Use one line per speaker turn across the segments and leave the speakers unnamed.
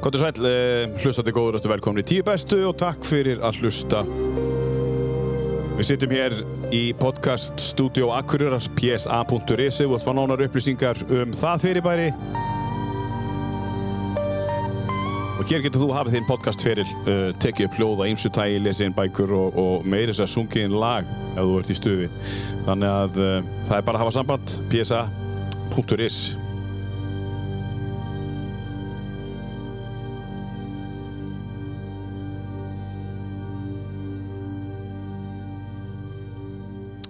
Kottu sæl, eh, hlustandi góður og velkomin í tíu bestu og takk fyrir að hlusta. Við sittum hér í podcast Studio Akureyrar, psa.is og það nánar upplýsingar um það fyrirbæri. Og hér getur þú hafið þinn podcast fyrir, uh, tekið upp hljóða, ýmsutægi, lesið inn bækur og, og meira þess að sungið inn lag ef þú ert í stuði. Þannig að uh, það er bara að hafa samband, psa.is.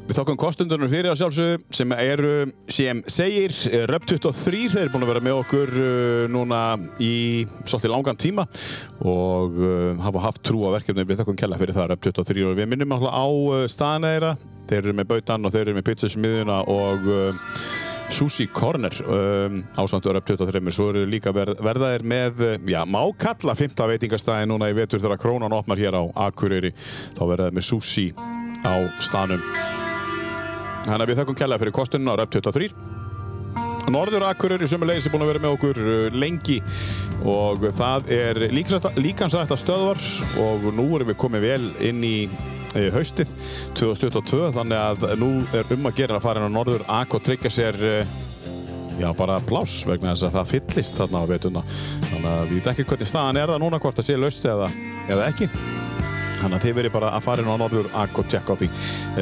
Við þokkum kostundunum fyrir að sjálfsögum sem eru, sem segir, eh, Röp 23, þeir eru búin að vera með okkur uh, núna í svolítið langan tíma og uh, hafa haft trú á verkefni við þokkum kella fyrir það Röp 23 og við minnum alltaf á uh, staðina þeirra, þeir eru með bautan og þeir eru með pizzasmiðuna og uh, Sushi Corner um, ásandur upp 23, svo eru líka verð, verðaðir með, uh, já, má kalla 5. veitingastæði núna í vetur þegar krónan opnar hér á Akureyri, þá verðaðir með Sushi á staðnum Þannig að við þakkum kærlega fyrir kostununa á Röp 23. Norður Akureyri sömulegis er búin að vera með okkur uh, lengi og það er líkansrætta stöðvar og nú erum við komið vel inn í eh, haustið 2022 þannig að nú er um að gera að fara inn á Norður Ak og tryggja sér eh, Já, bara pláss vegna þess að það fyllist þarna á vetuna. Þannig að við veit ekki hvernig staðan er það núna, hvort það sé laust eða, eða ekki. Þannig að þið verið bara að fara inn á Norður Akk og tjekka á því.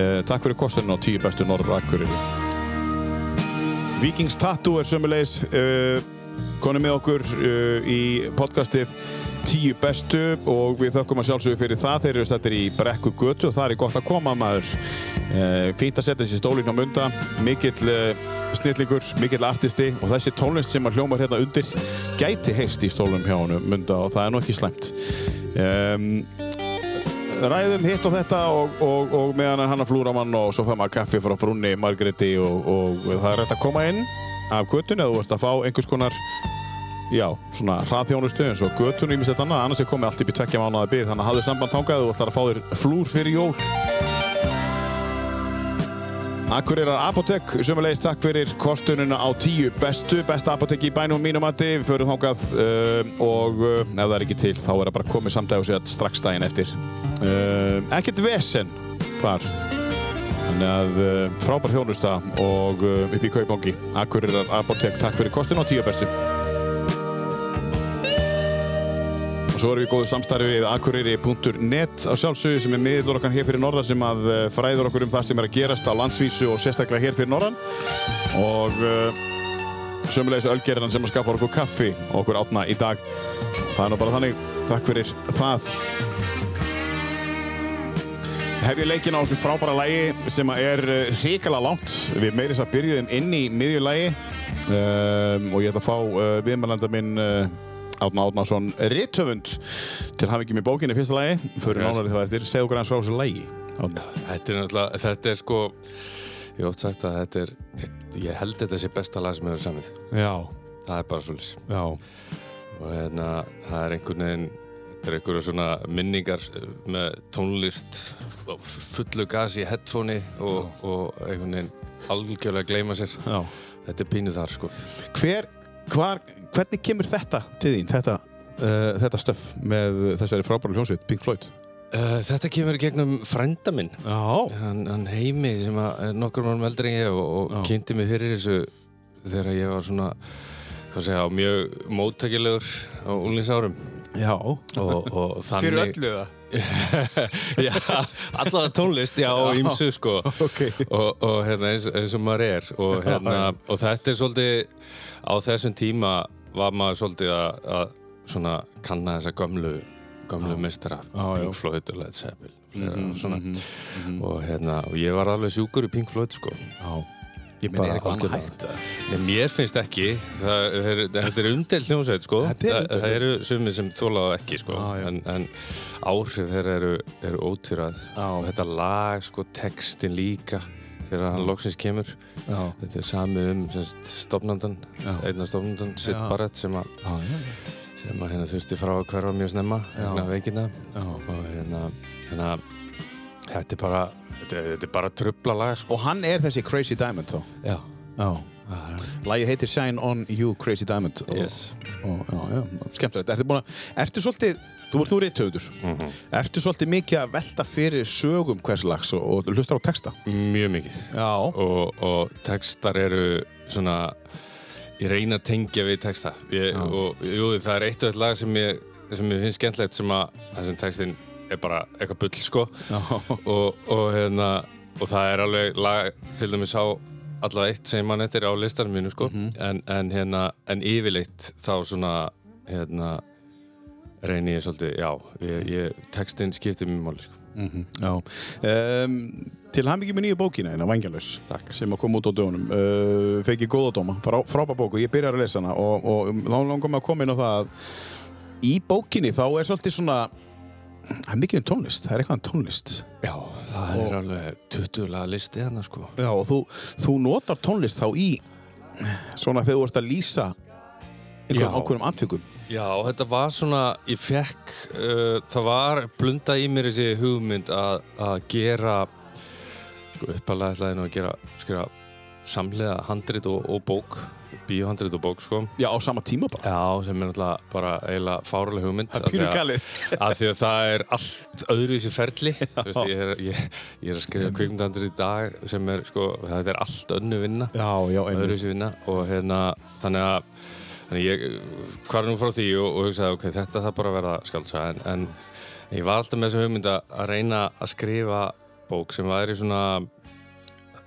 Eh, takk fyrir kostunum á tíu bestu Norður Akkurinn. Vikings Tattoo er sömulegis uh, konum með okkur uh, í podcastið tíu bestu og við þökkum að sjálfsögðu fyrir það þeir eru stættir í brekku götu og það er gott að koma maður uh, fínt að setja þessi stólinn á munda mikill uh, snillingur, mikill artisti og þessi tónlist sem að hljómar hérna undir gæti heist í stólum hjá hann munda og það er nú ekki slæmt um, ræðum hitt og þetta og, og, og meðan er hann að flúra mann og svo fær maður kaffi frá frunni Margréti og, og það er rétt að koma inn af göttunni að þú ert að fá einhvers konar já, svona hraðþjónustu eins og göttun og ímislegt annað, annars er komið allt upp í tvekkja mánuða byggð þannig að hafðu samband þangað og þú ætlar að fá þér flúr fyrir jól Akureyrar Apotek, sömulegis takk fyrir kostununa á tíu bestu, besta apotek í bænum mínum mati, við förum þangað uh, og uh, ef það er ekki til þá er það bara komið samdægu sér strax daginn eftir. Uh, ekkert vesen þar, þannig að uh, frábær þjónusta og uh, upp í kaupangi. Akureyrar Apotek, takk fyrir kostuna á tíu bestu. Og svo erum við í góðu samstarfi við akureyri.net á sjálfsögðu sem er miðlur okkar hér fyrir norðan sem að eh, fræður okkur um það sem er að gerast á landsvísu og sérstaklega hér fyrir norðan og uh, sömulegis ölgerðan sem að skaffa okkur kaffi og okkur átna í dag það er nú bara þannig, takk fyrir það hef ég leikin á þessu frábæra lægi sem að er hrikala langt við meirins að byrjuðum inn í miðjulægi um, og ég ætla að fá uh, viðmælanda minn uh, Átna Átnason Rithöfund til hafingi með bókinni í fyrsta lægi fyrir
Vel.
nánari til það eftir, segðu okkur hans frá þessu lægi Árni.
Þetta er náttúrulega, þetta er sko Ég hef oft sagt að þetta er eitt, Ég held þetta sé besta lag sem hefur samið
Já,
Það er bara svolítið
já,
Og hérna, það er einhvern veginn Þetta er einhverja svona minningar eh, Með tónlist f- Fullu gas í headphonei og, og einhvern veginn algjörlega að gleyma sér
já
Þetta er pínu þar sko
Hver, hvar, hvernig kemur þetta til þín, þetta, uh, þetta stöf með þessari frábæru hljónsveit, Pink Floyd?
uh, Þetta kemur í gegnum frænda minn
Já.
hann, hann heimi sem að er nokkur mannum eldri en ég og, og
Já.
kynnti mig fyrir þessu þegar ég var svona hvað segja, mjög móttækilegur á úlingsárum
Já.
og, og þannig
það?
já, allavega tónlist, já, og ýmsu sko
Ok.
og, og hérna eins, eins og maður er og, hérna, og þetta er svolítið á þessum tíma var maður svolítið að, að svona kanna þessa gömlu gömlu mistara,
Já, Mhm, já.
Pink Floyd og Led Zeppelin
Mm-hmm.
og svona og hérna, og ég var alveg sjúkur í Pink Floyd sko
Já. Ég meina,
Bara
er eitthvað annað
algjörlega.
hægt það?
Nei, mér finnst ekki, það, er, þetta er umdelt hljómsveit sko,
Þetta er
það,
umdeild. Ah,
það eru sumir sem þóla það ekki sko,
Já, já.
en, en áhrif þeirra eru, eru ótýrað
Já.
og þetta lag sko, textin líka þegar hann loksins kemur,
Já.
þetta er sami um semst, stofnandan,
Já.
einna stofnandan, Sid
Já.
Barrett sem að,
Já, já,
sem að hérna þurfti frá að hverfa mjög snemma,
Já.
hérna veikina
já.
og hérna, hérna þetta er bara, þetta er, þetta er bara trubla lag sko,
Og hann er þessi Crazy Diamond þá?
já,
Lægi heitir Shine On You Crazy Diamond og,
Yes.
og, já, já, skemmtilegt Ertu, búin að, ertu svolítið, þú ert nú reythöfundur Ertu svolítið mikið að velta fyrir sögum hvers lags og, og hlustar á texta
mjög mikið
Já,
og, og textar eru svona ég reyna að tengja við texta ég, og jú, það er eitt og eitt lag sem ég, sem ég finnst skemmtilegt sem að þessin textin er bara eitthvað bull sko
Já.
og, og, hérna, og það er alveg lag til dæmis á allavega eitt sem mann eftir á listanum mínu sko en, en, hérna, en yfirleitt þá svona hérna, reyni ég svolítið já, ég, ég, textin skiptir mér máli sko.
Mhm. já. Um, Til hamingi með nýju bókina hérna, Vangjalus
Takk.
sem að koma út á dögunum uh, fekk ég góða dóma, frá, frábær bók og ég byrjar að lesa hana og, og um, þá langar mig að koma inn á það að í bókinni þá er svolítið svona það er mikið um tónlist, það er eitthvað um tónlist
já, það er alveg 20 laga listi hérna sko
Já, og þú, þú notar tónlist þá í svona þegar þú ert að lýsa
Já.
einhverjum ákveðum atvikum.
Já, þetta var svona, ég fekk, uh, það var blunda í mér þessi hugmynd að, að gera, sko uppalega ætlaði ég nú að gera, skilja, samlega handrit og, og bók, bíóhandrit og bók, sko.
Já, á sama tíma bara.
Já, sem er náttúrulega bara eiginlega fáruleg hugmynd.
Það er pínu
af því að-
galið.
Af því að það er allt öðru í sér ferli. Þú veist, ég er, ég, ég er að skrifa kvikmyndahandrit í dag sem er, sko, þetta er allt önnu vinna
Já, já,
öðru vinna og hérna þannig að þannig ég hvar nú frá því og, og hugsaði ok, þetta það bara að verða skaldsa en, en ég var alltaf með þessu hugmynd að að reyna að skrifa bók sem væri svona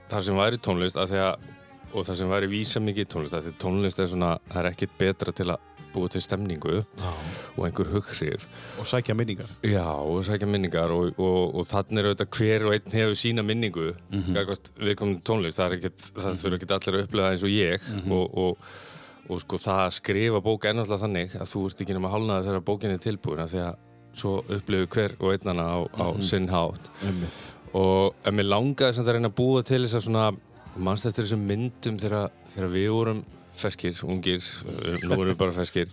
þar sem væri tónlist að því að og þar sem væri vísa mikið í tónlist af því að tónlist er svona, það er ekkit betra til að búa til stemningu og einhver hughrif
Og sækja minningar.
Já, og sækja minningar og, og, og þannig er auðvitað hver og einn hefur sína minningu mm við komum tónlist, það, er ekkit, það þurfa ekki allir að upplega eins og ég og, og, og sko það að skrifa bók er náttúrulega þannig að þú ert ekki nema hálnaði þegar bókin er tilbúin af því að svo upplifu hver og einn hana á, á sinn hátt
Einmitt.
og en mér langaði samt að reyna að búa til þess að svona mannst eftir þessum myndum þegar, þegar við vorum feskir, ungir, eh, nú erum við bara feskir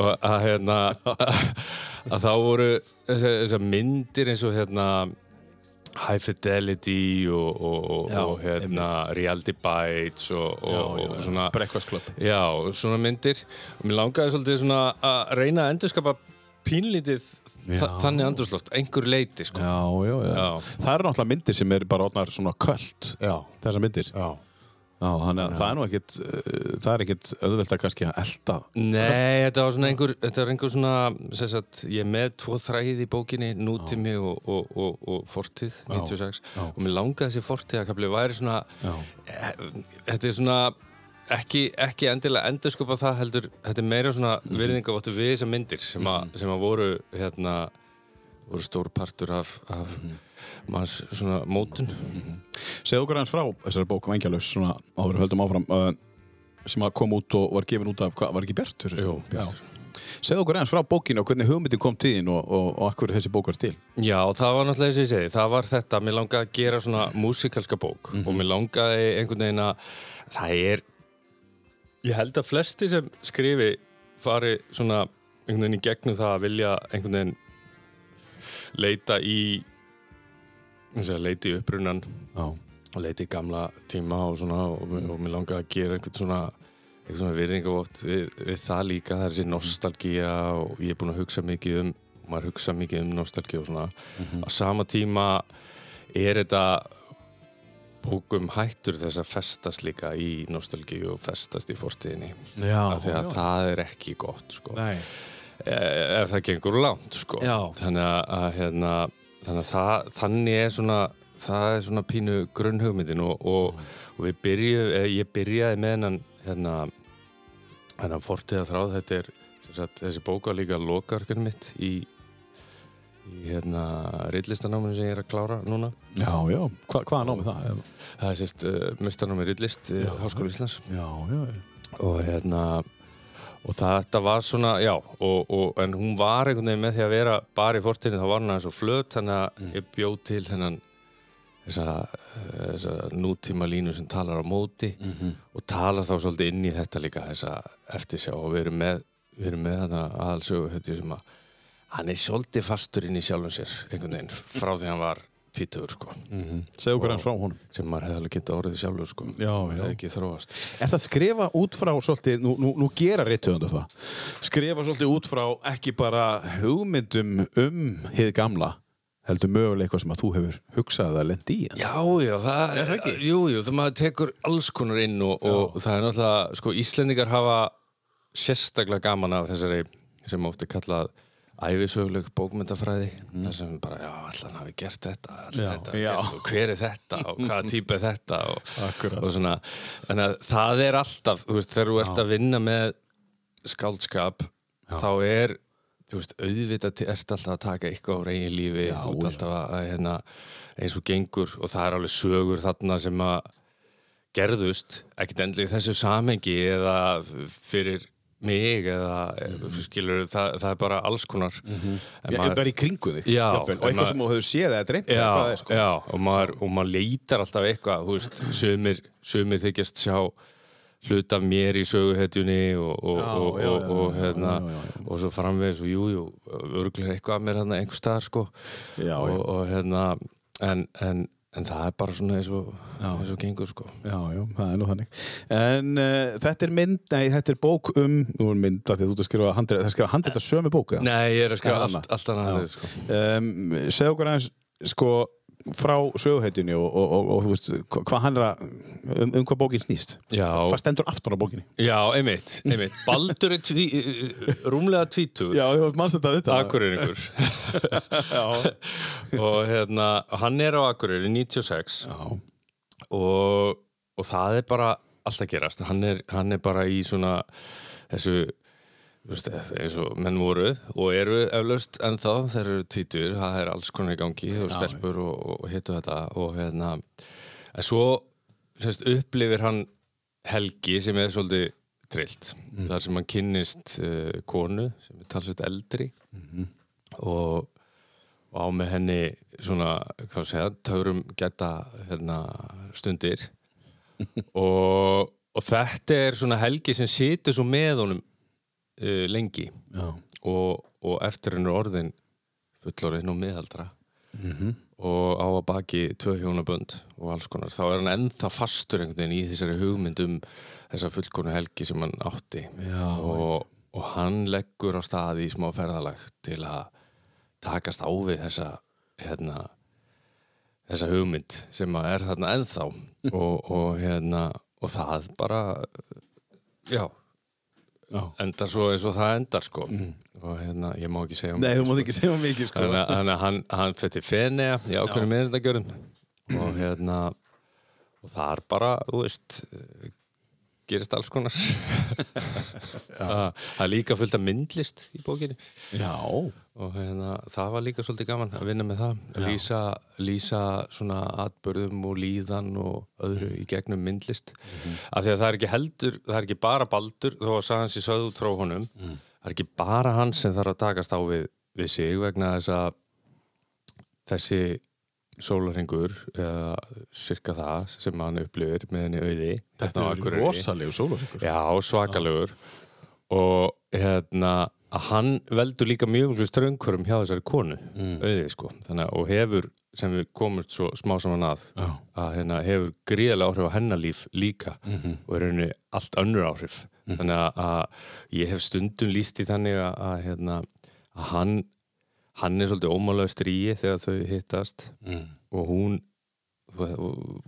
og að hérna að þá voru þessar þessa myndir eins og hérna High Fidelity og, og, og,
Já,
og hérna Reality Bites og, og, og svona
Breakfast Club.
Já, svona myndir og mér langaði svolítið svona að reyna að endurskapa pínlítið þa
Já.
þannig andrúsloft, einhver leiti sko.
Já, já, já.
Já.
Það eru náttúrulega myndir sem er bara orðnar svona kvöld.
Já,
Þessar myndir. Já,
já.
þannig að það er nú ekkit, uh, það er ekkit auðvelt að kannski að elda.
Nei, þetta var svona einhver, þetta var einhver svona, sem sagt, ég er með tvo þræði í bókinni, nútími og, og, og, og fortíð, 96 og mér langaði þessi fortíð að kapli væri svona, eh, þetta er svona ekki, ekki endilega endurskupa það heldur, þetta er meira svona virðingavottu við þessar myndir sem að, sem að voru hérna, voru stór partur af, af manns svona mótun
Segðu okkur aðeins frá þessari bók Vengjalus svona áður en við höldum áfram uh, sem að kom út og var gefin út af, hvað, var ekki Bjartur?
Jú, Bjartur.
Já. Segðu okkur aðeins frá bókinu og hvernig hugmyndin kom til þín og, og, og akkur þessi bók var til.
Já, það var náttúrulega eins og ég segi, það var þetta, mér langaði að gera svona músikalska bók og mér langaði einhvern veginn að það er, ég held að flesti sem skrifi fari svona einhvern veginn í gegnum það að vilja einhvern veginn leita í, eins og leita í upprunan
Já.
og leita í gamla tíma og svona og, og mér langaði að gera einhvern svona eitthvað svona virðingavott við, við það líka, það er þessi nostalgía og ég er búinn að hugsa mikið um og maður hugsa mikið um nostalgía og svona á sama tíma er þetta bókum hættur þess að festast líka í nostalgíu og festast í fortíðinni
Já.
af því að það er ekki gott sko
Nei.
e- ef það gengur langt sko.
Já.
þannig að, að, hérna, þannig, að það, þannig er svona það er svona pínu grunnhugmyndin og, og, og við byrjuð eh, ég byrjaði með hennan hérna, hennan fortíða þráð þetta er sem sagt, þessi bóka líka lokaarkun mitt í, í hérna reillistanáminu sem ég er að klára núna
Já, já. Hva, hvað námið það?
það er sérst uh, mistanámi reillist við Háskóla Íslands
Já, já.
og hérna og þetta var svona, já og, og, en hún var einhvern veginn með því að vera bara í fortinu, þá var hún aðeins og flöt þannig að
Mm.
ég bjóð til þennan þessa, þessa nútíma línu sem talar á móti
Mhm.
og talar þá svolítið inn í þetta líka þessa eftirsjá og við erum með við erum með þarna aðalsögu þetta sem að hann er svolítið fastur inn í sjálfum sér einhvern veginn frá því hann var títuður sko
Mhm. segðu okkur hans frá honum
sem maður hefði alveg getað orðið sjálfur sko
Já, já.
Hefði ekki þróast
Er það að skrifa út frá svolítið, nú, nú, nú gera réttöfundu það skrifa svolítið út frá ekki bara hugmyndum um hið gamla heldur mögulega eitthvað sem að þú hefur hugsað að lendi í
Já, já, það er ekki Jú, jú, það maður tekur alls konar inn og, og það er náttúrulega, sko, Íslendingar hafa sérstaklega gaman af þessari sem oft er kallað æfisöguleg bókmyndafræði þar sem bara, já, allan hafi gert þetta allan
Já,
þetta,
já.
Gert, og hver er þetta og hvaða típa er þetta og,
Akkúrat.
og svona, þannig að það er alltaf þú veist, þegar þú ert að vinna með skáldskap þá er, þú veist, auðvitað til- ertu alltaf að taka eitthvað á reygin lífi já, út alltaf að, að hérna, eins og gengur og það er alveg sögur þarna sem að gerðust, ekkert endlega í þessu samhengi eða fyrir mig eða mm. skilur, það, það er bara alls konar En
Já,
maður-
bara í kringu þig
Já,
jafnvel, og
en
eitthvað
maður-
sem þú hefur séð eða dreymt eða hvað það
já,
er, sko.
já, og maður, og maður leitar alltaf eitthvað, þú veist, sumir, sumir þykjast sjá hlut af mér í söguhetjunni og, og,
Já,
og,
já,
og,
já,
og,
já,
hérna,
já, já,
og svo framvegis og jú, jú, örglega eitthvað af mér hérna einhver staðar sko
Já, já.
og, og hérna, en, en, en það er bara svona eins og, eins og gengur sko
Já, já, það er nú þannig En uh, þetta er mynd, nei, þetta er bók um Nú er mynd, af því að þú ert að skrifa handrið Það skrifa handrið að sömu bók, eða?
Nei, ég er að
Já,
skrifa
annað.
allt, allt annað handrið, sko.
um, Segðu okkur aðeins, sko frá söguhetjunni og, og, og, og þú veist hva- hvað hann er að, um, um hvað bókin snýst
Já,
Hvað stendur aftur á bókinni?
já, einmitt, einmitt. Baldur er tví, rúmlega tvítugur,
Já, ég mannst þetta þetta
akureyringur
Já,
og hérna, hann er á Akureyri 96
já,
og, og það er bara allt að gerast, hann er, hann er bara í svona þessu þú veist, eins og menn voru og eru eflaust ennþá, þeir eru tvítur það er alls konar í gangi og stelpur og, og hittu þetta og hérna en svo sérst, upplifir hann helgi sem er svolítið trillt, þar sem hann kynnist uh, konu sem er talsveit eldri og og á með henni svona, hvað að segja, törum geta hérna, stundir og, og þetta er svona helgi sem situr svo með honum uh, lengi
já.
og, og eftir henni orðin fullorinn og miðaldra
Mhm.
og á að baki tvö hjónabönd og alls konar þá er hann ennþá fastur einhvern veginn í þessari hugmynd um þessa fullkonu helgi sem hann átti
Já.
og, og hann leggur á staði í smá ferðalag til að takast á við þessa hérna þessa hugmynd sem að er þarna ennþá og, og hérna og það bara já,
Já. Mhm.
endar svo eins og það endar sko og hérna, ég má ekki segja um
Nei, þú mátt ekki segja mikið, sko
Þannig að- þannig að hann, hann fyrir til Fenea í ákveðinu meðrindagjörðum og hérna og það er bara, þú veist eh, gerist alls konar það það er líka fullt af myndlist í bókinu
Já,
og hérna, það var líka svolítið gaman að vinna með það lýsa, lýsa svona atbörðum og líðan og öðru í gegnum myndlist
Mhm.
af því að það er ekki heldur það er ekki bara Baldur þó að sagan sé sögð út frá honum
Mm.
það er ekki bara hann sem þarf að takast á við, við sig vegna þess að þessi sólarhengur eða sirka það sem hann upplifir með henni auði
þetta
hérna á
er
Akureyri.
rosalegu sólarsingur
Já, svakalegur og hérna að hann veldur líka mjög mjög ströngurum hjá þessari konu auðvitað sko, þannig að og hefur sem við komumst svo smá saman að
Já.
að hérna hefur gríðarlega áhrif á hennar líf líka og er henni allt önnur áhrif þannig að, að ég hef stundum líst í þannig að, að hérna að hann, hann er svolítið ómálaður stríi þegar þau hittast mm. og hún og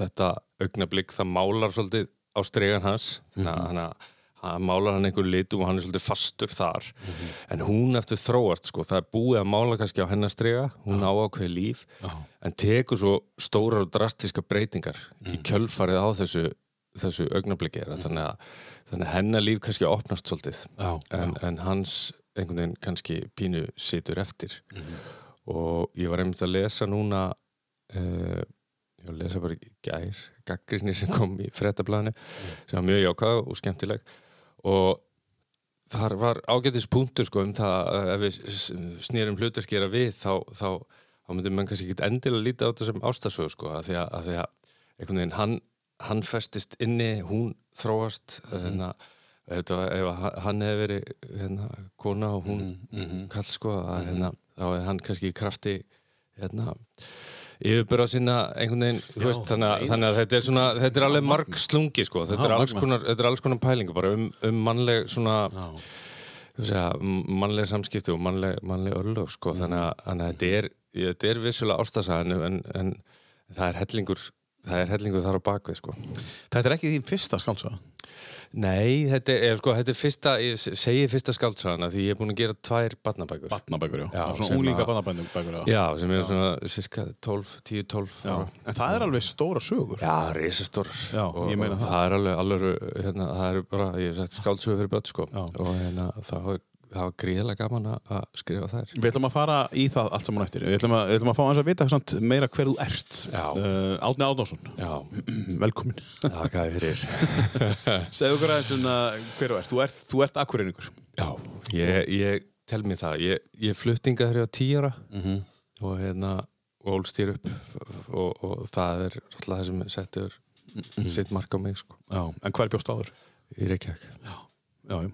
þetta augnablík það málar svolítið á stregan hans þannig að- þannig að hann málar hann einhver litum og hann er svolítið fastur þar en hún eftir þróast sko, það er búið að mála kannski á hennar strega hún á ákveði líf en tekur svo stórar og drastiska breytingar í kjölfarið á þessu þessu augnablíki mm þannig, að, þannig að hennar líf kannski opnast svolítið
Já,
en, en hans einhvern veginn kannski pínu situr eftir og ég var einmitt að lesa núna uh, ég var að lesa bara í gær gaggrinni sem kom í frettablaðinu sem var mjög jákað og skemmtileg og þar var ágætis punktur sko um það að ef við s- snýrum hlutverkera við þá, þá, þá myndum mann kannski ekki endilega líta á þetta sem ástasögu sko að því að, að, því að einhvern veginn hann, hann festist inni, hún þróast hérna, ef, þetta var- ef að hann hefði verið hérna, kona og hún mm kall sko að hérna, þá hefði hann kannski í krafti hérna yfirbyrða sinna einhvern veginn, þú veist, þannig að, þannig að þetta er svona, þetta er alveg marg slungi, sko, þetta er alls konar, þetta er alls konar pælingu bara um, um mannleg svona, þú veist, að mannleg samskipti og mannleg, mannleg örlög, sko, þannig að, þannig að þetta er, ég- þetta er vissulega ástasaðinu, en, en það er hellingur, það er hellingur þar á bakvið, sko.
Þetta er ekki þín fyrsta skáltsaga.
Nei, þetta er, eða, sko, þetta er fyrsta, ég segi fyrsta skáldsagan af því ég er búin að gera tvær barnabækur.
Batnabækur, já.
Já,
Svona
sem
úlinga
að-
batnabækur, já.
Já, sem er svona cirka 12, 10, 12
Já.
ára.
En það er alveg stóra sögur.
Já, risastór
Já,
og,
ég meina
og
það.
það er alveg, alveg hérna, það er bara, ég hef sagt skáldsögur fyrir börn sko.
Já.
og hérna, það var, það var gríðilega gaman að- að skrifa þær
Við ætlum að fara í það allt saman á eftir. Við ætlum að, við ætlum að fá hans að vita samt meira hver þú ert.
Já.
Uh, Átni Átnásson,
Já,
velkomin.
það gæði fyrir
Segðu okkur aðeins svona hver þú ert. Þú ert, þú ert akkurreiningur.
Já, ég, ég tel mér það ég, ég fluttinga þegar ég var 10 ára
Mhm.
og hérna og ólst ég upp og, og það er alltaf það sem settur
Mhm.
sitt mark á mig sko,
Já. En hver bjóst áður?
í Reykjavík
Já, já.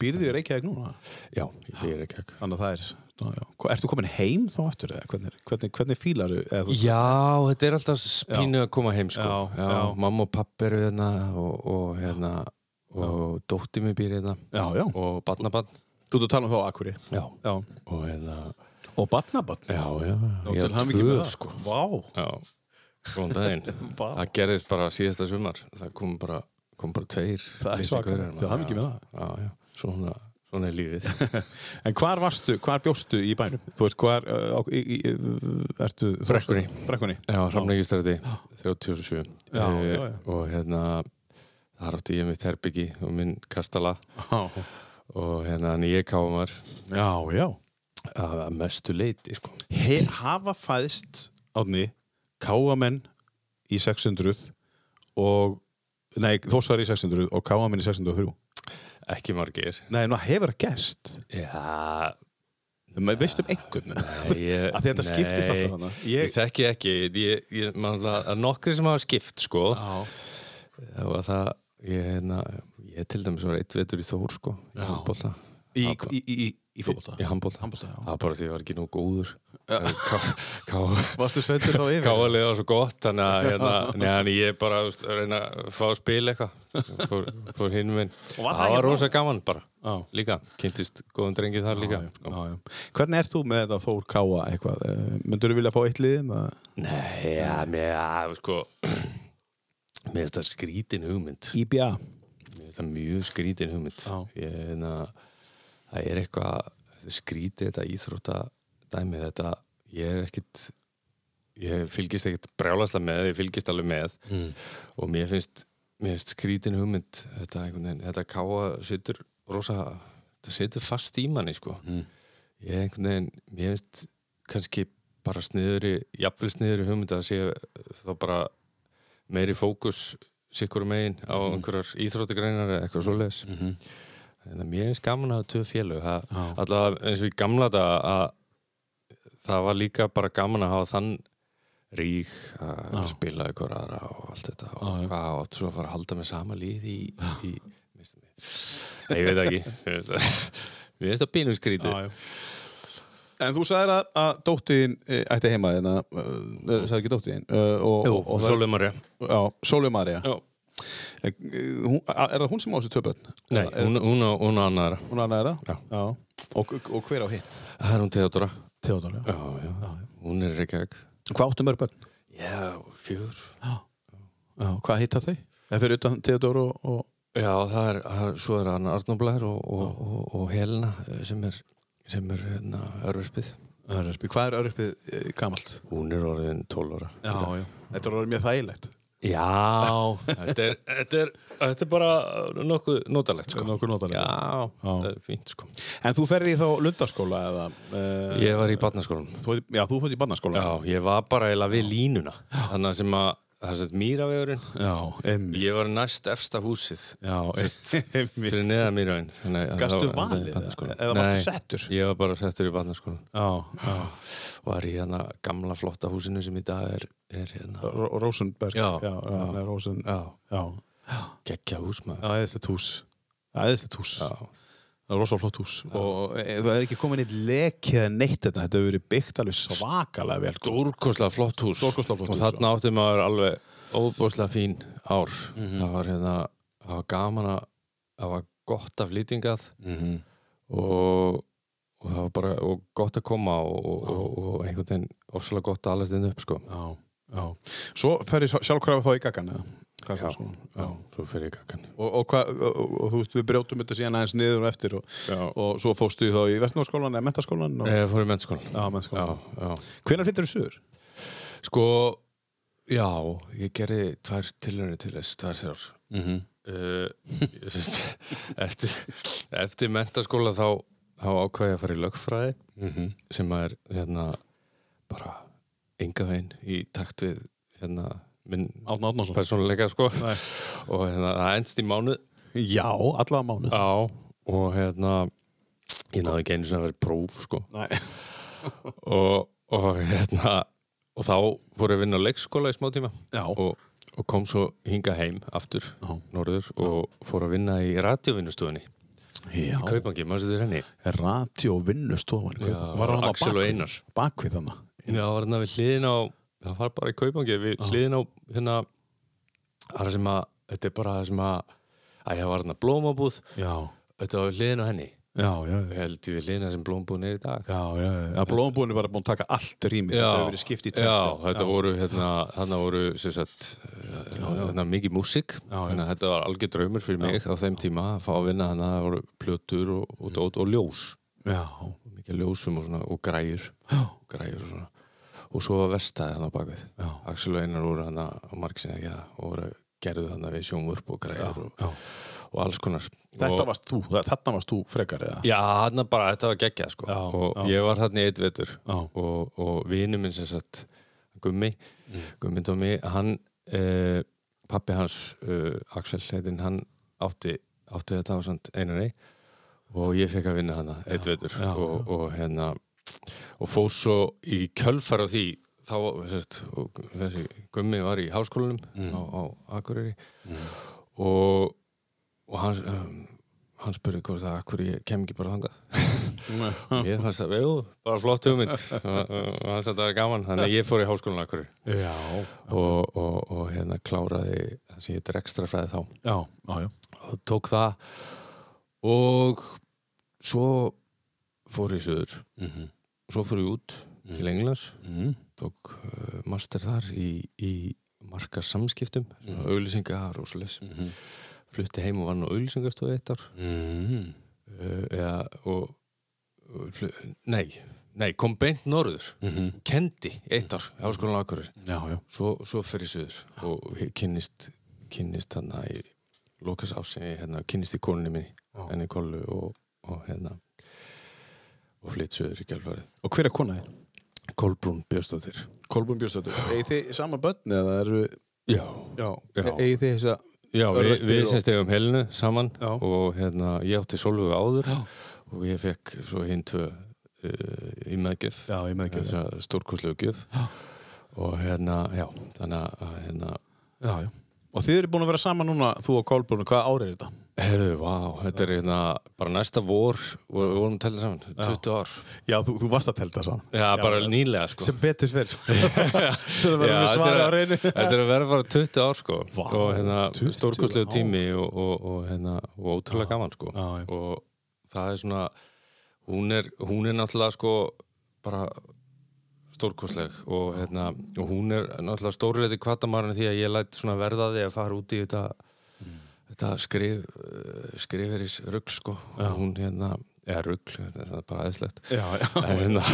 Býrðu í Reykjavík núna?
Já, í Reykjavík
Þannig að það er, já, já. Hva- Ert þú komin heim þá aftur eða? Hvernig, hvernig, hvernig fílar þú?
Já, þetta er alltaf spínu að koma heim sko.
sko. Já,
já,
já.
Mamma og pappi eru hérna og, og hérna og dótti mér býr hérna
Já, já.
og barnabann
Þú ert að tala um þá akkurri.
já.
Já.
og hérna
Og batnabatn.
já, já,
Og
ég
til
er
hann
tvö,
með það.
sko.
Vá.
Já, góðan daginn
Vá.
Það gerðist bara síðasta sumar það kom bara, kom bara tveir
Það er
litlir
svakalegt.
gaurar,
Til hamingju með
já, já, já. Svona, svona er lífið
En hvar varstu, hvar bjóstu í bænum? Þú veist, hvar, uh, á- í, í, uh, ertu...
Brekkunni.
Brekkunni.
Já, Ramnækistræti 37
Já, já,
Eh,
já.
og hérna þar átti ég mitt herbyggi og minn kastala
Já,
og hérna en ég kámar
já. já.
að að mestu leiti sko.
He, hafa fæðst, átni, káamenn í 600 og, nei, þósar í 600 og káamenn í 603.
ekki margir
Nei, en það hefur að gerst.
já,
Ma- Veistu um einhvern?
nei, ég,
Af því þetta skiptist alltaf þarna.
ég,
Ég-
þekki ekki ég, ég, man alltaf að nokkri sem hafa skipt sko,
Já.
og að það ég, hérna, ég til dæmis var eitt vetur í Þór sko, í handbólta
Í, í, í, í, í fótbolta?
í handbólta,
Handbolta, já.
það var bara því ég var ekki nú góður ká, ká,
Varstu sendur þá yfir?
káalið var svo gott þannig að hérna, neðan ég bara þú veist, að reyna að fá að spila eitthvað fór, fór hinn minn
Og var það
það
ekki
var rosa gaman bara
Já.
líka, kynntist góðum drengið þar líka
Já, já, já. Hvernig ert þú með þetta Þór Káa eitthvað? Myndur þú vilja fá eitt liðin?
Nei, já, mér, já, sko Mér finnst það skrítin hugmynd
IBA?
Mér finnst það mjög skrítin hugmynd
Já.
Ég, na, Það er eitthvað þetta skrítið þetta íþrótta dæmi þetta, ég er ekkit ég fylgist ekkit brjálasla með ég fylgist alveg með mm. og mér finnst, mér finnst skrítin hugmynd þetta, einhvern veginn, þetta káa situr rosa, þetta situr fast í manni sko mm. ég einhvern veginn, mér finnst kannski bara sniðuri, jafnvel sniðuri hugmynd að sé eh, þá bara meiri fókus sikkur megin á einhverjar íþróttagreinar eða eitthvað svoleiðis
Mm. mm-hmm.
en mér finnst gaman að hafa tvö félög Það-
Já.
allavega eins og í gamla þetta að það var líka bara gaman að hafa þann rík að spila ykkur aðra og allt þetta og hvað átt svo að fara að halda með sama lið í, í minnst það mig. Nei, ég veit það ekki Mér finnst það- mér finnst það pínu skrítið
En þú sagðir að, að dóttiðin eh, ætti heima þinn að, sagði ekki dóttiðin uh, og,
Jú,
og, og
Sólveig María
það- já, Sólveig Marja
Já.
Er það hún sem á þessu tvö börn?
Nei, hún, hún, á- hún á annaðra
Hún annað er
Já.
það? Já. Og, og hver á hitt?
Það er hún Teodora
Theodor,
Já, já, hún er í Reykjavík
Hvað áttu mörg börn?
Já, fjör
Já, hvað hitta þau? Það fyrir utan Theodor og, og
Já, það er, það er- svo er hann Arnóblæður og, og, og, og Helena eh, sem er, sem er hérna, örverspið.
Öryrpi. Hvað er öryrpið eh, gamalt?
Hún er orðin 12 ára.
Já, já. Þetta er orðið mjög þægilegt.
Já, þetta, er, þetta, er, þetta er bara nokkuð notalegt sko.
Nokkuð notalegt.
Já, það er fínt sko.
En þú ferði þá lundaskóla eða? Uh,
Ég var í barnaskólanum.
þú, já, þú fórst í barnaskóla.
Já, ég var bara eiginlega við línuna. Þannig að sem að, það er mýravegurinn.
Já, emmi.
Ég var næst efsta húsið
Já, emmi.
fyrir neða mýraveginn. þannig að-
Gastu
það var-
valið eða,
barnaskólanum.
eða varstu
sko. Nei,
settur?
Ég var bara settur í barnaskólanum.
Já, já.
var í hérna gamla flotta húsinu sem í dag er, er hérna
Ro- Rosenberg.
Já,
já. já. Nei, Rosen, já.
já,
já.
geggja hús maður
Æðislegt hús. Æðislegt hús.
já,
það er rosalega flott hús og e, það hefði ekki komið neitt leki eða neitt hérna. þetta, þetta hefur verið byggt alveg svakalega vel sko.
Stórkoslega flott hús
Stórkostlega flott
Og
hús,
þarna átti maður alveg óbúslega fín ár
Mhm.
Það var hérna, það var gaman að það var gott af lýtingað Mhm. og, og það var bara og gott að koma og, og, og, og einhvern veginn ofsalega gott að alast inn upp sko
já, já. Svo fer ég sjálfkrafa þá í gaggan eða? Hvað
Já,
fer svona?
já, svo fyrir ég kakkan
og, og, hva, og, og, og þú veist, við brjótum þetta síðan aðeins niður og eftir og,
Já,
og svo fóstu þá í verðnárskólan eða mentaskólan og,
ég fór í mennskólan
já,
Eh, Já,
mentaskólan.
já
Hvenær flyttir þú sögur?
Sko, já, ég gerði tvær tilhörni til þess, tvær þrjár
Mm -hmm.
uh, ég syns- eftir, eftir mentaskóla þá, þá ákvað ég að fara í lögfræði sem er hérna bara enga veginn í takt við hérna minn
Átna Átnason
persónuleika sko
Nei.
og hérna það endst í mánuð
Já, allavega mánuð
á og hérna ég náði ekki einu sem að vera próf sko
Nei.
og, og hérna og þá fór ég að vinna á leikskóla í smá tíma
Já,
og, og kom svo hinga heim aftur,
Já.
norður og fór að vinna í radiovinnustofunni
já.
Kaupangi, maður sér henni
Radio vinnustofan
Já,
Var hann á
Axel og
bakvið,
Einar.
bakvið þannig
Já, var hérna við hliðin á það var bara í Kaupangi, við hliðin á hérna, það er sem að þetta er bara það sem að að ég var hérna blómabúð,
Já,
þetta var við hliðin á henni
já, já
ég held ég við hliðin að sem blómabúðin er í dag
Já, já, já, blóðbúin er bara búin að taka allt rými
Já.
Þetta hefur verið skipt í
Já,
tvennt.
þetta voru hérna, þarna voru sem sagt, hérna, mikið músík
Já, já.
þannig að þetta var algjör draumur fyrir mig á þeim tíma að fá að vinna hana, það voru plötur og, og,
Mm.
og, og ljós
já,
mikið af ljósum og, svona, og græjur
Já.
græjur og svona og svo var vestæði hann á bakvið
Já.
Axel og Einar voru hann að margsinni ekki það og voru gerðu hann við sjónvörp og græjur og,
já.
og alls konar
Þetta
og,
varst þú, þetta varst þú frekar eða?
Já, hann bara, þetta var geggjað sko
Já,
og
já.
ég var hann í eitt vetur
Já.
og, og vinur minn sem sagt Gummi,
Mm.
Gummi Tómi hann, eh, pappi hans eh, Axel heitinn, hann átti, átti þetta á samt einari og ég fekk að vinna hana eitt vetur
já,
og, og hérna og fór svo í kjölfar á því þá, sérst, og þessi Gummi var í háskólanum
Mm.
á, á Akureyri og, og hann um, hann spurði hvort það akkur ég kem ekki bara þangað Ég fannst það, jú, bara flott hugmynd og og hann sagði að það er gaman þannig að ég fór í háskólan akkur
Já,
og, og, og hérna kláraði það sem ég heitir ekstra fræði þá
já, já, já.
og tók það og svo fór ég söður svo fór ég út til Englands
Mm.
tók uh, master þar í, í marka samskiptum mm. auðlýsingar og svoleiðis flutti heim og vann á auðlýsingastofu eitt ár
Mm.
uh, eða, og, og flu, nei, nei, kom beint norður kendi
Mm.
eitt ár í háskólan á Akureyri
Já, já,
svo, svo fer ég söður og ég kynnist kynnist hann í Lukas ásinni, hérna, kynnist í konunni minni
Já.
henni kollu og, og hérna og flytt söður í gælfari
Og hver er konaðið?
Kolbrún Björnsdóttir
Kolbún Björnsdóttur Egið þið sama börn eða eru
Já,
Já,
Já.
Eigið þið þess að
já við,
Örverpir
við
og-
sem stegum helinu saman
Já.
og hérna, ég átti Solveig áður og ég fekk svo hinn tvö uh, í meðgjöf
Já, ég með ekki
þessa stórkurslegu gjöf og hérna, já, þannig að hérna,
Já, já Og þið eru búin að vera saman núna, þú og Kolbún Hvað ár er þetta?
herðu, vá, þetta er hérna bara næsta vor, vor við vorum að tella saman 20 ár,
Já, þú, þú varst að telta saman
já, bara nýlega sko.
Sem betur fyrir Svo það
Já,
verður
þetta
svara á
er að-
reynu
þetta er að vera bara 20 ár sko
Vá,
og hérna
20
stórkurslegu
ár.
tími og, og, og hérna, og ótrúlega gaman sko
Já, já.
og það er svona hún er, hún er náttúrulega sko bara stórkostleg og, hérna, og hún er náttúrulega stórileiti kvatamarinn því að ég læt svona verða af því að fara út í þetta, þetta skrif, eh, skriferis rugl sko og hún hérna, eða rugl, þetta er svona bara aðeinslegt
Já, já
en, hérna,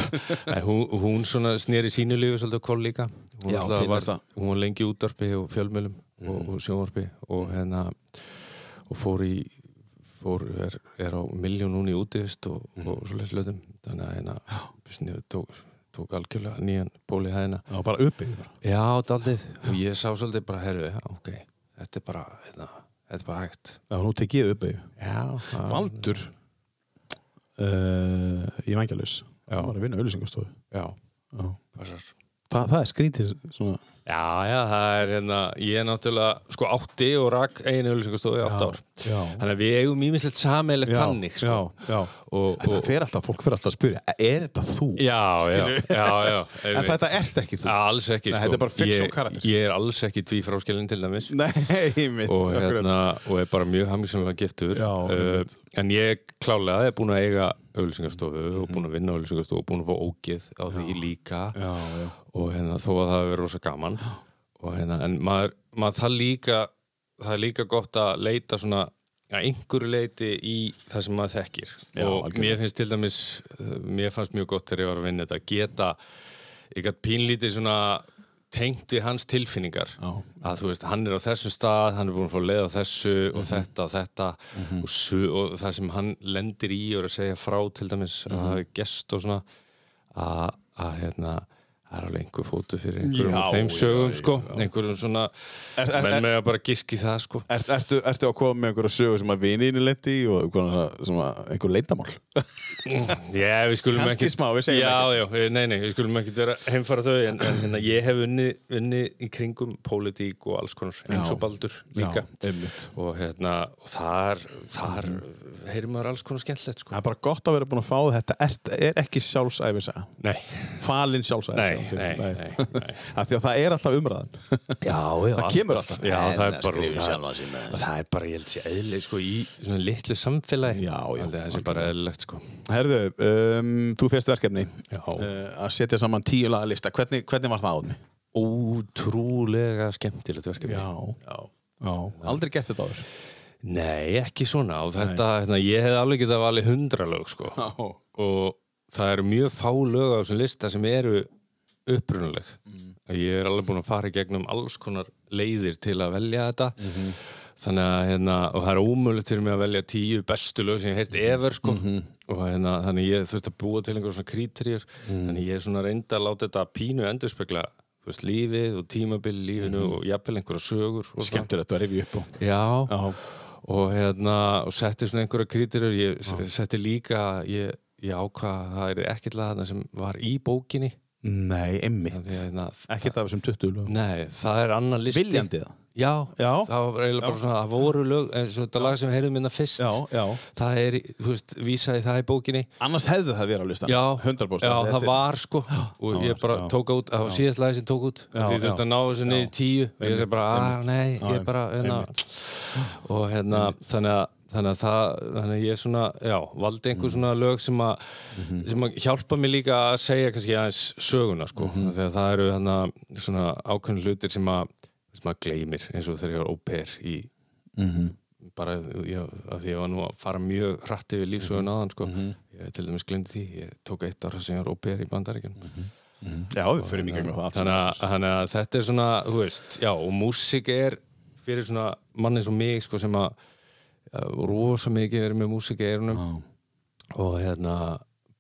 en hún, hún svona sneri sínu lífi svolítið koll líka hún,
Já,
náttúrulega
til
var,
þess að- Mhm.
hún var lengi í útarpi og fjölmjölum og, og sjónvarpi og hérna og fór í fór, er, er á miljón núna í útivist og,
Mhm.
og svoleiðis lötum þannig að hérna sniðu, tók, tók algjörlega nýjan bóli hæðina
Já, bara uppi
já, daldið og ég sá svolítið bara, herru, já, ok þetta er bara, hérna, þetta er bara hægt
Já, nú tek ég uppi
já, það-
Valdur uh, Í vangjalus
Já.
Hann var að vinna auðlýsingastofu
já,
Já
passar
Þa, það er skrítið svona
Já, já, það er hérna, ég er náttúrulega sko átti og rak einu auðlýsingastofu í átt ár.
já.
Þannig að við eigum ímislegt sameilegt þannig, sko.
já, já.
Og,
En það
og,
fer alltaf, fólk fer alltaf að spyrja Er þetta þú?
já, já,
Skilju.
já, já,
En
einmitt.
þetta ert ekki þú
Ja, Alls ekki,
Nei,
sko.
þetta er bara fiction karakter.
ég, ég er alls ekki tví fráskilin til dæmis.
Nei, mitt
og, hérna, og er bara mjög hamisamlega giftur
Já,
uh, en ég klálega er búin að eiga auðlýsingarstofu og búin að vinna auðlýsingarstofu og búin að fá ógið á því líka
Mhm. Já, já
og hérna, þó að það hefur verið rosa gaman og, hérna, en maður, maður það líka það er líka gott að leita svona að einhverju leiti í það sem maður þekkir
Já,
og
algjörlega.
mér finnst til dæmis uh, mér fannst mjög gott þegar ég var að vinna þetta að geta ég gætt pínlítið svona tengt við hans tilfinningar
Já.
að þú veist, hann er á þessum stað hann er búin að fá leið á þessu
Mhm.
og þetta og þetta og, su, og það sem hann lendir í og er að segja frá til dæmis
Mhm.
að það er gest og svona að, að hérna það er alveg einhver fótu fyrir einhverjum
Já,
af þeim
já,
sögum
já,
sko, einhverjum svona
Er- er- er-
menn með að bara giski það sko
Er, ertu, ertu að koma með einhverja sögu sem að vininu lendi í og einhverja, sem að, einhver leindamál?
Já, við skulum
Kannski
ekki
smá, við segjum
Já, já, við- nei, nei, við skulum ekki vera heimfara þau en, en hérna, ég hef unni, unni í kringum pólitík og alls konar eins og baldur líka
Já, einmitt.
og hérna, og þar, þar heyrir maður alls konar skemmtilegt sko
Það er bara gott að vera búin að fá þetta. Ert, er ekki sjálfsæfisaga.
Nei,
Falin sjálfsæfisaga.
Nei, nei, nei, nei.
Af því að það er alltaf umræðan.
já, já
Það kemur alltaf.
Já, það er
Nei,
bara
skrifa sjálfan sig með.
það, það er bara, ég held sér eðlilegt sko í svona litlu samfélagi
Já, já,
Held ég að Það sé bara eðlilegt sko
Herðu, um, þú fyrst verkefni
Já.
uh, að setja saman tíu laga lista. Hvernig, hvernig var það áðni?
Ótrúlega skemmtilegt verkefni já.
Já. Aldrei gert þetta áður.
Nei, ekki svona og þetta, hérna, ég hef alveg getað valið hundra lög sko
Já.
og það eru mjög fá lög á þessum lista sem eru upprunaleg ég er alveg búin að fara í gegnum alls konar leiðir til að velja þetta þannig að hérna og það er ómögulegt fyrir mig að velja tíu bestu lög sem ég heilt ever sko og hérna þannig ég þurfti að búa til einhverjum svona krítriður þannig ég er svona reynd að láta þetta pínu endurspegla þú veist, lífið og tímabil í lífinu og jafnvel einhverja sögur og svona.
Skemmtilegt að rifja upp og...
Já,
Já.
og hérna og setti svona einhverja krítirur ég s- setti líka, ég, ég ákvað að það er ekkert lag þarna sem var í bókinni
Nei,
Því að,
einmitt.
hérna,
Ekkert af þessum 20 lögum.
nei, það er annar listi
Viljandi það?
já,
Já.
það var eiginlega bara svona það voru lög, eins og þetta lag sem við heyrðum minna fyrst
Já, já.
það er, í- þú veist, vísaði það í bókinni
Annars hefði það verið á listan.
já,
100%.
já,
Þetta
það
er-
var sko og ég bara
já.
tók út, það var síðast lagi sem tók út já,
Já,
því þurfti
já.
að ná þessu niður í tíu og ég segi bara,
einmitt.
að nei,
Já,
ég bara hérna,
einmitt.
og hérna þannig að Þannig að, það, þannig að ég svona, já, valdi einhver
Mhm.
svona lög sem að, sem að hjálpa mér líka að segja kannski aðeins söguna, sko.
Mhm.
Þegar það eru þannig að svona ákveðin hlutir sem að, sem að gleymir, eins og þegar ég var óper í,
Mhm.
bara, já, að því ég var nú að fara mjög hratt yfir lífsögun aðan, sko. Ég til dæmis glemdi því, ég tók eitt ára sem ég var óper í bandaríkjunum.
Já, við fyrir mikið gegnum það allt.
Þannig að, þannig að þetta er svona, þú veist, já, og músík er fyrir svona manni eins og mig, sko, sem að eh, rosa mikið verið með músík í eirunum
saman.
og hérna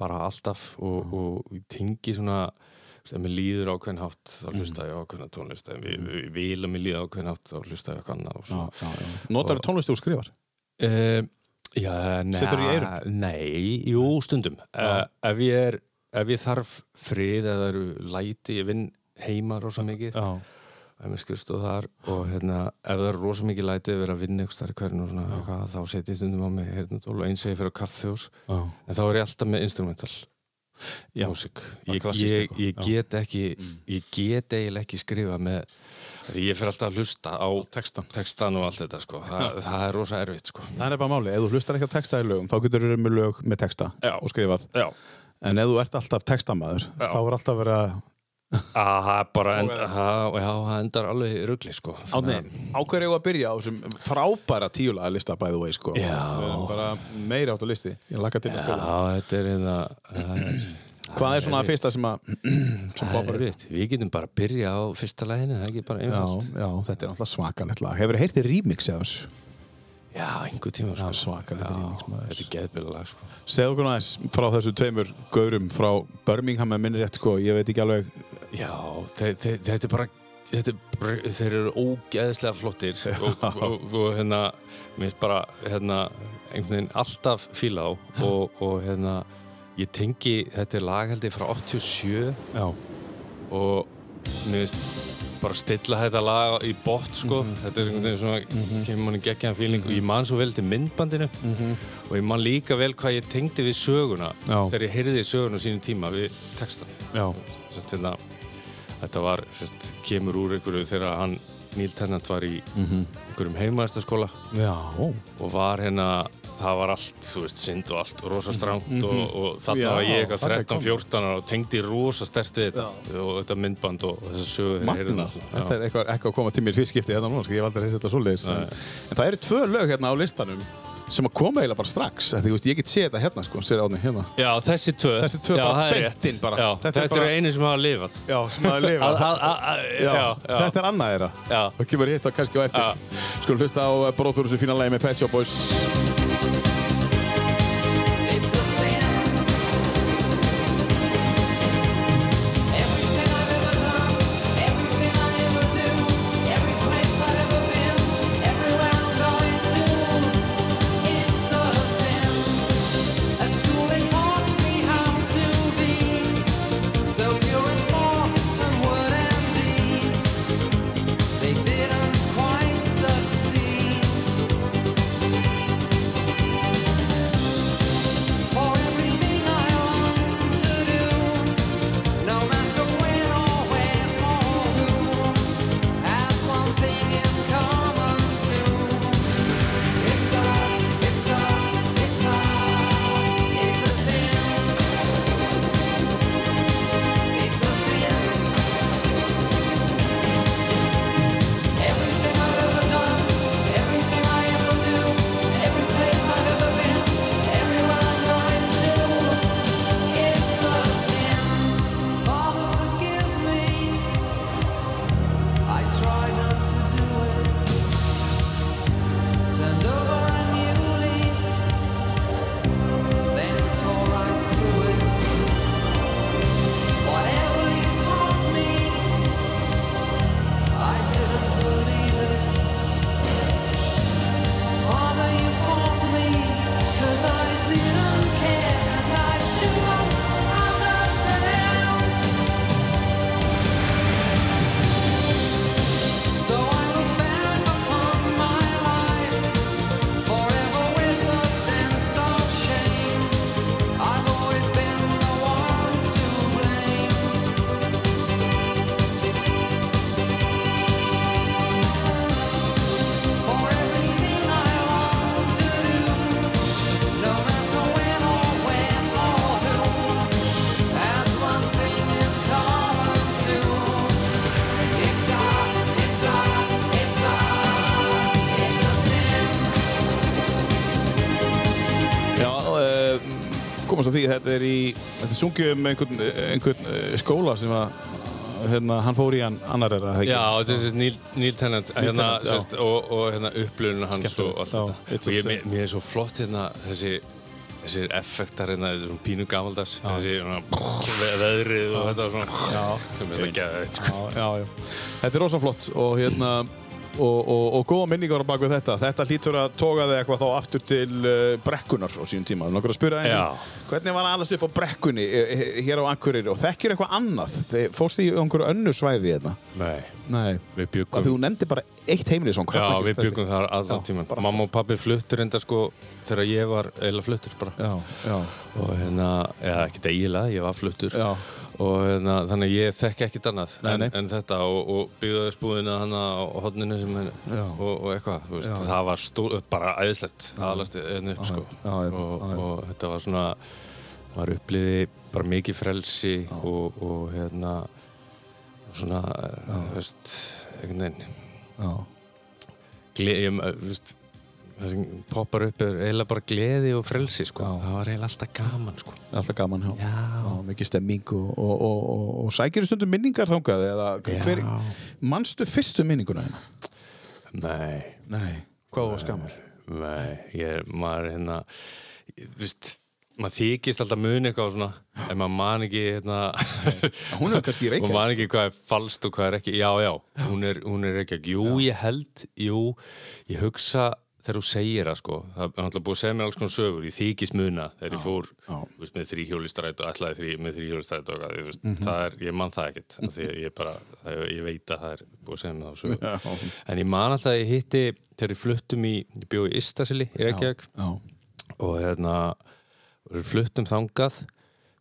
bara alltaf og, og ég tengi svona, þú veist, ef mér líður ákveðin hátt, þá hlusta ég á ákveðna tónlist, ef við, við viljum mér líða ákveðin hátt, þá hlusta ég á eitthvað annað og
Já,
svona.
já, já. Notar þú tónlistu og skrifar?
Um, já, nei,
Setur í eyrun?
Nei, jú, stundum uh, ef, ég er, ef ég þarf frið eða það eru læti, ég vinn heima rosa mikið
Já.
ef mér skrifst og þar og hérna, ef það er rosa mikið lætið verið að vinna ykkur starf hverjum og svona eitthvað, þá setjum ég stundum á mig hérna tól og eins að ég fyrir á kaffehús
Já.
en þá er ég alltaf með instrumental
Já.
músík
Já, Mm.
ég,
klassískt
ég,
eitthvað,
ég get ekki ég get eiginlega ekki skrifa með af því ég fyrir alltaf að hlusta á
Textan.
textan og allt þetta sko Þa, það er rosa erfitt sko
Það er bara máli, ef þú hlustar ekki á texta í lögum þá getur þú verið með lög með texta
Já.
og skrifað
Já,
en ef þú ert alltaf textamaður þá er alltaf verið að
að það er bara end, að, já, það endar alveg í rugli sko
á hverju eigum að byrja á þessum frábæra tíulaga lista by the way sko
Já.
Við erum bara meira átt á listi ég laka til að
Já,
spila
þetta er hérna það er-
Hvað er svona að fyrsta sem að sem
Það
poppar
er
upp?
erfitt, við getum bara að byrja á fyrsta læginu, það er ekki
Já,
bara einfalt.
já, þetta er alltaf svakalegt lag Hefur heyrt í remix eða þessu?
Já, já einhver tíma sko.
svakalegt remix maður
Þetta er geðbilla lag sko.
Segðu okkur aðeins frá þessu tveimur gaurum frá Birmingham að minni rétt sko, ég veit ekki alveg
Já, þe þe þetta er bara, þetta er, bara- þeir eru ógeðslega flottir og, og, og hérna, mér finnst bara, hérna, einhvern veginn alltaf fíla á og, og hérna, ég tengi, þetta er lag held ég frá 87
Já,
og, mér finnst bara stilla þetta lag í bótt sko þetta er einhvern veginn svona kemur manni geggjaðan fíling og ég man svo vel til myndbandinu og ég man líka vel hvað ég tengdi við söguna
Já.
þegar ég heyrði söguna á sínum tíma við textan
Já.
Sest, hérna, þetta var sest, kemur úr einhverju þegar hann Neil Tennant var í einhverjum heimaðastaskóla
Já.
og var hérna það var allt, þú veist, synd og allt rosa strangt og, og þarna
Mhm, Já,
var ég eitthvað
þarna
13-14 ára og tengdi rosa stert við þetta og þetta myndband og þessa sögu þegar ég heyrði
Magna.
þetta. Já.
Þetta er eitthvað, eitthvað að koma til mér fyrst skipti hérna núna, sko, ég hef aldrei heist þetta svoleiðis. En, en það eru tvö lög hérna á listanum sem að koma eiginlega bara strax. Því, þú veist, ég get séð þetta hérna, sko, séð ánum hérna.
Já, þessi tvö
Þessi tvö
já,
bara
það er
beint
rétt.
inn bara.
Já,
Þetta
Þetta,
er bara-
eru einu sem hafa lifað
Já, sem að lifa.
að, að, að, að,
já,
já, já,
þetta er annað þeirra.
Já.
Það kemur hitt á kannski á eftir.
Já.
Skulum hlusta á eh, Bróþur þessu fína lagi með Pet Shop Boys.
It's a sin. Everything I've ever done, everything I ever do, every place I've ever been, everywhere I'm going to, it's a sin. At school they taught me how to be so pure in thought and word and deed. They didn't quite succeed. For everything I long to do, no matter when or where or who, has one thing in common too. It's a, it's a, it's a, it's a sin. It's a sin. Everything I've ever done, everything I ever do, every place I've ever been, everywhere I'm going to, it's a sin. Father, forgive me. I try not to do it. Turned over a new leaf, then tore right through it. Whatever you taught me. I didn't believe it. Father, you fought me, 'cause I didn't care, and I still don't understand. So I look back upon my life, forever with a sense of shame. I've always been the one to blame. For everything I long to do, no matter when or where or who, has one thing in common too. It's a, it's a, it's a, it's a sin.
Já, uh, komast á því, þetta er í, þetta er sungið um einhvern, einhvern eh, skóla sem að, hérna, hann fór í hann annar er það ekki?
Já, þetta er sérst Neil, Neil Tennant, hérna,
Tennant, já.
sérst, og, og hérna upplunum hans
Skemmtilegt,
og allt
já. It's a
þetta. Og ég,
sin.
mér, mér er svo flott hérna þessi, þessi effektar hérna, þetta er svona pínu gamaldags, þessi svona ve- veðrið og þetta og svona. Já. Mér finnst það geðveikt, sko.
Já, já, já. Þetta er rosa flott og hérna, og, og, og góða minningar á bak við þetta. Þetta hlýtur að toga þig eitthvað þá aftur til uh, brekkunar á sínum tíma. Nókur að spyrja
Já.
eins og, hvernig var að alast upp á brekkunni eh, eh, hér á Akureyri og þekkir eitthvað annað? Þið- Fórstu í einhverju önnu svæði hérna?
Nei,
Nei.
við
Af
byggum
því þú nefndi bara eitt heimilisón.
Já, við byggum þar allan
Já,
tíman.
bara
Mamma og pabbi fluttur enda sko þegar ég var eiginlega fluttur bara.
Já, já,
Og hérna, eða ekkert eiginlega, ég var fluttur.
já.
Og hérna, þannig að ég þekki ekkert annað
Nei, nei.
En, en þetta og, og byggðaði spúðina hana á hodninu sem henni
Já.
og, og eitthvað, þú veist,
Já.
það var stó, bara æðislegt aðalast henni upp, sko.
já, já,
og,
já, já.
og þetta var svona, maður uppliði bara mikið frelsi og, og hérna, svona, þú veist, einhvern veginn,
já.
gleðum, þú veist, það sem poppar upp er eiginlega bara gleði og frelsi, sko.
Já.
Það var eiginlega alltaf gaman, sko.
Alltaf gaman, já.
Já.
mikið stemming og, og, og, og, og sækir stundum minningar þangað eða hver,
Já.
manstu fyrstu minninguna hérna?
Nei.
Nei. Hvað var skammal?
Nei, ég, maður hérna ég- Vist, maður þykist alltaf muni eitthvað og svona, en maður man ekki hérna,
Hún er kannski í
maður
Reykjavík.
man ekki hvað er falskt og hvað er ekki já, já, hún er, hún er ekki jú, ég held, jú ég hugsa þegar þú segir það sko það er náttúrulega búið að segja mér alls konar sögur ég þykist muna þegar ég fór
já.
þú veist, með þrýhjólistræt og ætlaði þrý, með þrýhjólistræt og eitthvað, þú veist,
Mhm.
það er, ég man það ekkert af því að ég bara, það, ég veit að það er búið að segja mér þá sögur
Já.
en ég man alltaf að ég hitti þegar ég fluttum í, ég bjóði í Istasili í Reykjavík
Já.
og hérna við fluttum þangað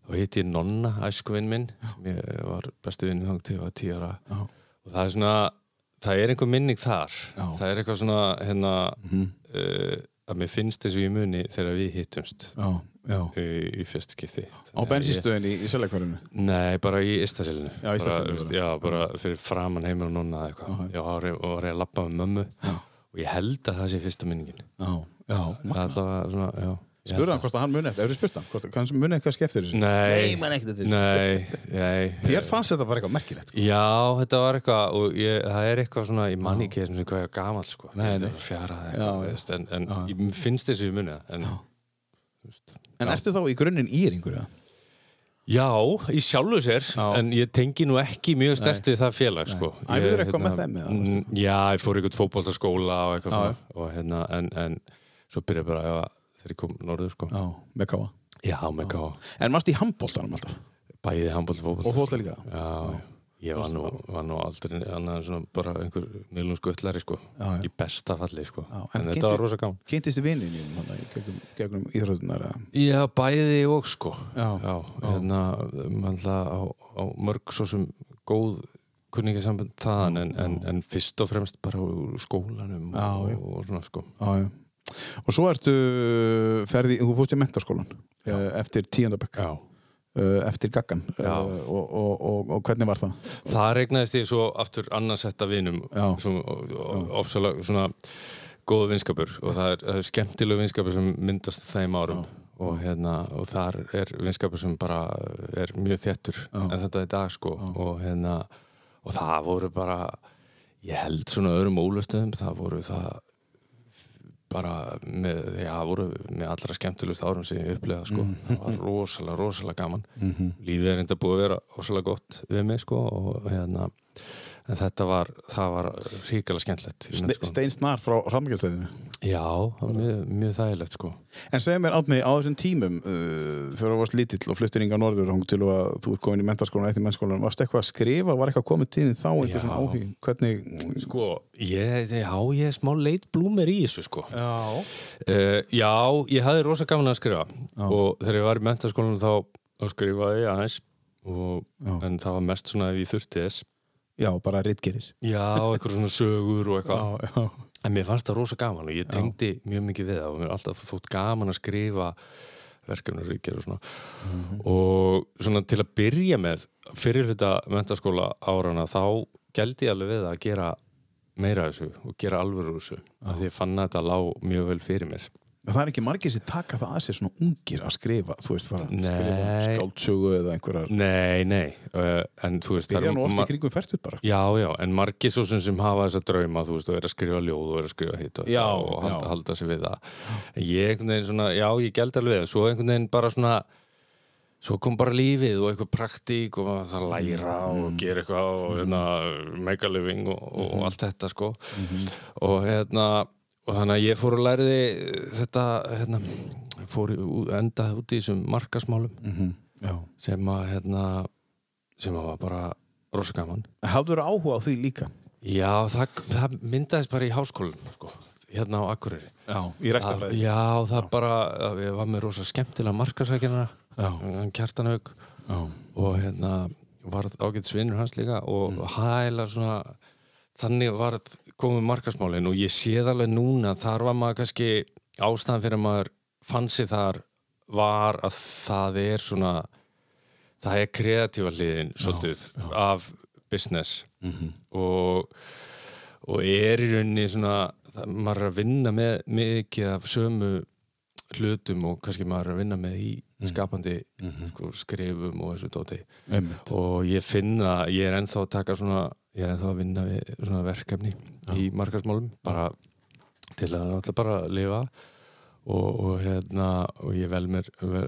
og hitti ég Nonna, æskuvinn minn sem ég var besti vinn þang til ég var tíu ára
Já.
og það er svona það er einhver minning þar
Já. Mhm.
það er eitthvað svona hérna, uh, að mér finnst þess að ég muni þegar við hittumst
Já. Já.
uh, í fyrst kipti
Á bensinstöðinni í seljakverðinu.
Nei, bara í Istasilinu
Já, í Ystaselnum,
bara,
bara.
veist, já, bara fyrir framan heimur og núna eða eitthvað Já, og var ég- og var ég að labba með mömmu og ég held að það sé fyrsta minningin
Já. Já.
Það er allavega svona, já ég held
Spurðu hann
það.
hvort að hann muni eftir, hefur spurt hann, hvort hann muni eitthvað skeftir þessu?
Nei,
man ekkert eftir þessu.
nei, nei
Þér fannst þetta bara eitthvað merkilegt. sko.
Já, þetta var eitthvað og ég, það er eitthvað svona, ég man ekki þessum sem hvað ég er gamall sko,
Nei, nei.
fjarað
Já,
eitthvað,
já.
veist, en, en ég finnst þessu í munið en,
En ertu þá í grunninn íringur eða?
Já, í sjálfu sér,
Já.
en ég tengi nú ekki mjög sterkt við það félag, sko.
Æfirðu
Ég,
eitthvað með þeim, eða?
Mm, Já, ég fór í eitthvað fótboltaskóla og eitthvað
Já,
svona, og hérna, en, en svo byrjaði bara að æfa þegar ég kom norður, sko.
Já, með káa.
Já, með káa.
En mannst í handbóltanum alltaf?
Bæði handbólt og fótbolta.
Og fótbolta líka?
Já, ég var nú, var nú aldrei annað en svona bara einhver miðlum skuttlari, sko.
Já, já.
Í besta falli, sko.
Já, en
en
kynntu-
þetta var rosa gaman.
Kynntistu vinnin í gegnum, gegnum íþrótunar eða?
Já, bæði og sko
Já,
já, hérna mannlega á, á mörg svo sem góð kunningasamband þaðan en, en, en fyrst og fremst bara úr skólanum
Já,
og,
já.
og, svona sko
Já, já. Og svo ertu ferði, þú fórst í mentarskólan
Já.
eftir tíandabökk,
Já,
eftir gaggan
Já.
og, og, og, og hvernig var það?
það regnaðist ég svo aftur annarsetta vinum
Já.
sem ofsalega svona góð vinskapur og það er, það er skemmtilegu vinskapur sem myndast á þeim árum og hérna og þar er vinskapur sem bara er mjög þéttur en þetta er í dag sko og hérna og það voru bara ég held svona öðrum ólustöðum það voru það bara með, já, voru með allra skemmtilegust árum sem ég upplega sko.
Mm.
það var rosalega, rosalega gaman
Mhm.
lífið er enda búið að vera rosalega gott við mig sko og hérna en þetta var, það var ríkilega skemmtilegt í
Ste,
mennskólanum.
Stein Snar frá Ramgjastæðinu.
Já, það var mjög, mjög þægilegt sko
En segja mér átni á þessum tímum uh, þegar þú varst lítill og fluttir yngar norður og til að þú ert komin í mentarskólan eftir mennskólan, varst eitthvað að skrifa, var eitthvað komið tíðin þá,
Já.
eitthvað svona áhug hvernig,
Sko, ég, já, ég er smá leit blúmer í þessu sko
já,
Uh, já, ég hafði rosa gaman að skrifa og þegar ég var í mentaskólanum þá, þá skrifaði ég aðeins og,
Já.
en það var mest svona ef ég þurfti þess
já, bara rittgerir
Já, eitthvað svona sögur og eitthvað
já,
En mér fannst það rosa gaman og ég tengdi mjög mikið við það og mér er alltaf þótt gaman að skrifa verkefnaríkir og svona
Mhm.
og svona til að byrja með fyrir þetta mentaskóla árana þá gældi ég alveg við að gera meira af þessu og gera alvöru úr þessu af því ég fann að þetta lá mjög vel fyrir mér
Það er ekki margir sem taka það að sér svona ungir að skrifa, þú veist, bara
Nei.
skrifa skáldsögu eða einhverjar
Nei, nei, uh, en þú veist það
byrja
eru
nú oft
ma-
í kringum fært bara sko.
Já, já, en margir svo sem, sem hafa þessa drauma, þú veist, og er að skrifa ljóð og er að skrifa hitt og,
Já,
og halda,
já.
halda sig við það. En ég einhvern veginn svona, já, ég gæld alveg, það. svo einhvern veginn bara svona, svo kom bara lífið og eitthvað praktík og maður það læra
Mm-hmm.
og gera eitthvað og hérna, make a living og, og allt þetta, sko.
Mm-hmm.
Og hérna, og þannig að ég fór og læriði þetta, hérna, fór í- ú- endaði út í þessum markasmálum
Mhm, Já.
sem að, hérna, sem að var bara rosa gaman.
Hafður áhuga á því líka
Já, það, það myndaðist bara í háskólanum, sko, hérna á Akureyri.
Já, í
Það,
rekstafræði
já, það bara, að ég var með rosa skemmtilega markasækjarna,
Já.
hann Kjartanhaug
Já.
og hérna varð ágætt svinnur hans líka og mm. hæla svona, þannig varð komið markasmálin og ég séð alveg núna, þar var maður kannski ástæðan fyrir að maður fann sig þar var að það er svona, það er kreatífa hliðin svolítið af business
Mhm,
og, og er í rauninni svona, það, maður er að vinna með mikið af sömu hlutum og kannski maður er að vinna með í skapandi sko, skrifum og þessu dóti
mhm, Einmitt.
og ég finn að ég er ennþá að taka svona, ég er ennþá að vinna við svona verkefni í markarsmálum bara til að náttúrulega bara lifa og, og hérna og ég vel mér vel,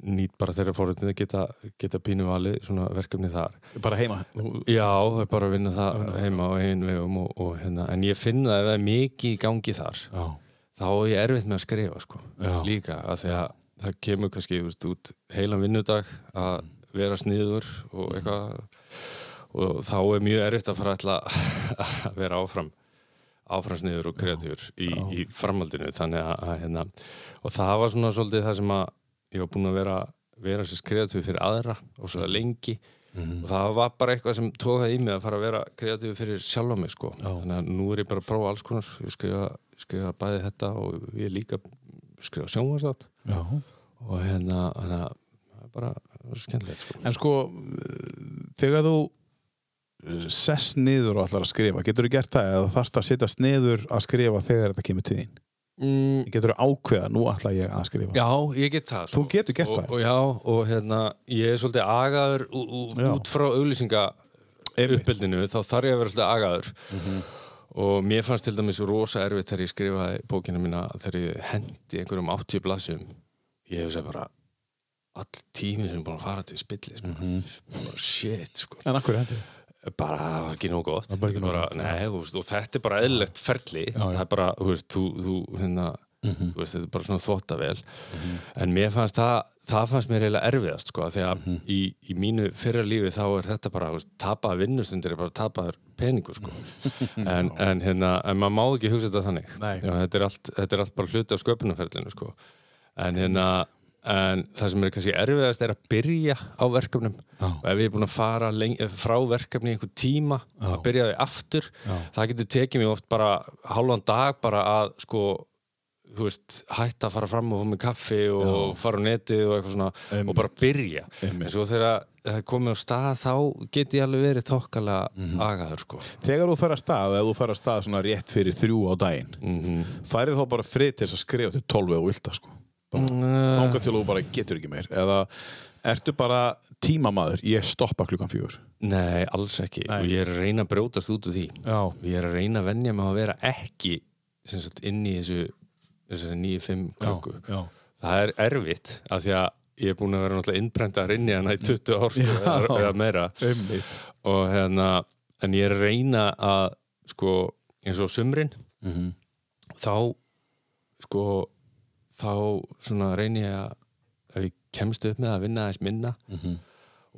nýt bara þeirra fórhundin að geta, geta pínu valið svona verkefni þar
Bara heima. Þú-
Já, það er bara að vinna það heima á eigin vegum og, og hérna, en ég finn það ef það er mikið í gangi þar
Já.
þá er ég erfitt með að skrifa sko.
Já.
líka að því að það kemur kannski þú veist, út heilan vinnudag að vera sniður og eitthvað og þá er mjög erfitt að fara alltaf að vera áfram áfram sniður og kreatífur í, í framhaldinu þannig að, að hérna, og það var svona svolítið það sem að ég var búinn að vera vera sér kreatífur fyrir aðra og svo lengi og það var bara eitthvað sem tókaði í mig að fara að vera kreatífur fyrir sjálf á mig sko þannig að nú er ég bara að prófa alls konar ég skrifa, skrifa bæði þetta og ég er líka skrifa sjónvarslátt
Já.
og hérna, hérna það er bara það er skemmtilegt sko
En sko, þegar þú sess niður og ætlar að skrifa, getur þú gert það eða þarfst að sittast niður að skrifa þegar þetta kemur til þín?
mm,
Getur þú ákveða, nú ætla ég að skrifa?
Já, ég get það
sko.
sko.
Þú getur gert
og,
það.
og, Já, og hérna, ég er svolítið agaður ú, ú,
Já.
út frá auglýsinga uppbyldinu, þá þarf ég að vera svolítið agaður
Mhm.
og mér fannst til dæmis rosa erfitt þegar ég skrifaði bókina mína þegar ég hendi einhverjum 80 blassum ég hef sér bara all tími sem er búin að fara til spillis mm
Mhm.
-hmm. shit, sko
En akkur hendur þið?
bara það var ekki nóg gott
var bara ekki
Ég
nógu gott,
nei, þú veist, og þetta er bara eðlilegt ferli það er bara, þú veist, þú, þú, hérna,
Mhm.
þú veist þetta er bara svona þvottavel en mér fannst það það fannst mér eiginlega erfiðast sko, af því að
Mhm.
í, í mínu fyrra lífi þá er þetta bara, þú veist, tapaða vinnustundir er bara tapaður peningur sko. en, en, hérna, en maður má ekki hugsa þetta þannig
Mhm. Nei.
Já, þetta, er allt, þetta er allt bara hluti af sköpunarferlinu sko. en hérna en það sem er kannski erfiðast er að byrja á verkefnum og ef ég er búin að fara leng, eh, frá verkefni í einhver tíma að byrja því aftur það getur tekið mér oft bara hálfan dag bara að sko þú veist, hætta að fara fram og fá mig kaffi og fara á netið og eitthvað svona og bara byrja
Einmitt.
en svo þegar það er komið á stað þá get ég alveg verið þokkalega
Mhm.
agaður sko
Þegar þú fer að stað, ef þú fer að stað svona rétt fyrir þrjú á daginn, mm
Mhm.
-hmm. færið þá bara frið til þess að skrifa til 12 og vilda, sko.
Mm, eh,
Þángar til þú bara getur ekki meir. Eða ertu bara tímamaður, ég stoppa klukkan fjögur.
Nei, alls ekki
Nei.
og ég er að reyna að brjótast út úr því
Já.
ég er að reyna að venja mig á að vera ekki sem sagt, inn í þessu þessari 9-5 klukku
já.
það er erfitt af því að ég er búin að vera náttúrulega innbrendar inn í hana í 20 ár sko, eða, eða meira
Einmitt.
og hérna en ég er að reyna að sko eins og á sumrin
Mhm,
þá sko þá svona reyni ég að ef ég kemst upp með að vinna aðeins minna
mhm,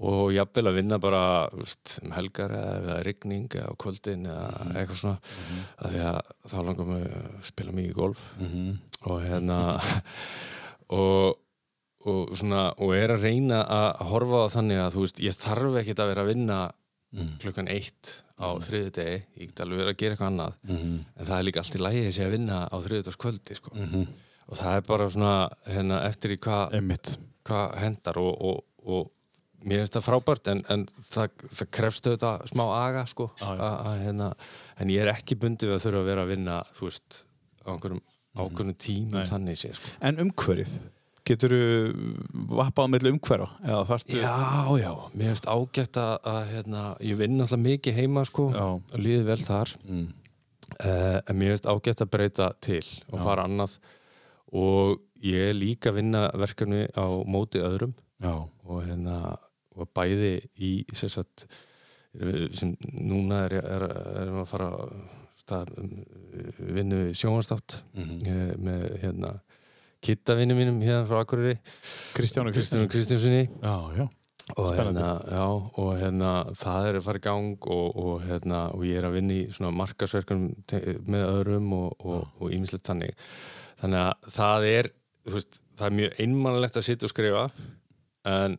og jafnvel að vinna bara veist, um helgar eða ef það er rigning eða á kvöldin eða eitthvað svona af því að þá langar mig að spila mikið golf
mhm,
og hérna og, og svona og er að reyna að horfa á það þannig að þú veist, ég þarf ekkit að vera að vinna
mhm,
klukkan eitt á mm. þriði degi, ég get alveg verið að gera eitthvað annað
mhm,
en það er líka allt í lægi þessi að vinna á þriðudagskvöldi sko.
Mm. mhm.
og það er bara svona hérna, eftir í hvað
Einmitt.
hvað hendar og, og, og mér finnst það frábært en, en það, það krefst auðvitað smá aga sko,
Já, já.
a, a, hérna, en ég er ekki bundið við að þurfa að vera að vinna þú veist, á einhverjum ákveðnum tímum
Mm. Nei.
þannig sé sko.
En umhverfið, getur þú vappað á milli umhverfa? Eða þarftu...
Já, já, mér finnst ágætt að, að hérna, ég vinn alltaf mikið heima sko,
Já.
og líði vel þar mm. en mér finnst ágætt að breyta til og fara annað og ég er líka að vinna verkefni á móti öðrum
Já.
og hérna og bæði í sem, sagt, erum við- sem núna er, er, erum við að fara á stað, um, vinnu við sjónvarstátt eh, með hérna kittavinnu mínum hérna frá Akureyri
Kristján og
Kristjánum Kristjánssoni
Já, já.
og
Spennandi.
hérna, já, og hérna það er að fara í gang og, og hérna og ég er að vinna í svona markasverkum með öðrum og,
Ah.
og, og ímislegt þannig þannig að það er þú veist, það er mjög einmannlegt að sitja og skrifa en,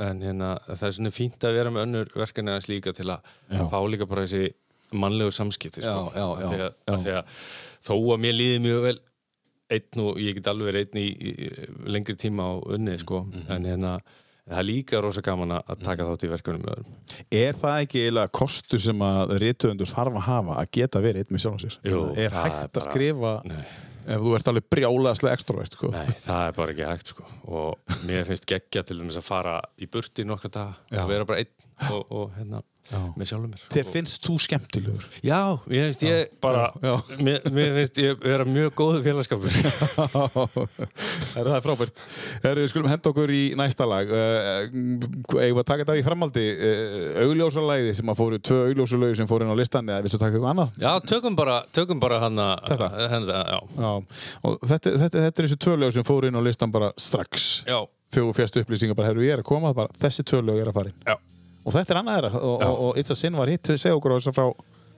en hérna það er svona fínt að vera með önnur verkefni aðeins líka til að
Já.
fá líka bara þessi mannlegu samskipti sko.
Já, já, já,
Af því að,
já.
af því að þó að mér líði mjög vel einn og ég get alveg verið einn í, í lengri tíma á unni sko.
Mhm.
en hérna, það er líka rosa gaman að að taka þátt í verkefnum með öðrum
Er það ekki eiginlega kostur sem að rítuðundur þarf að hafa að geta verið einn með sjálfum sér?
Jú,
er
það
hægt
er
að
bara-
skrifa
Nei.
ef þú ert alveg brjálaðslega extrovert, sko?
Nei, það er bara ekki hægt sko. og mér finnst geggja til dæmis að fara í burti nokkra dag
Já.
og vera bara einn, og, og hérna,
Já.
með sjálfum mér
Þér finnst þú skemmtilegur?
Já, ég finnst ég bara,
Já.
mér, mér finnst ég vera mjög góðu félagskapur
Herru, það er frábært. Herru, við skulum henda okkur í næsta lag. Uh, Eða við að taka þetta í framaldi, uh, augljósalæði sem að fóru, tvö augljósalögi sem fóru inn á listan, eða viltu taka eitthvað annað?
Já, tökum bara, tökum bara hann að
Þetta?
Þetta, já
Já, og þetta, þetta, þetta er þessi tvö lög sem fóru inn á listan bara strax.
Já,
Þegar þú fjast upplýsingar bara, herru, ég er að koma, bara þessi tvö lög er að fara í.
já
Og þetta er annað þeirra, og, og, og It's a Sin var hitt, segja okkur á þess frá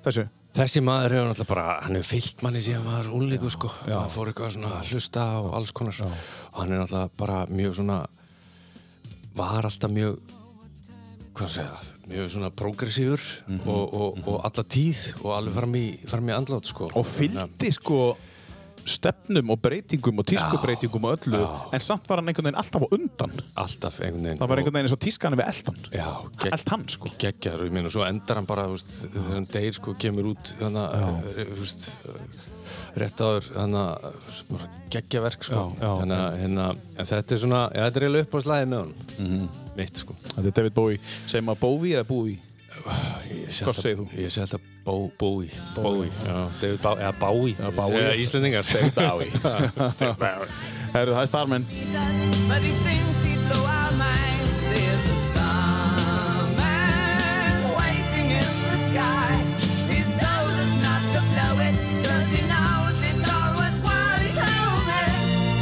þessu.
Þessi maður hefur náttúrulega bara, hann hefur fyllt manni síðan maður úlíku sko, hann fór eitthvað svona að hlusta og alls konar og hann er náttúrulega bara mjög svona, var alltaf mjög, hvað segja, mjög svona progressífur
Mhm.
og, og, og alla tíð og alveg fram í, fram í andlátt sko.
og fylgdi sko stefnum og breytingum og tískubreytingum og öllu, en samt var hann einhvern veginn alltaf á undan.
Alltaf einhvern veginn.
Það var einhvern veginn eins og tískan við eldan.
Já, gegn,
Elt hann sko.
geggjar, ég meina, svo endar hann bara, þú veist, þegar hann deyr, sko, kemur út, þannig að, eh, þú veist, eh, rétt áður, þannig að, eh, bara geggjaverk, sko,
Já, já.
þannig að, hérna, en þetta er svona, já, þetta er eiginlega upp á slæði með honum,
Mhm.
mitt, sko.
Þetta er David Bowie, segir maður Bowie eða Bowie?
Ég sé
Hvað
alltaf-
segir þú?
Ég sé alltaf bó, bói, bói, já, David Bá, eða bái,
Já, Bowie.
Eða Íslendingar, David Bái.
Herru, það er Starman.
beat us, but he thinks he'd blow our minds. There's a starman waiting in the sky. He's told us not to blow it, 'cause he knows it's all worthwhile. He told me,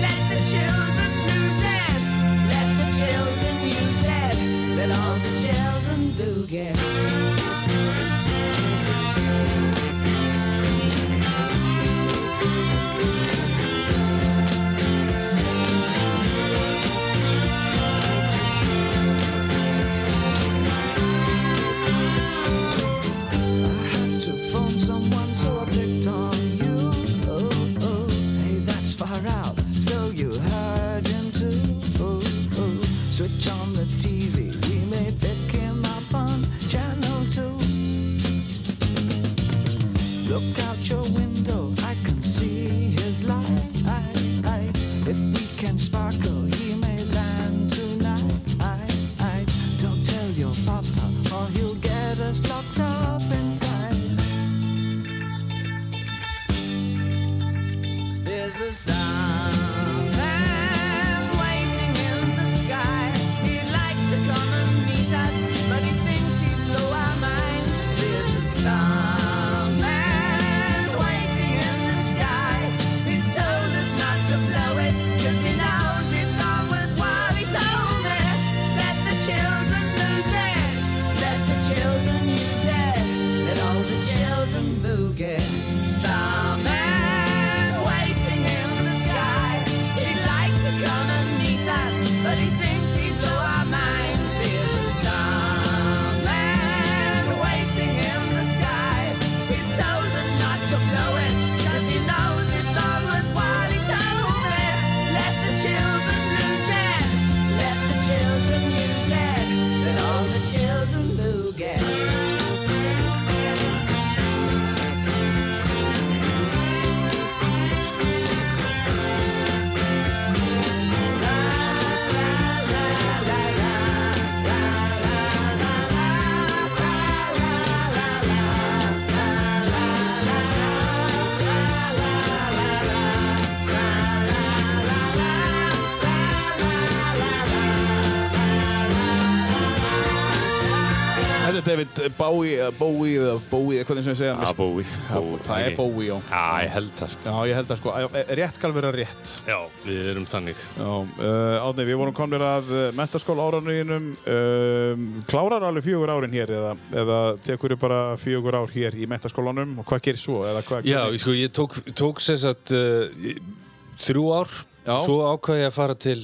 let the children lose it, let the children use it, let all the children boogie.
to phone someone, so I picked on you. Oh, oh, hey, that's far out. So you heard him too. Oh, oh, switch on the TV. We may pick him up on channel two. Look out your window, I can see his light. If we can sparkle, he may land tonight. Don't tell your papa, or he'll get us locked up in time.
There's a starman waiting in the sky. He'd like to come and meet us, but he thinks he'd blow our minds. There's a starman waiting in the sky. He's told us not to blow it, 'cause he knows it's all worthwhile. He told us, let the children lose it, let the children use it, let all the children boogie. Starman waiting in the sky. He'd like to come and meet us, but he thinks he'd blow our minds. There's a starman waiting in the sky. He's told us not to blow it, 'cause he knows it's all worthwhile. He told me, let the children lose it, let the children use it, let all the children look at.
Þetta er David eh, Bowie eða Bowie eða Bowie eða hvernig sem ég segja.
Já,
hann.
bói, bói.
Það er Bowie, já.
Já, ég held það, sko.
Já, ég held að sko, að- rétt skal vera rétt.
Já, við erum þannig.
Já, uh, Átni, við vorum komnir að uh, mentaskóla áranuðinum. Um, klárar alveg fjögur árin hér eða, eða tekur þið bara fjögur ár hér í mentaskólanum og hvað gerir svo? Eða hvað
Já, ég sko, ég tók, tók sér satt uh, í- þrjú ár,
Já.
svo ákvað ég að fara til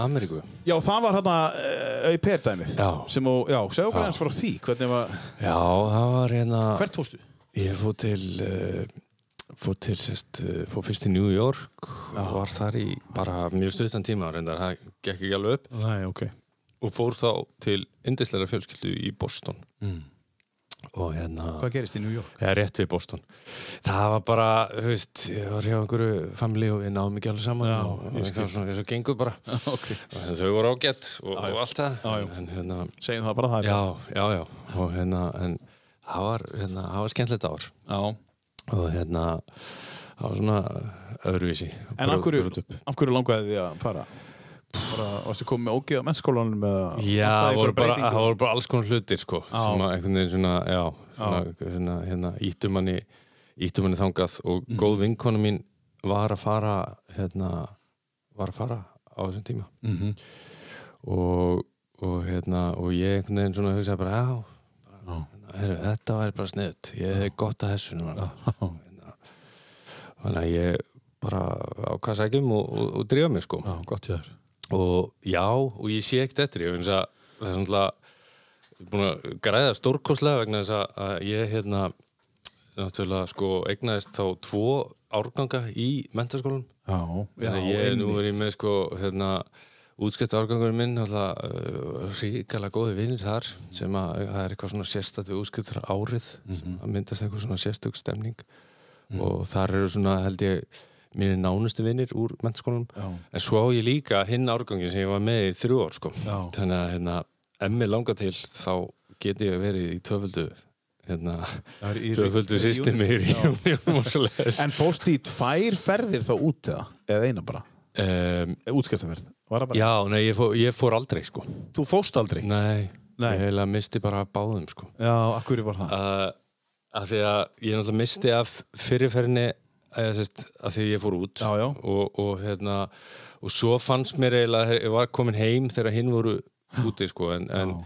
Ameríku.
Já, það var hérna uh, aupertæmið
Já.
sem þú, já, segja okkur
Já.
eins frá því hvernig var,
Já, það var hérna,
hvert fórstu?
ég fór til, uh, fór til, sérst, uh, fór fyrst til New York og var þar í bara mjög stuttan tíma, reyndar, það gekk ekki alveg upp
Nei, ok
og fór þá til indisleira fjölskyldu í Boston. og hérna
Mm. Hvað gerist í New York?
Já, rétt við Boston. Það var bara, þú veist, ég var hjá einhverju family og við náðum ekki alveg saman
Já,
og
ég
og
skil.
eitthvað svona, eins og gengur bara.
ok.
Og hérna, þau voru ágætt og,
já.
og allt það.
Já, já.
En hérna,
Segjum það bara það.
já, já, já. Og hérna, en það var, hérna, það var skemmtilegt ár.
Já.
Og hérna, það var svona öðruvísi.
En
Brjóð-
af hverju,
brjóð upp.
af hverju langaði þið að fara? Bara, varstu komið með ógið á mennskólanum eða
Já,
vantaði
það voru,
einhverja
bara,
breytingu?
það voru bara alls konar hlutir, sko.
Já.
Sem að einhvern veginn svona, já, svona, svona hérna, ítum manni, ítum manni þangað og góð vinkona mín var að fara, hérna, var að fara á þessum tíma.
Mhm.
Og, og hérna, og ég einhvern veginn svona hugsaði bara, já,
Já.
bara, heru, þetta væri bara sniðut. Ég hefði gott að þessu núna. Hérna, Þannig að ég bara ákvað sækjum og, og, og drífa mig, sko
Já, gott hjá þér
og já, og ég sé ekkert eftir ég finnst að það er svona búin að græða stórkoslega vegna þess að- að ég hérna náttúrulega sko eignaðist þá tvo árganga í mentaskólanum
Já, já,
þannig að ég er nú
einmitt.
verið með sko hérna útskætt árgangurinn minn alltaf ríkala góði vinnir þar sem að uh, það er eitthvað svona sérstætt við útskættur árið
Mhm.
sem að myndast eitthvað svona sérstök stemning og þar eru svona held ég mínir nánustu vinnir úr mentaskólanum
Já.
en svo á ég líka hinn árgangin sem ég var með í þrjú ár sko
Já.
þannig að hérna ef mig langar til þá geti ég verið í töföldu hérna
Það er í-
töföldu
í- í-
systemi í
Já.
Union og svoleiðis.
En fórstu í tvær ferðir þá út eða? Eða eina bara?
Em,
Útskjöftaferð? Var það bara?
Já, nei, ég fór, ég fór aldrei sko
Þú fórst aldrei?
Nei,
Nei.
ég heila misti bara af báðum sko
Já, af hverju var það?
uh, að því að ég náttúrulega misti af fyrirferðinni eh, eða, sest, að því að ég fór út
Já, já.
Og, og hérna og svo fannst mér eiginlega, ég var komin heim þegar hinn voru úti sko en, en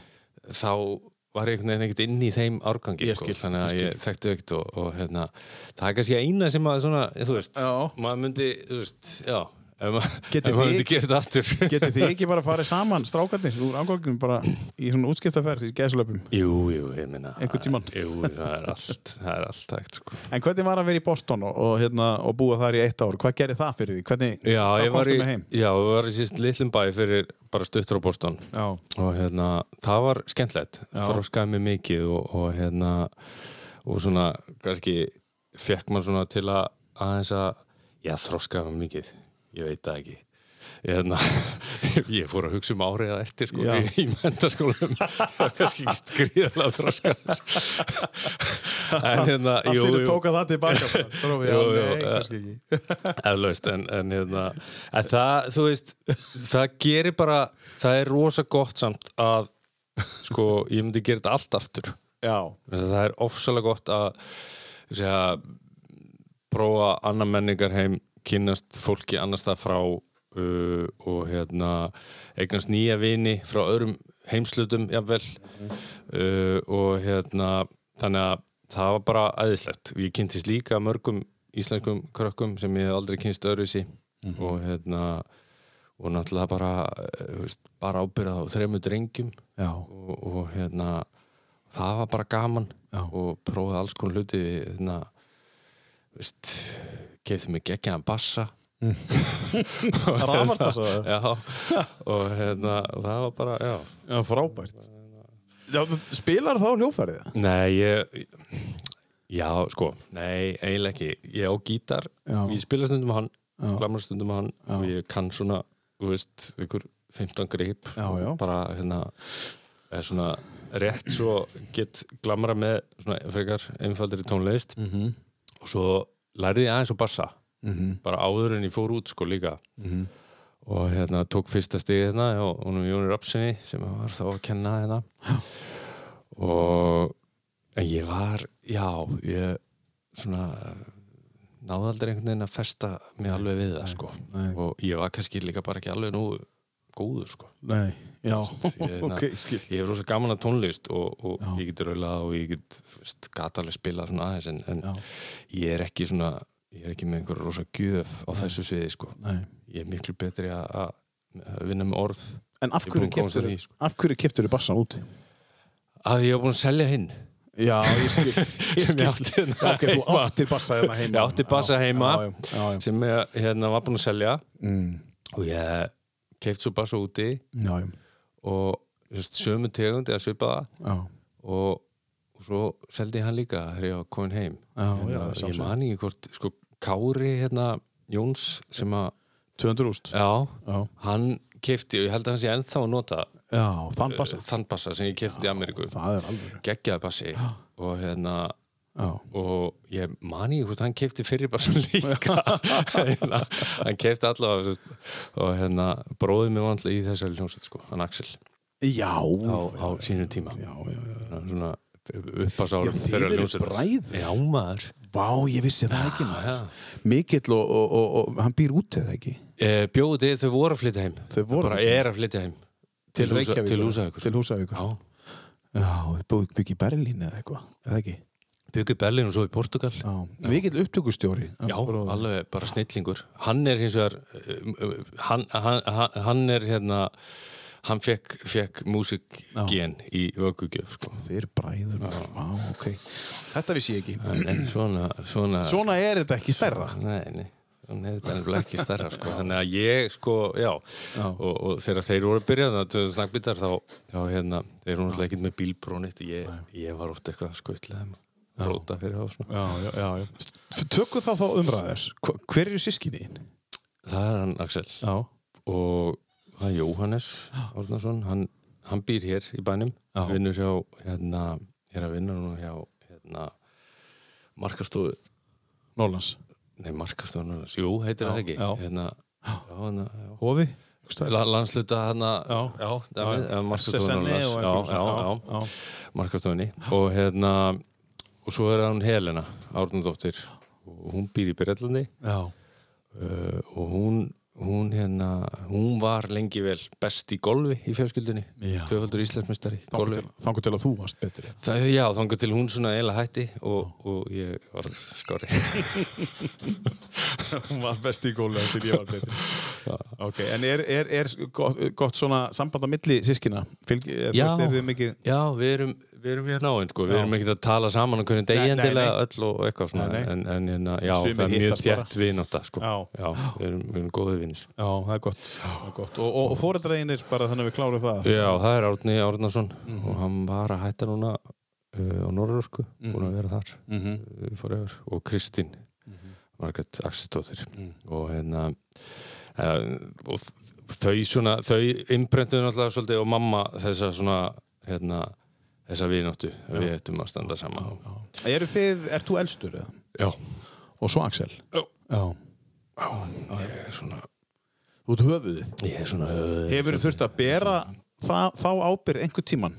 þá var ég einhvern veginn ekkert inn í þeim árgangi
Ég
sko,
skil,
þannig að ég þekkti ekkert og, og hérna, það er kannski eina sem að svona, þú veist,
Já.
maður myndi þú veist, já, ef, ma
Getið
ef maður
þið-
myndi gera þetta aftur
Getið þið ekki bara farið saman, strákarnir, úr ágangum bara í svona útskjöftaferð, í gæslöpum?
Jú, jú, ég minna
Einhvern tímann.
Jú, það er allt, það er allt hægt sko.
En hvernig var að vera í Boston og, og, hérna, og búa þar í eitt ár? Hvað gerði það fyrir því? Hvernig,
Já,
hvað
ég var
komstu
í,
með heim?
já, ég var í síst litlum bæ fyrir bara stuttur á Boston
Já,
og hérna, það var skemmtlegt
Já.
þróskaði mig mikið og, og hérna og svona, kannski fekk maður svona til að aðeins að, já, þróskaði mig mikið ég veit það ekki Ég hérna, ég fór að hugsa um árið að eftir sko,
Já.
í, í mentaskólum það var kannski ekkert gríðarlega þroska en hérna,
allt
jú,
í þetta
jú
tóka það tilbaka bara. Trófi,
Jú,
já,
jú,
nei,
eh.
kannski ekki
Eflaust, en, en, hérna, en það, þú veist, það gerir bara, það er rosa gott samt að, sko, ég myndi gera þetta allt aftur.
Já,
Þess að Það er ofsalega gott að, segja, prófa annar menningar heim, kynnast fólki annars það frá uh, og hérna, eignast nýja vini frá öðrum heimslutum, jafnvel, uh, og hérna, þannig að það var bara æðislegt. Ég kynntist líka mörgum íslenskum krökkum sem ég hef aldrei kynst öðruvísi og hérna, og náttúrulega bara, eh, þú veist, bara ábyrða á þremur drengjum
já,
og, og hérna það var bara gaman
Já.
og prófaði alls konar hluti hérna veist, kefði mig geggjaðan bassa
rafmartassa
já, og hérna það var bara, já
Já, frábært já, þú Spilar þá hljófærið?
nei, ég já, sko, nei, eiginlega ekki ég á gítar,
Já.
ég spila stundum á hann
Já.
glamra stundum á hann og ég kann svona, þú veist, ykkur 15 grip
Já,
og
já.
bara hérna er svona rétt svo get glamra með svona frekar einfaldri tónlist
-hmm.
og svo lærði ég aðeins á bassa bara áður en ég fór út sko líka
Mhm.
og hérna tók fyrsta stigið hérna og hún er Jóni Rapsinni sem var þá að kenna hérna og en ég var, já ég svona náði aldrei einhvern veginn að festa mig alveg við það sko
nei.
og ég var kannski líka bara ekki alveg nú góður sko
Nei, já,
ég-
ok, skil
ég hef rosa gaman að tónlist og, og
Já.
ég get raulað og ég get veist, gat alveg spilað svona aðeins en, en
Já.
ég er ekki svona ég er ekki með einhverja rosa gjöf á þessu sviði sko.
Nei.
ég er miklu betri að- að að vinna með orð
En af
Ég er
hverju
búinn að komast
keftur
að því, sko.
Af hverju keftur bassan úti?
að ég hef búin að selja hinn
Já, ég skil Ég
sem ég
skil.
átti hérna
Já, ok, þú
heima.
áttir bassa hérna heima
Ég átti bassa
Já,
heima
já, já, já, já.
sem ég hérna, var búin að selja
Mm,
og ég keift svo bassa úti
já, já,
og þú veist, sömu tegund eða svipaða
já.
og, og svo seldi ég hann líka þegar ég var komin heim
Já,
En
já,
að
sjálfsögðu.
ég man ekki hvort, sko, Kári hérna, Jóns sem að,
200 úst
já,
Já,
hann kefti og ég held að hann sé ennþá að nota uh,
já þann bassa
þann bassa sem ég kefti í Ameríku
Það er alveg
geggjaði bassi og hérna
Já,
og ég mani hvort hann keipti fyrir bara svo líka hérna, hann keipti allavega þessu- og hérna bróðið mér vantlega í þessari hljómsveit sko, hann Axel
já,
á, á sínu tíma
já, já, já.
Hann er svona uppasárum
Já, þið eru bræður.
já maður
Vá, ég vissi það ekki maður
já.
Mikill og, og, og, og hann býr út eða ekki
e, bjóði þau voru að flytja heim
Þau voru
bara
að flytja
er að flytja heim til, húsa,
Reykjavíkur.
til húsavíkur
Til Húsavíkur
já,
Já, þið búið bygg í Berlín eða eitthvað Eða ekki
byggði Berlín og svo í Portugal
Já, mikill upptökustjóri
Já,
Bróðir.
alveg bara snillingur Hann er hins vegar um, um, hann, hann, hann- hann er hérna hann fekk, fekk músikgen í vöggugjöf sko.
Þið eru bræður maður. Vá, ok Þetta vissi ég ekki
nei, svona, svona,
Svona er þetta ekki stærra
Nei, nei Svona er þetta nefnilega ekki stærra sko. þannig að ég sko, já,
Já.
Og, og þegar þeir voru að byrja þannig að snakkbyttar þá, þá hérna, þeir eru náttúrulega ekkert með bílbrónit ég, ég var oft eitthvað að skutla þeim róta fyrir þá sko. svona.
Já, já, já, já. Tökum þá þá umræðis Hva- Hver eru sískinniðin?
það er hann Axel
Já,
og það er Jóhannes Árnason, hann, hann býr hér í bænum,
Já.
vinnur hjá hérna, er að vinna nú hjá hérna, markastofu
Nólans
nei markastofu, núna, jú, heitir það ekki
já.
hérna, já, hérna, já
Hofi einhvers staðar?
La- landsluta hana
Já.
já, dæmi,
Já, já.
eh, markastofunni
SSNI E
Ólafs.
og
já,
einhverjum
já,
svona.
já,
Já,
markastofunni og hérna og svo er hann Helena Árnudóttir og hún býr í Breitlandi
Já,
uh, og hún hún, hérna, hún var lengi vel best í golfi í fjölskyldinni
Já.
tvöfaldur íslensmestari í
þangur
golfi
til, þangur til að þú varst betri
Það, já, þangar til hún svona eiginlega hætti og, og ég var skori
Hún var best í gólu til ég var betri Ok, en er, er, er gott, gott svona samband á milli sískina? Fylg, er,
Já.
fyrst, er þið mikið
Já, við erum, við erum
hérna
hér náinn sko. við
Já.
erum ekkert að tala saman um hvernig
Nei, nei,
degendilega öll og eitthvað svona
Nei, nei.
en, en hérna, já,
Sumir
það er mjög
hittast bara.
þjætt vinátta sko.
Já.
við erum, við erum góði vinnir
Já, það er gott, það er gott. Og, og, og fóreldreinir bara þannig að við klárum það
Já, það er Árni Árnason og hann var að hætta núna uh, á Norrörku, búin að vera þar
mm
uh, forever og Kristín Margrét Axistóttir og hérna uh, og þau svona þau innbrenduðu náttúrulega svolítið og mamma þessa svona hérna þessa vináttu, við ættum að standa saman
Eru þið, ert þú elstur eða?
Já,
Og svo Axel?
Já.
Já.
ég er svona
Þú ert höfuðið
ég er svona höfðið
Hefur þurft að bera það, þá ábyrð einhver tíman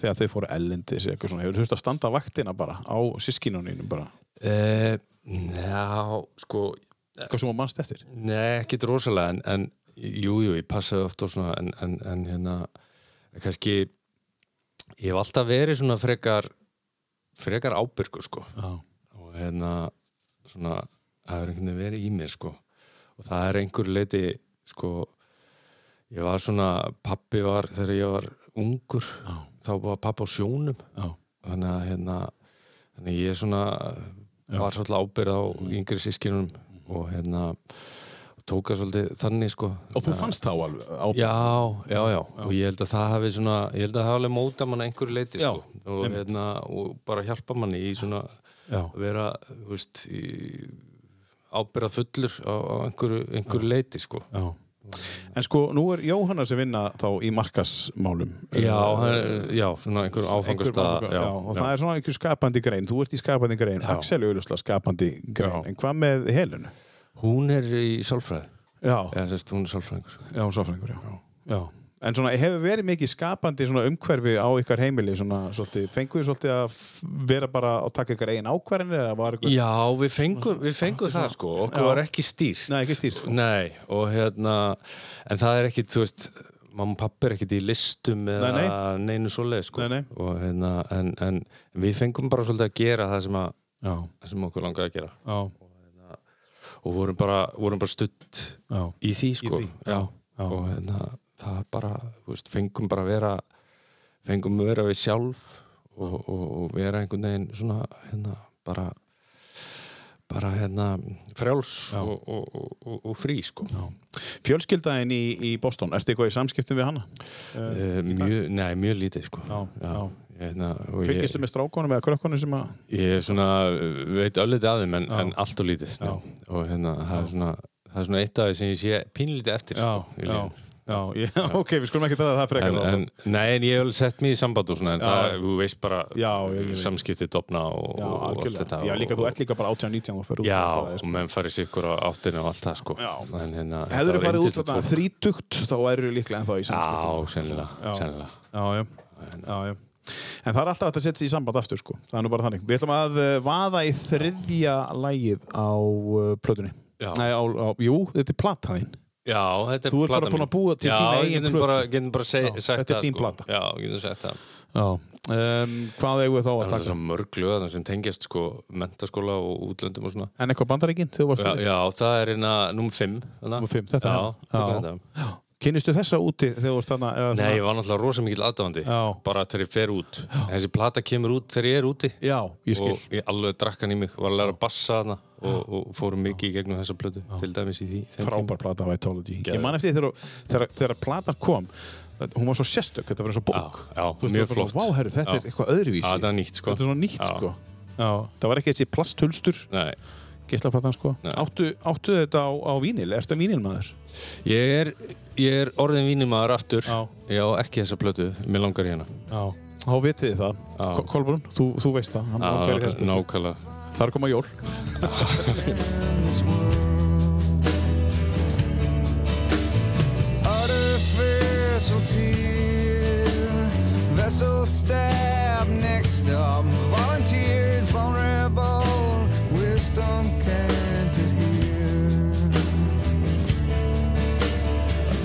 þegar þau fóru ellendis eða eitthvað svona Hefur þurft að standa vaktina bara á sískinuninu bara
uh, Já, sko
eitthvað sem þú mannst eftir
Nei, ekkit rosalega en, en jú, jú, ég passaði oft og svona en, en, en hérna kannski ég hef alltaf verið svona frekar frekar ábyrgur sko
Já,
og hérna svona, það er einhvern veginn verið í mér sko og það er einhver leiti sko ég var svona, pappi var þegar ég var ungur,
Já.
þá var pappi á sjónum
já,
þannig að hérna þannig að ég svona var svolítið ábyrð á
Mm.
yngri sískinunum og hérna tóka svolítið þannig sko
Og þú fannst þá alveg ábyrð
já, já, já, og ég held að það hafi svona, ég held að það hafi alveg móta mann einhverju leiti
Já,
sko og,
einmitt.
hérna, og bara hjálpa manni í svona
Já.
að vera, þú veist í, ábyrða fullur á, á einhverju, einhverju leiti sko
Já. En sko, nú er Jóhanna sem vinna þá í markasmálum
já, hann- já, svona einhverju áfangastað
já, og það er svona einhver skapandi grein þú ert í skapandi grein,
Já.
Axel er auðvitað skapandi grein,
Já.
en hvað með helunu?
hún er í sálfræði
Já,
eða sérst, hún er sálfræðingur
já, sáfræðingur, já. já En svona, hefur verið mikið skapandi svona umhverfi á ykkar heimili, svona, svolítið, fenguðu svolítið að f- vera bara að taka ykkar eigin ákvarðinni eða var ykkur
Já, við fengum, við fengum það sko okkur
Já.
var ekki stýrt
Nei, ekki stýrt, sko.
Nei, og hérna en það er ekki, þú veist mamma og pappi er ekkit í listum eða
Nei,
neinu svoleið sko
Nei, nei.
Og, hérna, en, en við fengum bara svolítið að gera það sem, að,
Já,
það sem okkur langaði að gera
já,
og vorum bara, vorum bara stutt
já,
í því sko
því.
Já.
Já.
og hérna, það bara, þú veist, fengum bara að vera fengum að vera við sjálf og, og, og vera einhvern veginn svona, hérna, bara bara hérna frjáls og, og, og, og, og frí sko
já. Fjölskyldaðin í, í Boston, ertu eitthvað í samskiptum við hana?
Eh, mjög, nei, mjög lítið sko
Já, um- já.
Ég, Hérna, og ég-
Fylgistu með strákonum eða krökkonum sem að
Ég er svona, veit öllítið að þeim en,
Já.
en allt og lítið
Já.
og hérna, það er svona það er svona eitt af því sem ég sé pínlítið eftir
Já,
sko, í
já,
lífinu.
já, ég, ok, við skulum ekki tala um það frekar
en,
þá.
en, Nei, en ég hef alveg sett mér í samband og svona en
Já.
það, þú veist bara
Já, ég- ég veit.
samskipti dofna og,
Já,
og allt
algjörlega.
þetta
Já, líka
og,
þú ert líka bara 18-19 og fyrir
Já,
út. sko.
og menn farið sikkur á áttinu og allt það sko
Já.
en hérna,
Hefur þú
þetta var
farið út
yndislegt
þarna
fólk.
þrítugt, þá erur líklega ennþá í samskiptum.
Já, sennilega,
Já.
sennilega
Já, já, já, já. En það er alltaf hægt að setja sig í samband aftur, sko. Það er nú bara þannig. Við ætlum að uh, vaða í þriðja lægið á uh, plötunni.
Já.
Nei, á, á, jú, þetta er platan þín.
Já, þetta er
Þú ert bara
platan
búin
mín.
að búa til
Já,
þína
ég
eigin
getum
plötu.
bara, getum bara seg,
Já,
sagt
þetta er
það
þín
sko.
plata.
Já, getum sagt það
Já. Um, hvað eigum við þá að
Það er
taka?
svo mörg lög þarna sem tengjast sko mentaskóla og útlöndum og svona
En eitthvað bandaríkinn, þegar þú varst
Já,
að
já það er hérna nummer 5
Númer fimm, þetta
Já,
er hérna. Já.
þetta er þetta
Kynnistu þessa úti þegar þú varst þarna? eða
Nei,
svona-
ég var náttúrulega rosa mikill aðdáðandi
Já.
bara þegar ég fer út Þessi plata kemur út þegar ég er úti
Já, ég skil.
og ég alveg drakk hann í mig var að læra að bassa hana og, og fórum mikið í gegnum þessa plötu til dæmis í því þeim
frábær plata Vitology ég
Geðveikt.
man eftir því þegar, þegar, þegar platan kom það- hún var svo sérstök, þetta var eins og bók
Já, já,
Þú veist,
mjög
það var bara,
flott.
Vá, herru, þetta er
Já.
eitthvað öðruvísi
Já, þetta er nýtt, sko.
Þetta er svona nýtt
Já.
sko já, það var ekki þessi plasthulstur
tíma. Nei,
geislaplatan sko
Nei.
áttu, áttu þetta á, á vínil, ertu vínilmaður?
ég er, ég er orðin vínumæður aftur
Já.
Já, ekki þessa plötu, mér langar í hana
já þá vitið þið það,
Já.
Ko- Kolbrún, þú, þú veist það hann
Já,
langar í þessu.
Nákvæmlega
þar koma jól
Artificial tear, vessel stab, next stop. Volunteers, vulnerable, wisdom can't adhere. A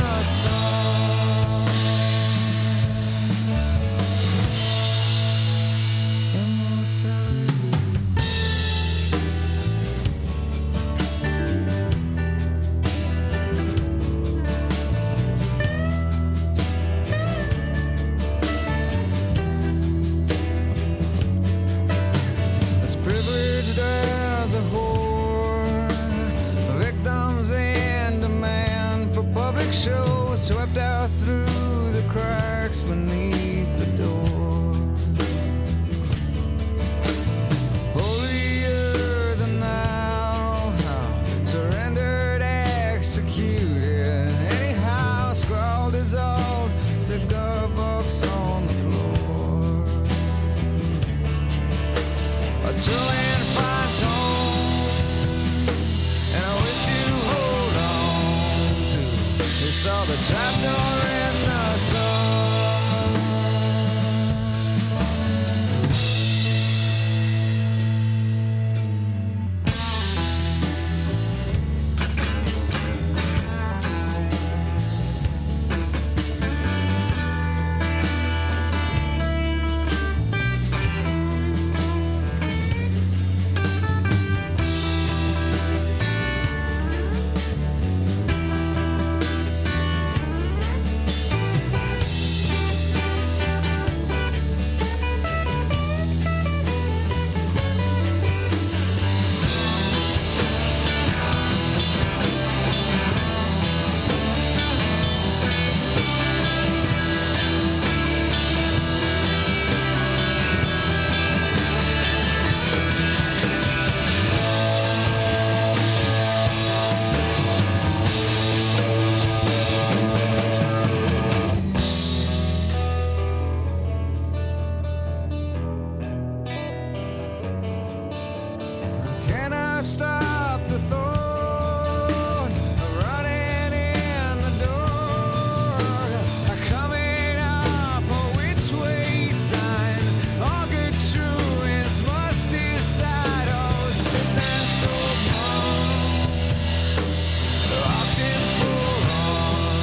the sun. Immortality. as privileged as a whore. Victims in demand for public show, swept out through the cracks beneath the door. Holier than thou, how surrendered, executed. Anyhow, scrawled, dissolved, cigar box on the floor. A true and fine tone And I wish you hold on to You saw the trapdoor in the sun Can I stop the thought of running in the door? A Coming up a which way sign? All good truants must decide. Oh, stripped and so blunt. The auction for all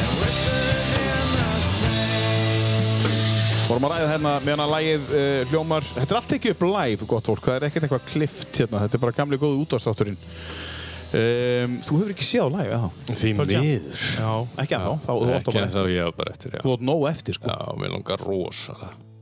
and whispers in the sand.
vorum að ræða hérna meðan að lægið uh, hljómar þetta er allt ekki upp live, gott fólk, það er ekkert eitthvað klift hérna, þetta er bara gamli góði útvarstátturinn um, þú hefur ekki séð á lægið þá
Því
Pearl Jam.
miður
já, ekki að þá, þá þú átt að
Ekki
bara
en þá ég var bara eftir, já
þú átt nóg eftir sko
Já, mér langar rosa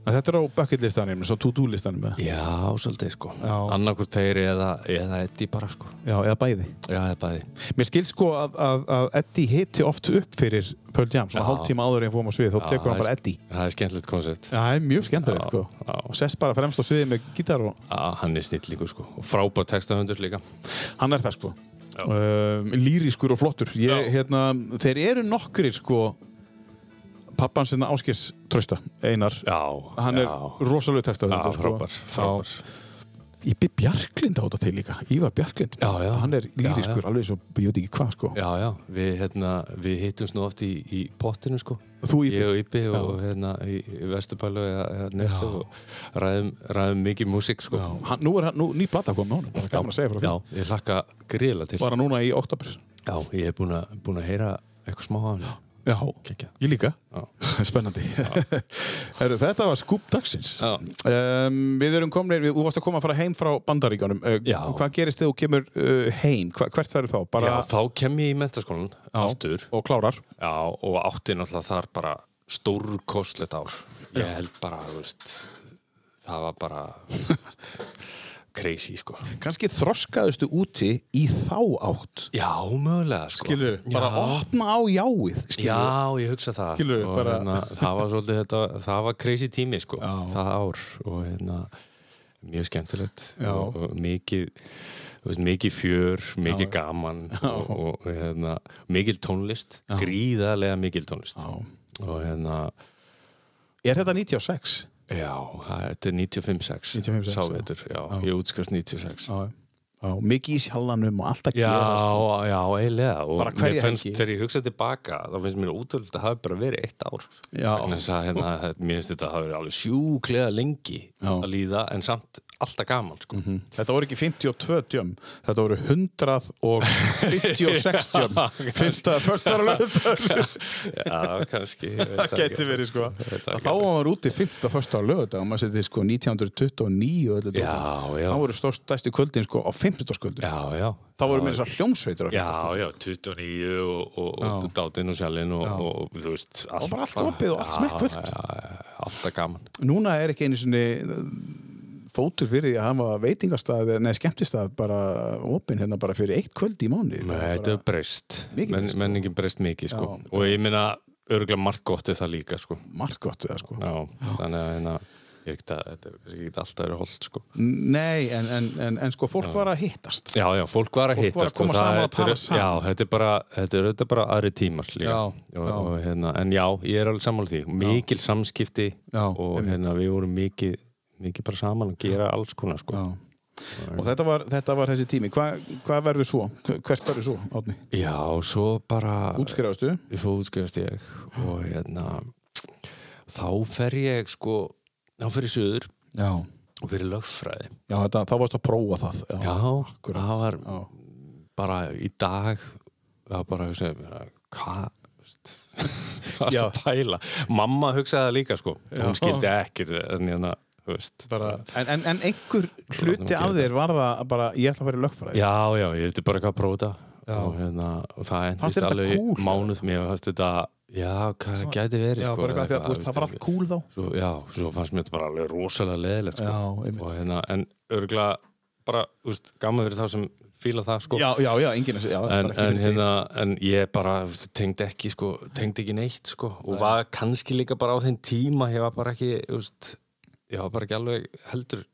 En Þetta er á bucket listanum, svo to-do listanum eða?
Já, svolítið sko
Já.
Annarkvort þeir eða, eða Eddi bara sko
Já, eða bæði
Já, eða bæði
Mér skilst sko að, að, að Eddie hitti oft upp fyrir Pearl Jam, svona
Já.
hálftíma áður en fórum á svið þá
Já,
tekur hann
það er-
bara Eddie
Það er skemmtilegt koncept
Já, það er mjög skemmtilegt
Já,
sko
já.
og sess bara fremst á sviði með gítar og
Já, hann er snillingu sko Og frábæð textahöndur líka
hann er það sko um, lýriskur og flottur ég,
Já.
hérna, þeir eru nokkrir sko pappan sinna Áskis Trausta, Einar
Já,
hann
já.
er rosalega
Já,
textað
frábær, frábær
Ég byrð Bjarklind á þetta til líka Ívar Bjarklind,
Já, já.
hann er lýriskur
Já, já.
alveg svo, ég veit ekki hvað sko
Já, já, við, hérna, við hittum svona oft í, í pottinu sko
Þú í
Ég og Íbbi og
Já.
hérna í, í Vesturbælu eða, eða Nextu hérna, og ræðum, ræðum mikið músík sko
Já, hann, nú er hann, nú, ný plata kom með honum, það er gaman að segja frá því
Já, ég hlakka gríla til
bara núna í oktober
Já, ég hef búin að- búin að heyra eitthvað smá af hann
Já,
Kekja
ég líka
Já.
Spennandi Heru, Þetta var skúp dagsins
Já.
um, Við erum komnir, við, þú varst að koma að fara heim frá bandaríkjónum uh,
Já.
Hvað gerist þegar þú kemur uh, heim? Hva, hvert verður þá? Bara
Já, þá kem ég í mentaskólan aftur
og klárar
já, og átti náttúrulega þar bara stórkostlegt ár. Ég held bara, þú veist, það var bara þú veist, crazy, sko.
Kanski þroskaðustu úti í þá átt
Já, mögulega, sko.
Skilur,
já,
bara opna á jáið skilurðu.
Já, ég hugsa það.
Skilurðu,
Og
bara-
hérna, það var svolítið þetta, það var crazy tími, sko,
Já.
það ár og hérna, mjög skemmtilegt
Já.
og, og mikið, þú veist, mikið fjör, mikið gaman og, og hérna, mikil tónlist, gríðarlega mikil tónlist.
Já.
og hérna
Er þetta 96?
já, það- þetta er 95-6
95-6, já.
sávetur, já, ég útskast 96
Já, já, mikið í sjallanum og alltaf
já, já, eiginlega
Bara
og
hverja
mér finnst,
helgi.
þegar ég hugsa tilbaka þá finnst mér útöld að hafa bara verið eitt ár
Já.
vegna þess að hérna, mér finnst þetta að hafa verið alveg sjúklega lengi
Já. Mhm.
að líða en samt alltaf gaman sko.
Þetta voru ekki 52 djömm, þetta voru 100 og 56 djömm. Fyrsta, fyrsta er alveg
já, kannski ég veit
Það gæti
ekki.
verið sko.
veit það
Að
ekki.
Þá var úti 15. fyrsta lögðag og maður seti sko 1929 og þetta
Já,
dót.
já.
Þá voru stór stæsti kvöldin sko á 15. kvöldin.
já, já
Þá voru mér þess að hljómsveitur á
Já,
15.
já, 29 og, og,
Já.
og dátinn og sjálfinn og, og þú veist allt,
bara allt opið og allt
Já,
smekkfullt.
já, já, Alltaf gaman
Núna er ekki einu sinni uh, fótur fyrir því að hann var veitingastað eh, nei, skemmtistað bara opinn hérna bara fyrir eitt kvöld í mánu.
Nei, þetta er breyst
Mikið
Men,
breyst, sko.
Menningin breyst mikið sko.
Já.
Og ég meina örgulega margt gott við það líka sko.
Margt gott það sko.
Já, Þannig að hérna, ég er ekkert að- þetta er kannski ekki alltaf verið holdt sko.
Nei, en, en, en, en sko fólk var að hittast.
Já, já, fólk var
Fólk var
að
að
hittast og
koma
það-
saman og
þetta eru-
tala saman.
Já, þetta er bara, þetta er auðvitað bara aðri tímar líka
Já,
og,
já.
Og, hérna, En já, ég er alveg sammála því Mikil samskipti
Já,
og
einmitt.
hérna, við vorum mikið, mikið bara saman að gera alls konar sko.
Já. Og þetta var, þetta var þessi tími. Hva, hvað verður svo? Hver- Hvert verður svo, Átni?
já, og svo bara
Útskrifastu?
svo útskrifast ég og hérna þá fer ég sko þá fer ég söður
Já.
og fyrir lögfræði
Já, þetta, þá varst að prófa það.
já,
akkurat.
það var
Já.
bara í dag það var bara að hugsa mér hvað Það
Já.
er að pæla. Mamma hugsaði það líka sko. Hún
Já.
skildi ekkert en hérna, þú veist.
Bara, en, en, en einhver
Látum
hluti
við
af
gera
þér var það að bara, ég ætla að vera í lögfræði.
Já, já, ég vildi bara eitthvað að prófa þetta og, hérna, og það
Fannst
endist
þér þetta
alveg
cool, eða?
mánuð mér fannst þetta, já, hvað það gæti verið
já
sko,
bara eitthvað, því að þú veist, það var allt cool þá.
svo, já, svo fannst mér þetta bara alveg rosalega leðilegt sko.
Já, einmitt.
og hérna, en örgulega bara, úst, gaman verið þá sem fíla það sko.
Já, já, já, enginn að segja. já, bara ekki
en, en,
fyrir því.
hérna, en ég bara þú veist, tengdi ekki, sko, tengdi ekki neitt sko, og var kannski líka bara á þeim tíma ég var bara ekki úst, ég var bara ekki alveg heldur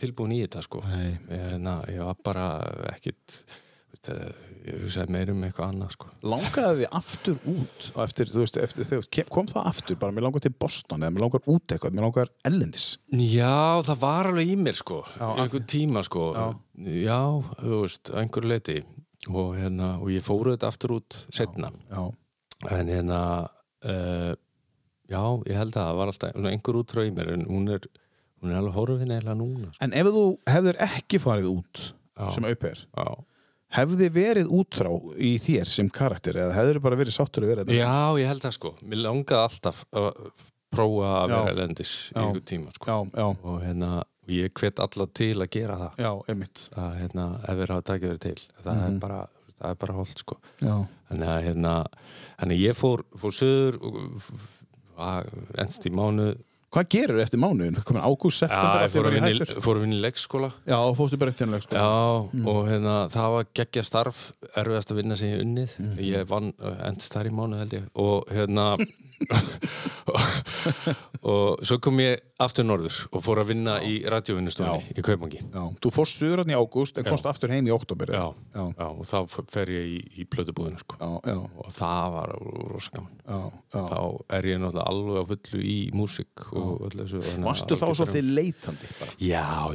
tilbúin í þetta sko.
Nei.
ég, hérna, ég var bara ekkit úst, ég hugsaði meir um eitthvað annað sko.
Langaði þið aftur út á eftir, þú veist, eftir, þegar, kem- kom það aftur, bara mér langar til Boston eða mér langar út eitthvað, mér langar ellendis.
Já, það var alveg í mér sko
Já,
í einhvern tíma sko já, þú veist, að einhverju leiti og, hérna, og ég fóru þetta aftur út setna,
Já,
en hérna uh, já, ég held að það var alltaf hún er einhver útrá í mér en hún er, hún er alveg horfin eiginlega núna sko.
En ef þú hefðir ekki farið út
Já.
sem auper,
já.
hefði verið útrá í þér sem karakter eða hefðir bara verið sáttur að vera þetta?
já, ég held það sko mér langaði alltaf að prófa að
Já.
vera elendis í
Já.
einhvern tíma sko.
Já, já,
og hérna, og ég hvet alla til að gera það
já, Mhm. einmitt.
að hérna, ef við erum að taka verið til það er bara, það er bara holdt sko
Já,
Þannig að hérna, þannig að ég fór, fór söður og f- f- að- enst í mánu
Hvað gerur eftir mánuðin? Komin ágúst, september,
Já, ég
allt í
fór
einu
að
bara
vinna
hættur?
í- fór að vinna í leikskóla
Já, fórstu bara eftir hennileg sko.
Já, og hérna, það var geggja starf, erfiðast að vinna sem ég unnið.
Mm.
Ég vann, eh, endist þar í mánu held ég. Og hérna, og, og svo kom ég aftur norður og fór að vinna í radiovinnustofunni í Kaupangi.
Já. Þú fórst suðrann í ágúst en komst aftur heim í óttobur.
Já,
Já.
já, og þá f- fer ég í, í plötubúðina sko.
Já, já,
Og það var rosa gaman.
já, já.
Þá er ég náttúrulega alveg á fullu í músík og öllu þessu. þannig að
Varstu þá
algjör
svolítið leitandi? Bara,
Já,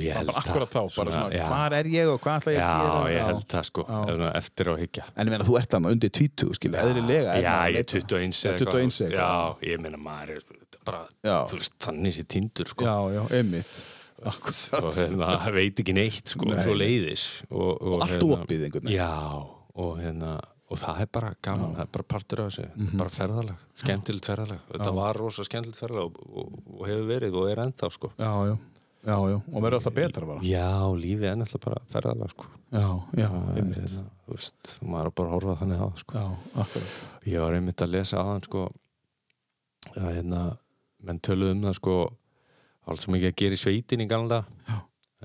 ég held
bara akkurat þá, bara svona,
já.
hvar er ég og hvað ætla ég að
Já,
gera?
ég held það sko,
Já.
svona eftir á higgja
En ég meina, þú ert þannig undir 20, skilja, eðlilega. er
Já,
maður að leita. Já, 21 eitthvað.
ég er 21 eða eitthvað, sko. þú veist. Já, ég meina maður er bara,
Já.
þú veist, þannig sér tindur sko
Já, já, einmitt.
og
Akkurat.
hérna, veit ekki neitt sko, svo leiðis og, og,
allt
hérna,
opið einhvern veginn.
Já, og hérna og það er bara gaman, það er bara partur af þessu mm bara ferðalag, skemmtilegt ferðalag þetta var rosa skemmtilegt ferðalag og, og, og hefur verið og er ennþá sko
Já, já, já, já, og verður alltaf betra bara.
Já, lífið er náttúrulega bara ferðalag sko
Já, já,
Það er
einmitt.
hérna, þú veist, maður er bara að horfa þannig á það, sko.
Já, akkurat.
Ég var einmitt að lesa aðan sko, að hérna, menn töluðu um það sko, allt sem ekki að gera í sveitin í gamla daga.
Já.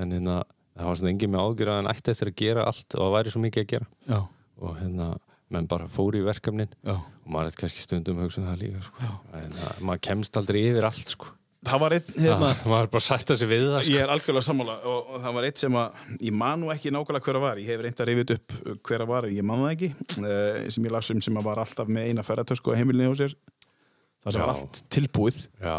en hérna, það var svona engin með ágjur að hann ætti eftir að gera allt og það væri svo mikið að gera
Já,
og hérna, menn bara fóru í verkefnin
já.
og maður er kannski stundum að hugsa um það líka sko. að hérna, maður kemst aldrei yfir allt sko. Ah,
Það var einn, hérna,
maður er bara að sætta sig við það sko.
Ég er algjörlega sammála og, og það var eitt sem að ég man nú ekki nákvæmlega hver að var ég hef reynd að reyfið upp uh, hver að var ég man það ekki, uh, sem ég las um sem að var alltaf með eina ferðartösku á heimilinni hjá sér það sem var
Já.
allt tilbúið
Já,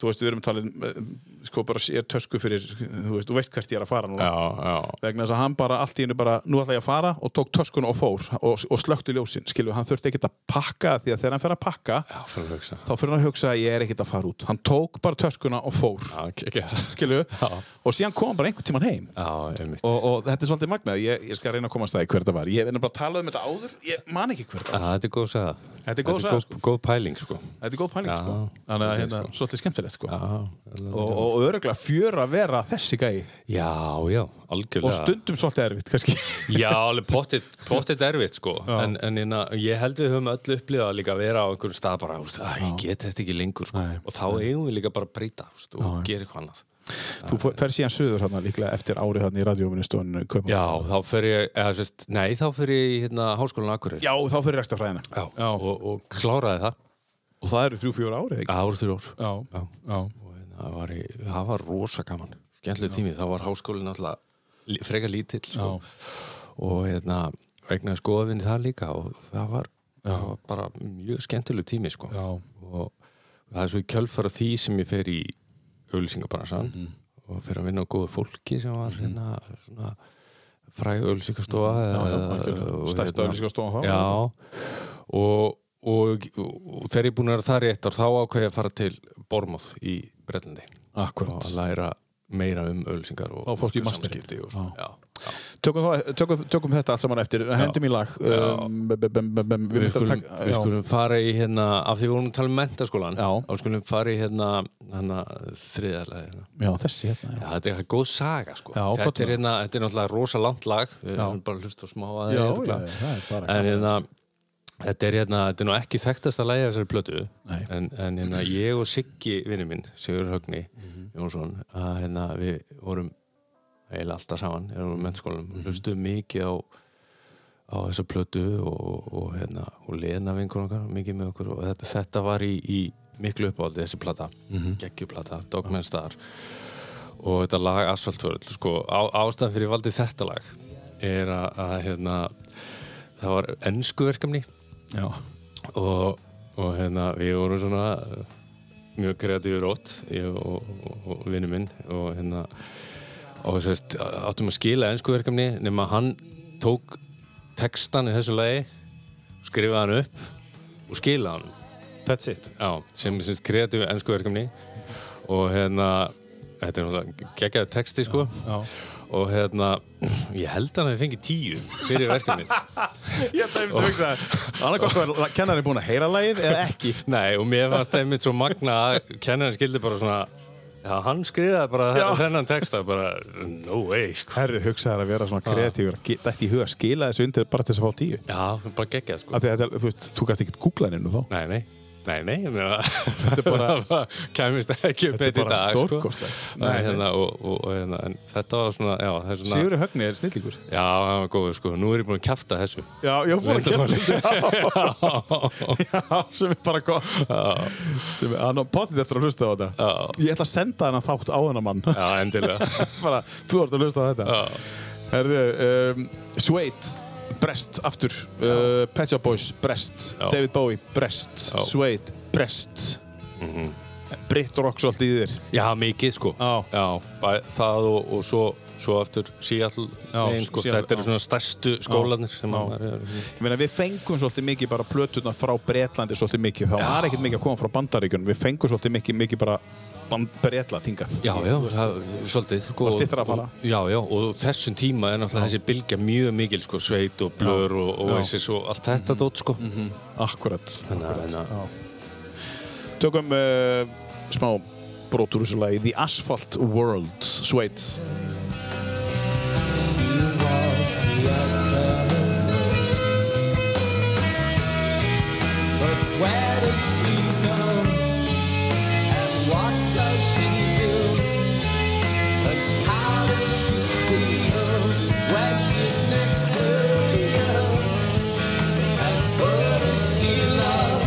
þú veist, við erum talin, uh, sko bara sér tösku fyrir, þú veist, þú veist hvert ég er að fara núna
já, já
vegna þess að hann bara allt í hennu bara, nú ætla ég að fara og tók töskun og fór og, og slökkti ljósin, skilju, hann þurfti ekkert að pakka því að þegar hann fer að pakka
Já, fyrir að hugsa
þá fyrir hann að hugsa að ég er ekkert að fara út hann tók bara töskuna og fór
Já, ekki, ekki.
skilju,
Já.
og síðan kom hann bara einhvern tíman heim
Já, einmitt
og, og þetta er svolítið magnað, ég, ég skal reyna að komast það í hver þetta var ég er bara að tala um þetta áður, ég man ekki hver þetta var
Já, þetta er góð saga.
Þetta er góð saga, sko.
Góð pæling, sko.
þetta er góð pæling,
Já,
sko. þannig að
ok,
hérna, svolítið skemmtilegt sko.
Já,
og, og, og öruglega fjör að vera þessi gæi
já, já, algjörlega.
og stundum svolítið erfitt, kannski
Já, alveg pottitt, pottitt erfitt, sko.
Já.
En, en hérna, ég held við höfum öll upplifað líka að vera á einhverjum stað bara, þú veist, að ég get þetta ekki lengur, sko.
Nei.
Og þá eigum við líka bara að breyta, þú veist, og gera eitthvað annað.
þú fór- fer síðan söður hérna líklega eftir árið hérna í radioministun
Já, þá fer ég, eða sérst, nei, þá fer ég í hérna háskólan Akureyri.
Já, þá fyrir rekstafræðina
Já. Og, og kláraði það.
Og það eru þrjú, fjör árið, ekki?
Það voru þrjú ár.
Já,
Já.
já,
og hérna, það var, í, það var rosa gaman skemmtileg tími, þá var háskólinn alltaf li- frekar lítill sko. og hérna, vegna skoðafinni það líka og það var, það var bara mjög skemmtileg tími sko.
já,
og það er svo í kjölfara því sem ég fer í auðlýsingabransan
Mhm.
og fer að vinna á góðu fólki sem var hérna svona fræg auðlýsingastofa
Mhm. algjörlega. Stærsta auglýsingastofan þá.
hérna- Já, og, og, og þegar ég er búin að vera þar í eitt ár þá ákveð ég að fara til Bormóð í Brellandi og
akkurat
að læra meira um auðlýsingar og
Þá fórstu í
markaðssamskipti og svona. Já.
tökum, þá- tökum, tökum þetta allt saman eftir Hendum í lag um, b- b- b- b- Við
Við,
myndum
skulum,
að taka
við
já.
skulum fara í hérna, af því við vorum að tala um mentaskólan
Já.
þá skulum fara í hérna, hérna þriðalega hérna.
já, þessi hérna
Já, þetta er eitthvað góð saga sko.
Já, gott
þetta,
lag.
er hérna, þetta er náttúrulega rosa langt lag við
Já.
erum bara að hlusta á smá að
Já,
örugglega.
já, já, það er bara
en
gaman.
hérna þetta er hérna, þetta er nú ekki þekktasta lagi af þessari plötu
Nei.
en, en hérna, ég og Siggi vinnu minn, Sigur Högni Jónsson, að hérna við vorum eiginlega alltaf saman erum við mennskólanum, mm hlustuðum mikið á á þessa plötu og, og, og hérna, og leðna vingur okkar mikið með okkur og þetta, þetta var í, í miklu uppáldi þessi plata, mm -hmm. geggjuplata Dogman Star og þetta lag Asfaltvörl sko, á, ástæðan fyrir ég valdi þetta lag er að, að hérna, það var ennsku verkefni
Já,
og, og hérna, við vorum svona uh, mjög kreatífur ótt ég og, og, og vinnu minn og hérna og sérst, áttum að skila ennsku verkefni nema hann tók textan í þessu lagi skrifaði hann upp og skilaði hann
that's it
Já, sem er sérst kreatífu ennsku verkefni og hérna þetta er náttúrulega geggjaðu texti sko
já.
og hérna ég held að hann hefði fengið tíu fyrir verkefnið
Ég ætla einmitt að hugsa Annarkort var kennarinn búin að heyra lagið eða ekki
Nei, og mér fannst einmitt svo magna að kennarinn skildi bara svona Já, hann skrifaði bara
Já.
þetta þennan texta bara, no way, sko
Herðu hugsaðar að vera svona kreatífur Dætti í huga að skila þessu undir bara til þess að fá tíu
Já, bara geggjað, sko
Af því að þetta, er- þú veist, þú gæst ekkert googla henni nú þá
Nei, nei, Nei, nei, ég meina, þetta bara kemist ekki upp
Þetta er
eitt í
bara
dag, sko.
stórkostlegt.
Nei,
Nei, nei.
hérna, og, og, og hérna, en þetta var svona, já, það er svona...
Sigurður Högni er snillingur.
Já, það var góður, sko, nú er ég búinn að kæfta þessu.
Já, ég var búin að kemta þessu. Já, sem er bara gott. Sem er, hann á potið eftir að hlusta á þetta.
Já.
Ég ætla að senda hann þátt á hennar mann.
Já, endilega.
bara, þú ert að hlusta á þetta.
Já.
Herðu, um, Suede, Brest, aftur. Uh, Pet Shop Boys, Brest.
Já.
David Bowie, Brest.
Já.
Suede, Brest. Mhm. Britt Rocks allt í þér.
Já, mikið, sko.
Já.
Já, bæ, það og, og svo, svo aftur Seattle
Já,
megin, sko.
Seattle,
þetta eru
já.
svona stærstu skólanir sem
Já.
að maður er...
Ég meina, við fengum svolítið mikið bara plötuna frá Bretlandi svolítið mikið. Það var ekkert mikið að koma frá bandaríkjunum. Við fengum svolítið mikið, mikið bara band- Bretland hingað.
Já, já, það, svolítið, sko.
Og styttra að fara.
Já, já, og þessum tíma er náttúrulega þessi bylgja mjög mikil, sko, sveit og blör og, og
Já. Mhm.
Oasis og allt þetta dót, sko.
Akkurat.
Þannig að- þannig að...
Tökum uh, smá brot úr þessu lagi The Asphalt World, Suede.
Where does she go? And what does she do? And how does she feel when she's next to you? And who does she love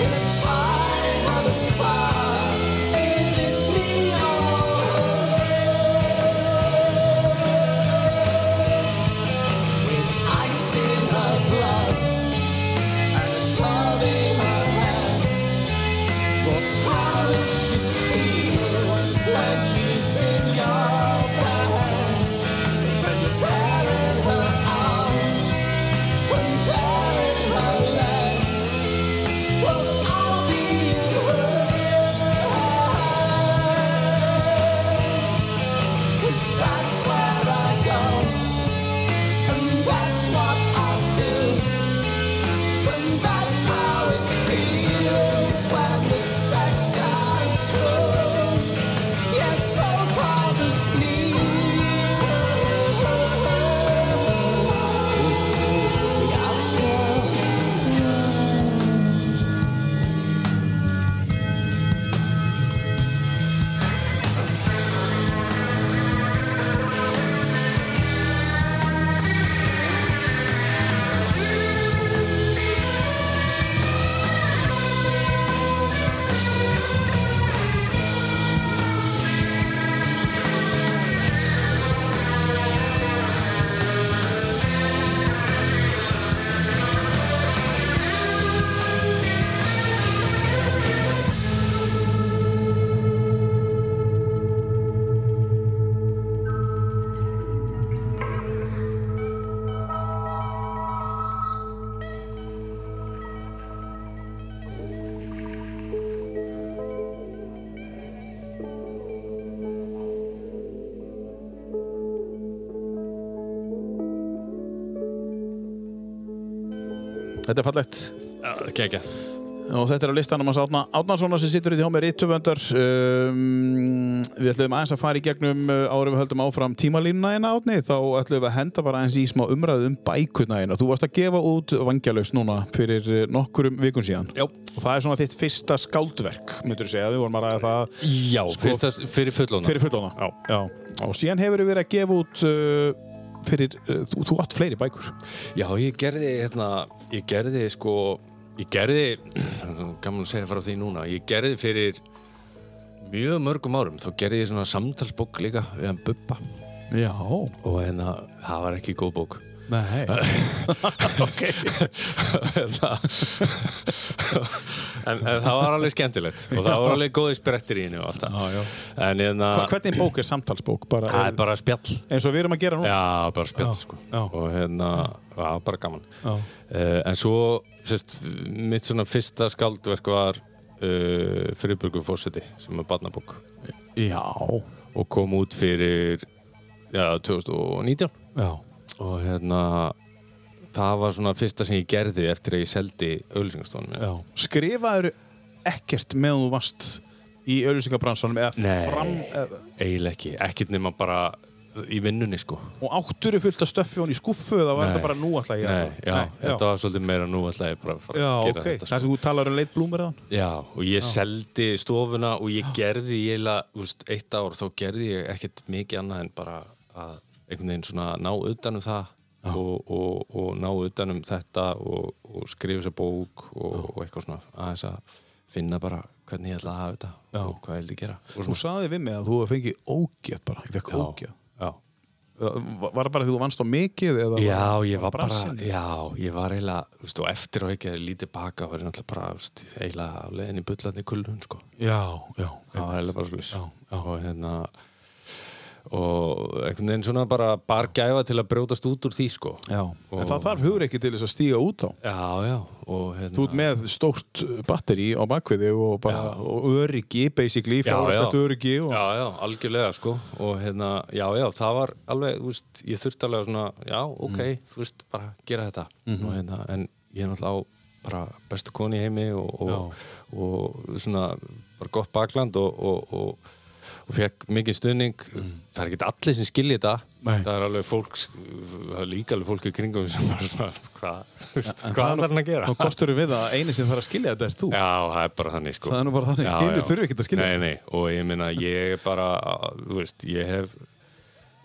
in a time of the fire? Is it me or her? With ice in her blood and a towel in her hand. Well, how does she feel when she's in your bed? When you're there in her arms, when you're there in her legs, well, I'll be in her Cause that's where I go, and that's what I do. And that's how it feels when the sex times come. Yes, both of us need her. This is the asshole.
Þetta er fallegt.
Já, Gegja.
Og þetta er á listanum hans Átna Átnarssonar sem situr í hjá mér íttöfundar. Um, við ætlum aðeins að fara í gegnum uh, áður en við höldum áfram tímalínuna hérna Átni. Þá ætlum við að henda bara aðeins í smá umræðu um bækuna hérna. Þú varst að gefa út vangjalaus núna fyrir uh, nokkurum vikun síðan.
Já.
Og það er svona þitt fyrsta skáldverk, myndur segja. Við vorum að ræða það
Já,
Sko-
fyrsta, fyrir fullóna.
fyrir fullona. Já. Og síðan hefur við verið að gefa út uh, fyrir, uh, þú, þú átt fleiri bækur.
Já, ég gerði, hérna, ég gerði, sko, ég gerði, gaman að segja frá því núna, ég gerði fyrir mjög mörgum árum, þá gerði ég svona samtalsbók líka við hann Bubba
Já.
og hérna, það var ekki góð bók.
Nei. ok.
hérna. en, en það var alveg skemmtilegt og það var alveg góði sprettir í henni og allt
Já, já.
það. En hérna,
Hva- Hvernig bók er samtalsbók? Bara,
það er bara spjall.
eins og við erum að gera nú
Já, bara spjall,
Já,
sko.
já.
Og hérna, það var bara gaman.
Já.
Uh, en svo, sérst, mitt svona fyrsta skaldverk var uh, Friðburgur Fósiti, sem er barnabók
já,
og kom út fyrir já, 2019
já.
og hérna það var svona fyrsta sem ég gerði eftir að ég seldi auðlýsingastofunum
já. skrifaður ekkert meðan þú varst í auðlýsingabransanum eða
Nei.
fram eða,
eiginlega ekki, ekkert nema bara í vinnunni sko
Og átturu fullt af stöffi hon í skuffu eða var
Nei.
þetta bara nú alltaf ég
Nei, já, þetta var svolítið meira nú alltaf ég bara að fara
Já,
að gera
ok,
þetta sko.
það sem þú talar um leitblúmur eða
Já, og ég seldi stofuna og ég gerði ég eila, úst, eitt ár þá gerði ég ekkert mikið annað en bara að einhvern veginn svona ná utanum það og, og, og ná utanum þetta og, og skrifa sér bók og, og eitthvað svona aðeins að finna bara hvernig ég ætla að hafa þetta
Já.
og hvað ég vildi gera og sko-
Þú saði við mig að þú hefði fengið ógjöð bara, ég fekk
já,
ógjöð
já.
Var það bara því þú vannst á mikið eða
já, ég var bara
brasin?
já, ég var eiginlega, þú veist, og eftir og ekki að lítið baka var ég náttúrulega bara, þú veist, eiginlega á leiðinni bullandi kulun, sko
Já, já,
það var eiginlega bara svolítið
Já, já.
og hérna og einhvern veginn svona bara bargæfa til að brjótast út úr því sko
já. En það þarf hugur ekki til þess að stíga út á
já, já, og hérna
Þú ert með stórt batteri á bakviði og, bara, og öryggi, basically,
Já,
fjárhastlegt
já.
öryggi og...
já, já, algjörlega sko og hérna, já, já, það var alveg þú veist, ég þurfti alveg svona, já, ok
Mm.
þú veist, bara gera þetta
Mhm.
og hérna, en ég er náttúrulega á bara bestu koni í heimi og, og, og svona, bara gott bakland og, og, og, og fekk mikið stuðning, það er ekki allir sem skilja þetta,
Mm. Nei.
það er alveg fólks það er líka alveg fólk í kringum sem bara svona, hvað, þú veist, hvað þarf hann að gera
Nú kostur við að eini sem þarf að skilja þetta er þú.
Já, það er bara þannig sko
Það er nú bara þannig. Hinir þurfa ekkert að skilja
Nei, nei, og ég meina, ég er bara, þú veist, ég hef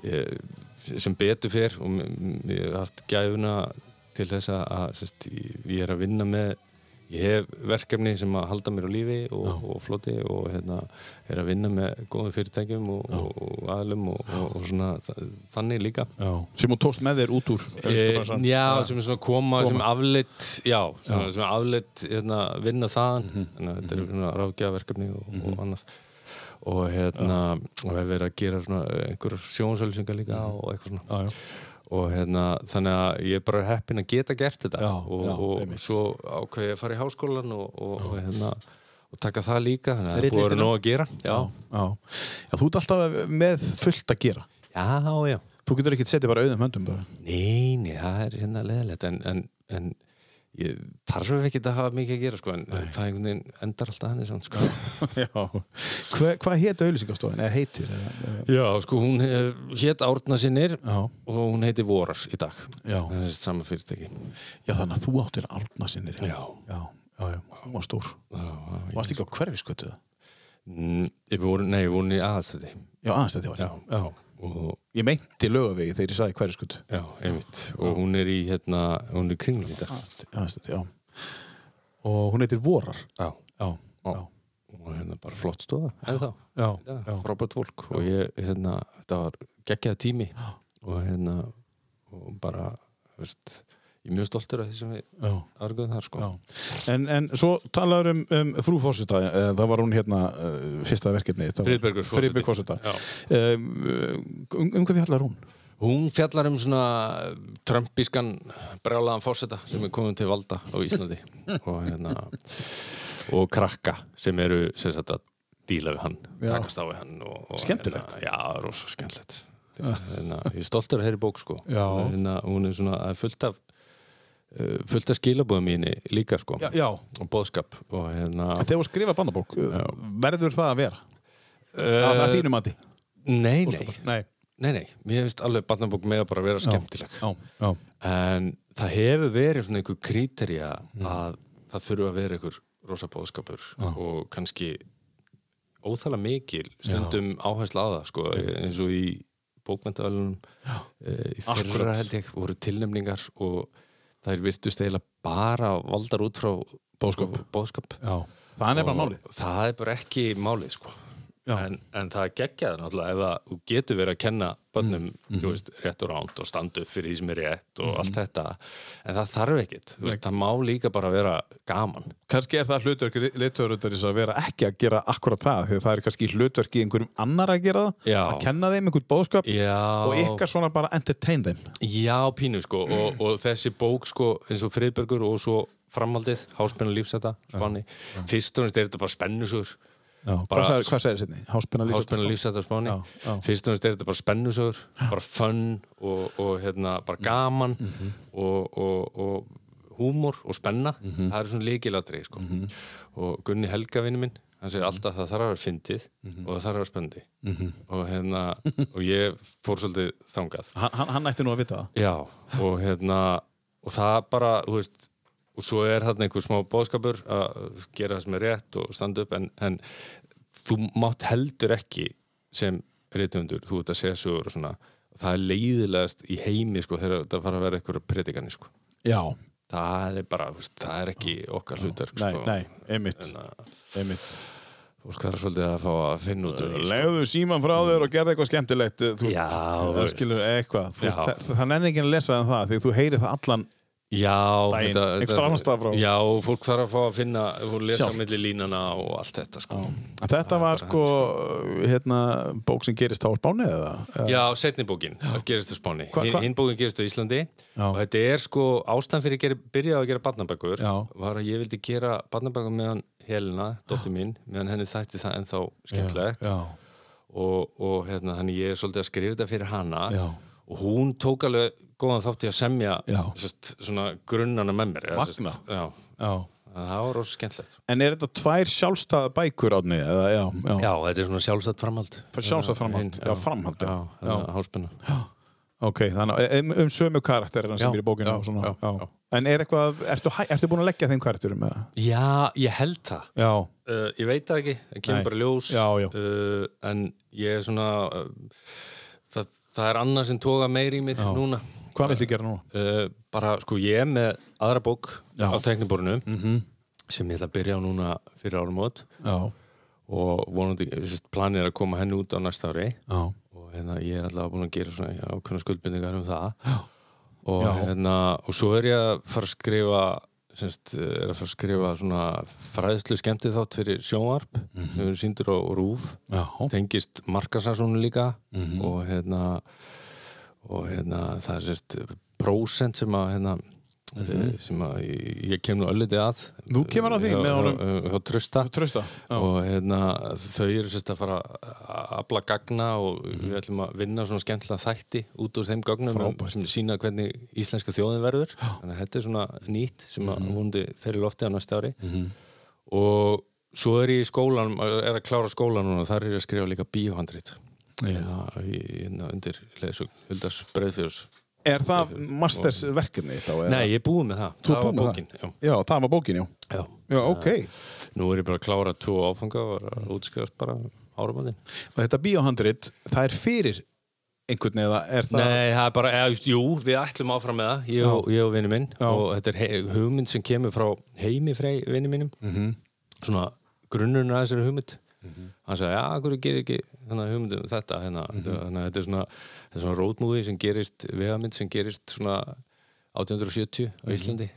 ég, sem betur fyrr og m- m- ég hef haft gæfuna til þess að, að sest, ég ég er að vinna með ég hef verkefni sem að halda mér á lífi og, og floti og hérna er að vinna með góðum fyrirtækjum og, og, og aðlum og, og, og svona þa- þannig líka
Já. Sem hún tókst með þér út úr.
Eh,
öskubransan.
Já, sem er svona koma, sem afleitt já, svona, sem afleitt hérna, vinna þaðan þannig að þetta er svona ráðgjafaverkefni og, og annað og hérna, og hefur verið að gera svona eh, einhverjar sjónsölsingar líka og eitthvað svona
Já, já.
og hérna, þannig að ég er bara heppinn að geta gert þetta
Já,
og,
já,
og
einmitt.
svo ákveð ég að fara í háskólan og, og, og hérna og taka það líka, þannig að það
Fyrir
er búið að vera
listina.
nóg að gera Já,
Já. Já, þú ert alltaf með fullt að gera.
já, já
Þú getur ekkert setið bara auðum höndum bara.
Nei, nei, það er hérna leðilegt en, en, en ég þarf ekki að hafa mikið að gera sko, en það einhvern veginn endar alltaf hann samt, sko.
Já. Hva, hvað hétt auðlýsingastofan? Eða heitir? Eða, eða-
Já, sko, hún eh, hét Árna sinnir
Já.
og hún heiti Vorar í dag
Já.
það er þessi sama fyrirtæki
já, þannig að þú áttir árna sinnir.
Já.
Já, já, já. Hún var stór.
já,
Varst ekki á hverfiskötu það?
Mm, Ég voru, nei, við vorum í aðastæði
Já, aðeins þetta var. Já. já.
og,
Ég meinti lögavegi þegar ég sagði hverfiskötu.
já, einmitt og hún er í, hérna, hún er í kringlum í dag
Aðeins þetta, já. Og hún heitir Vorar.
Já,
Já.
Já. og hérna bara flott stóða en þá
Já.
Já,
já.
frábært fólk og ég, hérna, þetta var geggjað tími og hérna og bara, veist ég er mjög stoltur af því sem við
já.
argöðum þar sko
Já. En, en svo talaður um, um frú fórseta, eh, það var hún hérna eh, fyrsta verkefni. það var-
Friðbergur forseti.
Friðberg fórseta.
Já.
Um, um, um hvað fjallar hún?
Hún fjallar um svona trömpískan brjálaðan fórseta sem er komin til valda á Íslandi og hérna og krakka sem eru sem sagt að díla við hann,
Já.
takast á við hann og, og,
Skemmtilegt.
hérna, Já, rosa skemmtilegt hérna, Ég er stoltur að heyri bók sko
Já.
hérna, hún er svona það er fullt af eh, fullt af skilabóðum í henni líka sko
Já, já.
og bóðskap og hérna
Þegar hún skrifa bandabók, já. verður það að vera? Uh, að þínu mati?
Eh, Nei, nei,
Nei.
nei, nei mér finnst alveg barnabók með að bara vera skemmtileg
Já, já.
en það hefur verið svona einhver kríterja að það þurfa að vera einhver rosa bóðskapur og kannski óþægilega mikil stundum áhersla á það sko, eins og í bókmyndavelunum eh, í fyrra
Akkurat.
held ég voru tilnefningar og þær virtust eiginlega bara valdar út frá bóðskap, bóðskap.
já. Það er nefnilega
Og
málið.
það er bara ekki málið sko
Já.
en, en það geggjaði náttúrulega ef að þú getur verið að kenna börnum mm. Mhm. veist, rétt og ránt og standa upp fyrir því sem er rétt og allt þetta en það þarf ekkit, þú veist, það má líka bara vera gaman
Kannski er það hlutverk lituröðurins að vera ekki að gera akkurat það, því að það er kannski hlutverk í einhverjum annar að gera það,
Já.
að kenna þeim einhvern bóðskap
Já.
og ykkar svona bara entertain þeim.
Já, pínu sko og, og þessi bók sko eins og Friðbergur og svo framhaldið, háspenna lífsæta spáni, fyrst og næst er þetta bara spennusur
Já,
Bara-
hvað sagði, hvað sagði sérni? Háspenna lífsætt?
Háspenna lífsæta spáni
Já, já.
Fyrst og næst er þetta bara spennusögur bara fun og, og hérna, bara gaman
Mhm.
og, og, og
Mhm.
húmor og spenna það er svona líkilatri sko. og Gunni Helga vinnu minn hann segir alltaf að það þarf að vera fyndið
Mhm.
og það þarf að vera spöndi og hérna, og ég fór svolítið þangað
Hann, hann- hann ætti nú að vita það.
Já, og hérna og það bara, þú veist og svo er hann einhver smá bóðskapur að gera það sem er rétt og standa upp en, en þú mátt heldur ekki sem reytundur, þú ert að segja sögur og svona það er leiðilegast í heimi sko þegar þetta fara að vera einhverja predikani sko
Já,
það er bara, þú veist, það er ekki okkar hlutverk
nei,
sko
nei, einmitt, einmitt.
fólk þarf svolítið að fá að finna út úr því, sko.
Legðu síman frá þér og gerðu eitthvað skemmtilegt. eh, Þú,
Já,
þú
veist.
skilur eitthvað. Þú,
Já.
það, það nenni ekki að lesa en það, því þú heyrir það allan.
Já,
Daginn, einhvers staðar annars staðar frá.
Já, fólk þarf að fá að finna og lesa
Sjálft.
milli línana og allt þetta sko
En Þetta var sko, hérna, bók sem gerist á Spáni eða? eða-
Já, setni bókin gerist á Spáni
Hva- hva-
Hinn bókin gerist á Íslandi
Já.
og þetta er sko ástæðan fyrir að gera, byrja að gera barnabækur
Já.
var að ég vildi gera barnabækur meðan Helena, dóttir mín meðan henni þætti það ennþá skemmtilegt
Já,
og, og hérna, hann ég er svolítið að skrifa þetta fyrir hana
Já.
og hún tók alveg góðan þátt í að semja
Já.
sest, svona grunnana með mér eða sem sagt-
Magnað.
Já,
já.
það var rosa skemmtilegt
En er þetta tvær sjálfstæða bækur átni? Eða, já, já.
Já, þetta er svona sjálfstætt framhald
Sjálfstætt framhald,
Hinn-
já, framhald, já.
Já,
Já.
þannig að háspenna
Ok, þannig að- um, um sömu karakterina sem
Já,
er í bókinu
já,
og svona.
já, já.
En er eitthvað, ertu, hæ- ertu búin að leggja þeim karakterum? eða?
Já, ég held það
Já,
uh, Ég veit það ekki, það
Nei.
kemur bara í ljós
Já, já.
Uh, En ég er svona uh, það, það er annað sem toga meir í mig núna
hvað viltu gera núna?
uh, Bara, sko, ég er með aðra bók
Já.
á tekniborinu -hmm. sem ég ætla að byrja á núna fyrir árumót
Já,
og vonandi, sérst, planið er að koma henni út á næsta ári
já,
og hérna, ég er alltaf búin að gera svona ákveðna skuldbindingar um það já. og
Já.
hérna, og svo er ég að fara að skrifa semst, er að fara að skrifa svona fræðslu skemmtið þátt fyrir sjónvarp
Mhm.
sem við sýndur á Rúf
já.
tengist markasarsónu líka
Mhm.
og hérna og hérna, það er sérst prósent sem að hérna eh, sem að ég- ég kem nú ölliti að
Þú Mhm. kemur að því
Hjá-
með honum?
hjá- hjá Trausta
Trausta, já.
og hérna, þau eru sérst að fara að afla gagna og við ætlum að vinna svona skemmtilega þætti út úr þeim gagnum
Mhm. Frábært.
sem sína hvernig íslenska þjóðin verður þannig að þetta er svona nýtt sem að
Mhm.
vonandi fer í lofti á næsta ári og svo er ég í skólan er að klára skólan núna, þar er ég að skrifa líka bíóhandrit hérna, í- hérna undir leðsug Huldars Breiðfjörðs
Er það mastersverkefni þetta? og er
Nei, ég er búið með það,
Þú
það
ert
var
búin með
bókin já.
það? Já, það var bókin, já.
Já.
Já, ok.
Nú er ég bara að klára tvo áfanga og er að útskrifast bara árabandi
Og þetta bíóhandrit, það er fyrir einhvern eða er það...
Nei, það er bara, eða, just, jú, við ætlum áfram með það, ég og, ég og vinnu minn
Já.
og þetta er he- hugmynd sem kemur frá heimi frey vinnu mínum
Mhm.
-hmm. svona grunnurinn að þessari hugmynd hann sagði, já, hverju gerir ekki þannig hugmynd um þetta hérna,
Mhm.
þannig að þetta er svona, þetta er svona roadmovie sem gerist vegamynd sem gerist svona 1870
Mhm.
á Íslandi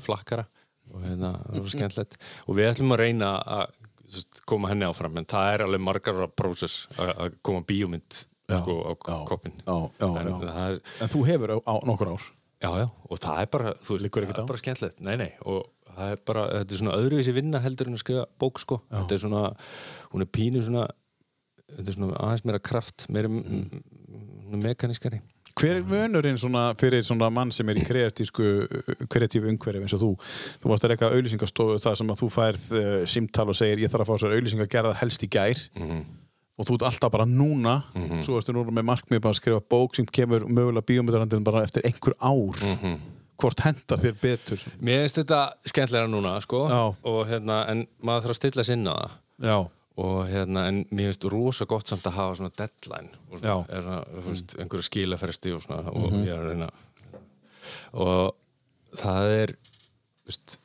flakkara og hérna, það var skemmtilegt og við ætlum að reyna að þú veist, koma henni áfram, en það er alveg margar prósess að að koma bíómynd
Já,
sko, á
já,
koppin
Já, já,
en,
já.
það er,
En þú hefur á, á nokkur ár.
já, já, og það er bara þú veist,
Liggur ekkert
það
á?
er bara skemmtilegt nei, nei, og það er bara, þetta er svona öðruvísi vinna heldur en að skrifa bók sko þetta er svona, hún er pínu svona þetta er svona aðeins meira kraft meira mm. mekanískari
Hver er munurinn svona fyrir svona mann sem er í kreatísku, kreatífu umhverfi eins og þú? Þú varst að reyka auðlýsingastofu þar sem að þú færð uh, simtal og segir ég þarf að fá þessar auðlýsingar gerðar helst í gær og þú ert alltaf bara núna svo ertu núna með markmið bara að skrifa bók sem kemur mögulega bíómyndarhandin bara eftir einhver ár hvort henda þér betur
mér finnst þetta skemmtilega núna sko
Já.
og hérna, en maður þarf að stilla sinna það
Já,
og hérna, en mér finnst rosa gott samt að hafa svona deadline og
Já. Mm. Mhm.
svona, er svona, þú veist, einhverja skilafresti og svona, og ég er að reyna og það er þú veist,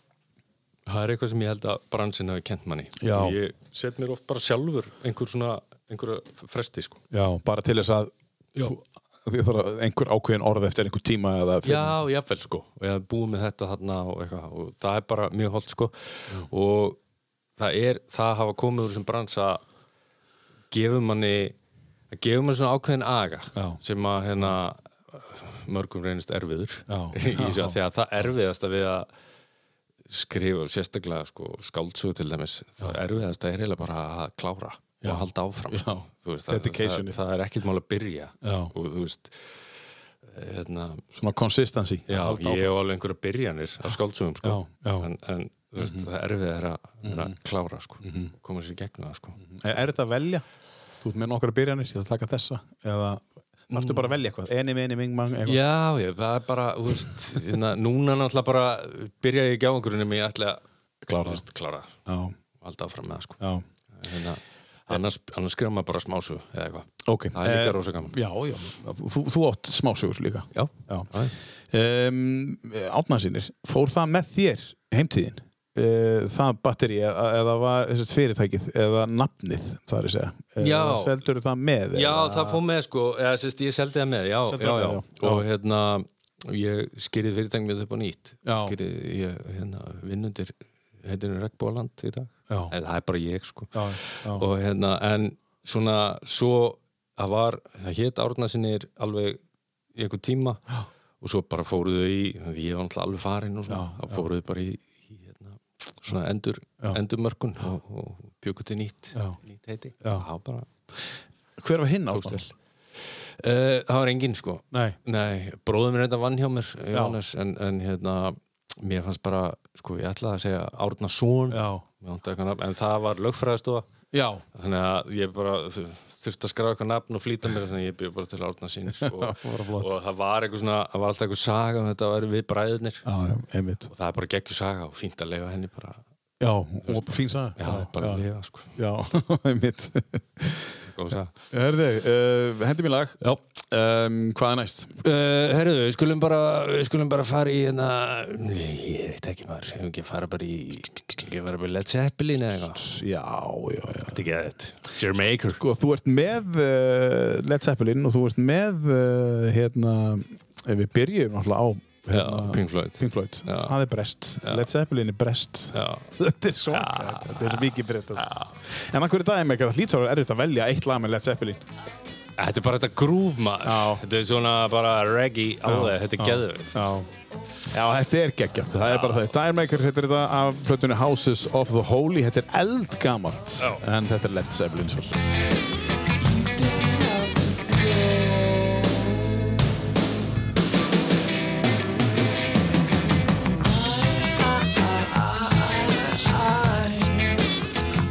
það er eitthvað sem ég held að bransin hafi kent manni
Já.
og ég set mér oft bara sjálfur einhver svona, einhverja fresti sko
já, bara til þess að þú, þið þarf að einhver ákveðin orð eftir einhver tíma eða fyrir
Já, jáfnvel sko og ég hafði búið með þetta þarna og eitthvað og það er bara mjög holdt sko
Mm.
og það er, það hafa komið úr þessum brans að gefur manni að gefur manni svona ákveðin aga
Já.
sem að hérna mörgum reynist erfiður
Já.
í þessu að því að það erfiðasta við að skrifa og sérstaklega sko, skáldsögu til dæmis, það erfiðasta er eiginlega bara að klára og halda áfram sko.
Já.
Þú veist, það,
Dedication.
það, það er ekkert mál að byrja
Já.
og þú veist hérna,
svona consistency
Já,
Halda áfram.
ég hef alveg einhverja byrjanir af skáldsögum sko.
Já, Mhm. já.
En, en þú veist, það er erfið er að, er að klára sko,
Mhm.
koma sér í gegnum það sko.
Er, er þetta að velja? Þú ert með nokkra byrjanir, ég ætla að taka þessa eða þarftu bara að velja eitthvað enim, enim, yngmang, eitthvað
Já, ég, það er bara, þú veist, hérna, núna náttúrulega bara byrja ég í gjáangurinnum ég ætla að
Klára.
þú veist, klára
Já,
alltaf fram með það sko.
já,
Hérna, annars, annars skrifa maður bara smásu eða eitthvað.
ok
Það er líka
Eh,
rosa gaman.
Já, já, þú, þú átt smásögur líka
Já.
Já um, Átnaðsynir, fór það með þér heimtíðin? Uh, það batteri eða, eða var þessi fyrirtækið eða nafnið þar að segja
Já.
Seldur það með?
Já,
eða?
það fóð með sko, eða sérst ég seldi það með, já,
Seldi
já,
það
já,
með, já.
og hérna, ég skýrið fyrirtækjum við upp á nýtt,
Já.
skýrið, ég, hérna, vinnundir, heitinu Regnbóland í dag,
Já.
eða það er bara ég sko,
Já, já.
og hérna, en svona, svo, það var, það hétt árnasinir alveg í einhver tíma, já. og svo bara fóruðu í, því ég var náttúrulega alveg farin og svona,
Já,
þá fóruðu bara í, í hérna, svona endur,
Já.
endurmörkun og, og bjöku til nýtt,
Já.
nýtt heiti,
Já.
það var bara
Hver var hinn
Tókst
áttan?
vel. Uh, það var enginn sko
Nei,
Nei, bróðum minn þetta vann hjá mér Jónas, en, en hérna mér fannst bara, sko ég ætlaði að segja Árna Són
já,
en það var lögfræðastofa
já
þannig að ég bara þu- þurfti að skrafa eitthvað nafn og flýta mér þannig að ég byrði bara til Árna sínir og,
bara flott.
og það var eitthvað svona, það var alltaf eitthvað saga um þetta væri við bræðurnir
Já, já, einmitt
og það er bara geggjur saga og fínt að lega henni bara,
Já, og fín saga
já,
já,
bara að lega sko,
já, einmitt
góð saga
Herði, uh, hendi mér lag Já um, Hvað er næst?
Uh, herruðu, við skulum bara við skulum bara fara í hérna ég veit ekki maður, hefum ekki að fara bara í ekki að fara bara í Led Zeppelin eða eitthvað
Já, já, já
Þetta er ekki að þetta Jamaica
Sko, þú ert með uh, Led Zeppelin og þú ert með uh, hérna, ef við byrjum náttúrulega á
Já,
hérna,
Pink Floyd
Pink Floyd,
Já.
það er brest Led Zeppelin er brest
Já,
Þetta er svo kært, þetta er mikið brett En að hverju daginn með eitthvað hlýtvar er þetta að velja eitt lag með Led Zeppelin
þetta er bara þetta groove maður
Já.
Þetta er svona bara reggae alveg, þetta er geðveikt
Já. Já, þetta er geggjart, það er bara það. Dyremaker, þetta er þetta af plötunni Houses of the Holy, þetta er eldgamalt,
Já.
en þetta er Led Zeppelin svo.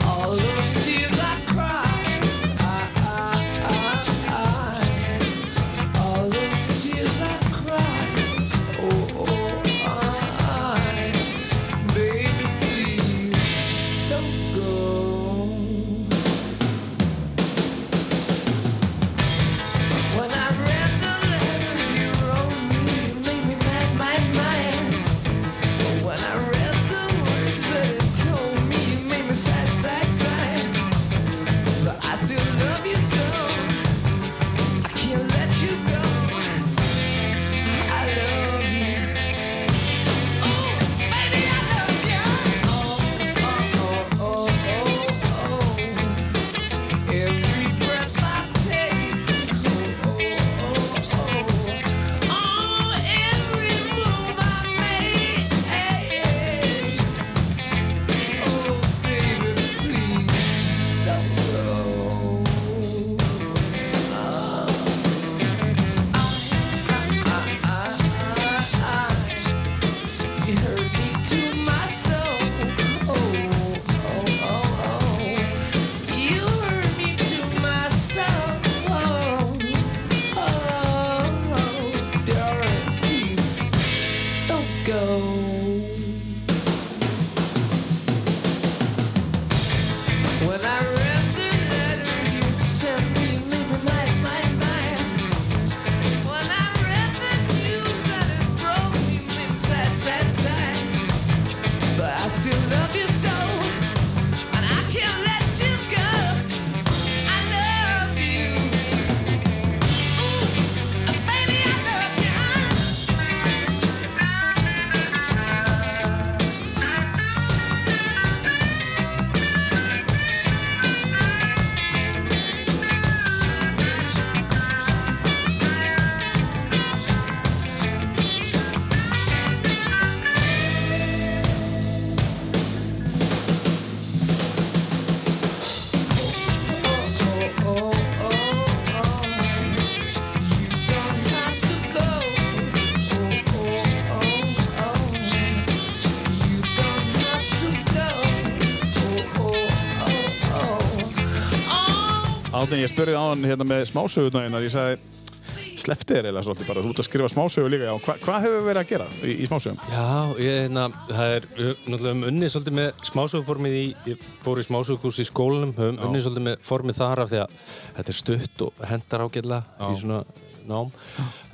All those tears I cried, I, I, I, I. All those tears I cried, oh, oh, I. Baby, please don't go.
Oh, Oh, Oh, oh,
Átni, ég spurði á hann hérna með smásögurnar, ég sagði sleppti þér eða svolítið bara, þú ert að skrifa smásögur líka, já, hva, hvað hefur við verið að gera í, í smásögum?
Já, ég, hérna, það er, við höfum náttúrulega höfum unnið svolítið með smásöguformið í, ég fór í smásögukurs í skólanum, höfum unnið svolítið með formið þar af því að þetta er stutt og hendar ágætlega í svona nám.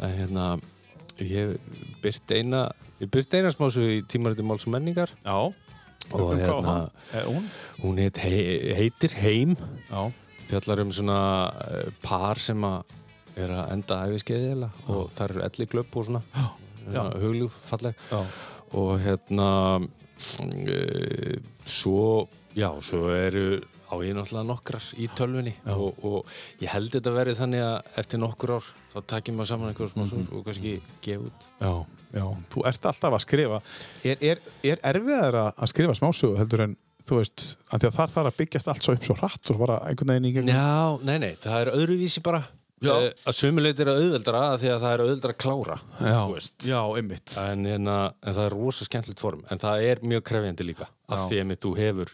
En hérna, ég byrt eina, ég byrt eina smásögu í tímariti Máls og menningar
Já, um
og
hvað var
hérna,
það? Eh, Hún?
hún heit, hei, heitir Heim,
Já,
fjallar um svona eh, par sem að er að enda æfiskeiði eða og þar eru elli glöpp og svona, svona hugljúf falleg
já,
og hérna e, svo já, svo eru á ég náttúrulega nokkrar í tölvunni og, og ég held þetta verið þannig að eftir nokkur ár þá takkir maður saman einhverjum
Mhm.
smá mm og kannski gefa út
já, já, þú ert alltaf að skrifa. Er, er, er erfiðar að skrifa smásögur heldur en, þú veist, að því að þar þarf að byggjast allt svo upp svo hratt og bara einhvern veginn í gegn?
Já, nei, nei, það er öðruvísi bara
Já.
Eh, að sömuleit er að auðveldra af því að það er auðveldra að klára
já,
þú veist.
já, einmitt.
en, en, að, en það er rosa skemmtilegt form en það er mjög krefjandi líka af
Já. Mhm.
því að mitt þú hefur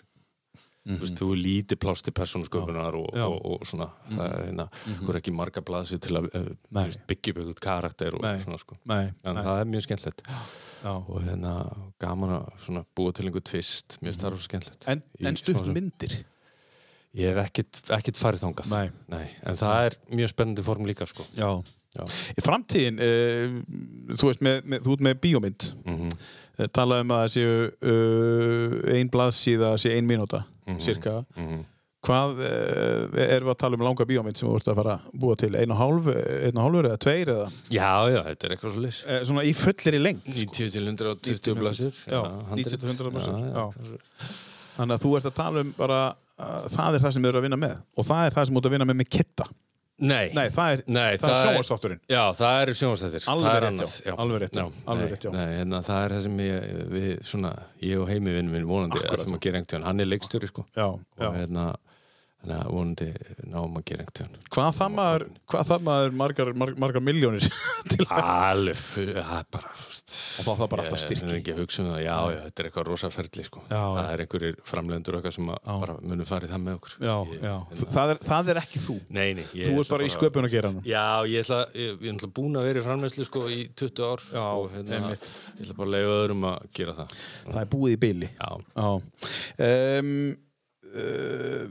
þú veist, þú er lítið pláss til persónusköpunar og,
Já. Mhm.
og, og svona það er hérna, þú er ekki marga blaðsir til að eh, þú
Nei.
veist, byggja upp eitthvað karakter og
Nei.
svona sko
Nei,
en
nei,
það er mjög skemmtilegt
já.
og hérna gaman að svona, búa til einhver tvist mjög starf og skemmtilegt
Mhm. En,
Í
en stutt
smásögum.
myndir?
ég hef ekkit, ekkit farið þangað
Nei.
en það er mjög spennandi form líka sko
Já.
Já.
Í Eh, framtíðin, uh, þú veist, með, með, þú ert með bíómynd, mm
Mhm.
-hmm. talað um að það séu uh, ein blaðsíða, sé ein mínúta, cirka. Hvað uh, erum við að tala um langa bíómynd sem þú ert að fara að búa til? Einu og hálf, einu og hálfur eða tveir eða?
já, já, þetta er eitthvað svo leys
Eh, svona í fullri lengt.
90 til 120 blaðsir
Já, 90 til 100 blaðsir, já. Þannig að þú ert að tala um bara, uh, það er það sem þú ert að vinna með. Og það er það sem þú ert að vinna með með kitta.
Nei,
Nei, það er,
Nei,
það er sjónvarsdátturinn.
Já, það eru sjónvarsþættir
Alveg
það er
rétt,
annað,
já. Alveg rétt, já. Alveg
nei,
rétt, já.
Nei, hérna, það er það sem ég, við, svona, ég og heimivinn minn vonandi
Akkúrat.
ætlum að gera einhvern tjón, hann er leikstjóri sko
Já, já.
og hérna, hérna vonandi náum að gera einhvern tjón
Hvað það maður, hvað það maður margar, margar, margar miljónir til að...
Alveg, fu- það er bara fúst,
Og þá þarf bara alltaf
Ég er
styrki.
ekki að hugsa um það, já, já, þetta er eitthvað rosa ferli sko
Já,
Það
já.
er einhverjir framlegendur okkar sem að bara munu farið það með okkur
Já,
Ég- hérna,
já. Það er, það er ekki þú.
Nei, nei ég
Þú
ætla
ert bara í sköpun að gera hann.
Já, ég ætla, ég, ég ætla búin að vera í framleyslu sko í 20 ár Já, og hérna,
einmitt.
ég ætla bara að leiða öðrum að gera það
Það er búið í byli.
Já,
Já. Um, uh,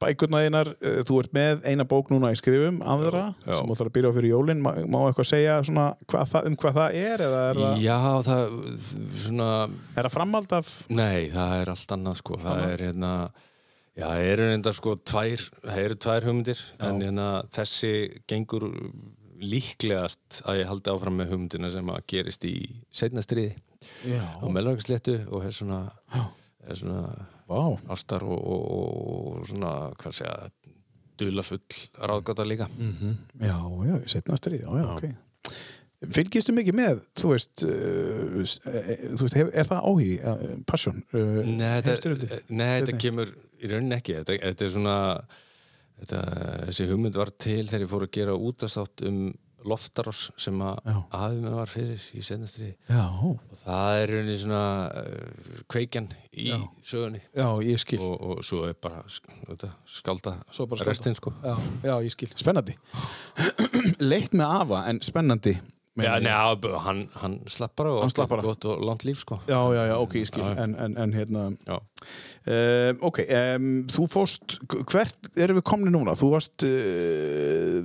bækurna einar, uh, þú ert með eina bók núna í skrifum, aðra,
Já, já.
sem ætlar að byrja á fyrir jólinn. Má, má eitthvað segja svona hvað það, um hvað það er eða er það,
já það, svona,
er það framhald af...
nei, það er allt annað sko, það er hérna Já, það eru reyndar sko tvær, það eru tvær hugmyndir en hérna þessi gengur líklegast að ég haldi áfram með hugmyndina sem að gerist í seinna stríði
Já.
á meðlagsléttu og er svona, er svona
Vá.
ástar og, og, og, og svona, hvað segja dulafull ráðgata líka
Mm. Já, já, setna stríð, já, já, ok. Fylgistu mikið með, þú veist, uh, s- eh, þú veist hef, er það áhugi, uh, passion, uh,
Nei,
heimsstyrjöldin?
þetta, nei, þetta
Hvernig?
kemur í rauninni ekki þetta, þetta er svona þetta, þessi hugmynd var til þegar ég fór að gera útastátt um loftarás sem að
Já.
afi með var fyrir í seinastri
Já,
og það er í rauninni svona uh, kveikjan í
Já.
sögunni
já, ég skil.
og, og svo er bara sk- þetta, skálda
Svo bara skálda.
restin sko
Já, já, ég skil. Spennandi. Leitt með afa, en spennandi. meina
Já,
ég.
neða, hann, hann slapp bara og
Hann
átti
slapp bara.
gott og langt líf sko
Já, já, já, ok, ég skil, en, en, en hérna,
Já.
um, ok, um, þú fórst, hvert erum við komni núna? Þú varst, uh,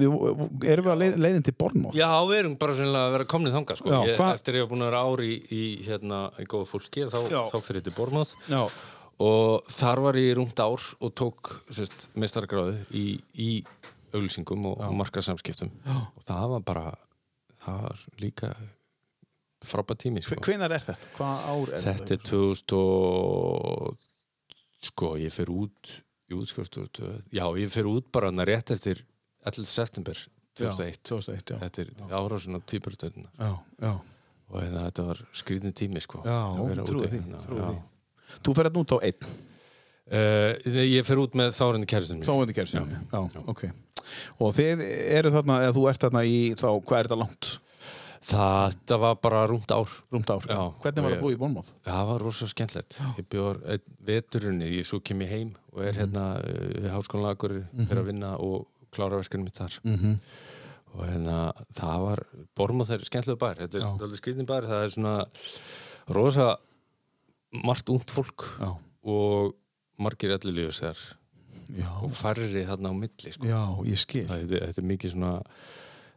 við- erum við að leið, leiðin til Bornmóð?
Já, við erum bara sennilega að vera komnið þangað sko.
Já,
ég,
hvað-
eftir ég var búin að vera ári í, í, hérna, í góðu fólki þá,
Já.
þá fyrir þetta bornað
Já,
og þar var ég í rúmt ár og tók sérst, mestargráðu í, í auglýsingum og, og markasamskiptum og það var bara það var líka frábært tími sko.
hvenar er þetta? Hvað ár er
Þetta er 2000 og sko, ég fer út jú, sko, 2000, já, ég fer út bara hann rétt eftir 11. september 2001
Já, 2001, já.
Þetta er árásun á týpurtöðuna
Já, já.
og hérna, þetta var skrýðin tími sko
Já,
að vera
trúi
úti,
því,
hérna,
trúi
já.
því. Þú ferð nút á einn.
Eh, ég fer út með þárendi kæristum mín
Tóðandi kæristin. Já, ok. Og þið eru þarna, eða þú ert þarna í þá, hvað er þetta langt?
Þetta var bara rúmt ár.
rúmt ár.
Já.
Hvernig var
Ég-
það búið í Bornmoth?
Það var rosa skemmtilegt. Ég bjóður einn veturunni, ég svo kem ég heim og
Mhm.
er hérna eh, við háskólanlega akkur fyrir að vinna og klára verkefni mitt þar.
Mhm.
Og hérna, það var, Bormóð er skemmtilega bær. Þetta er
Já.
alveg skritin bær, það er svona rosa margt ungt fólk
Já.
og margir allir lífis þar
Já.
og færri þarna á milli, sko.
Já, ég skil.
Það, þetta, þetta er mikið svona,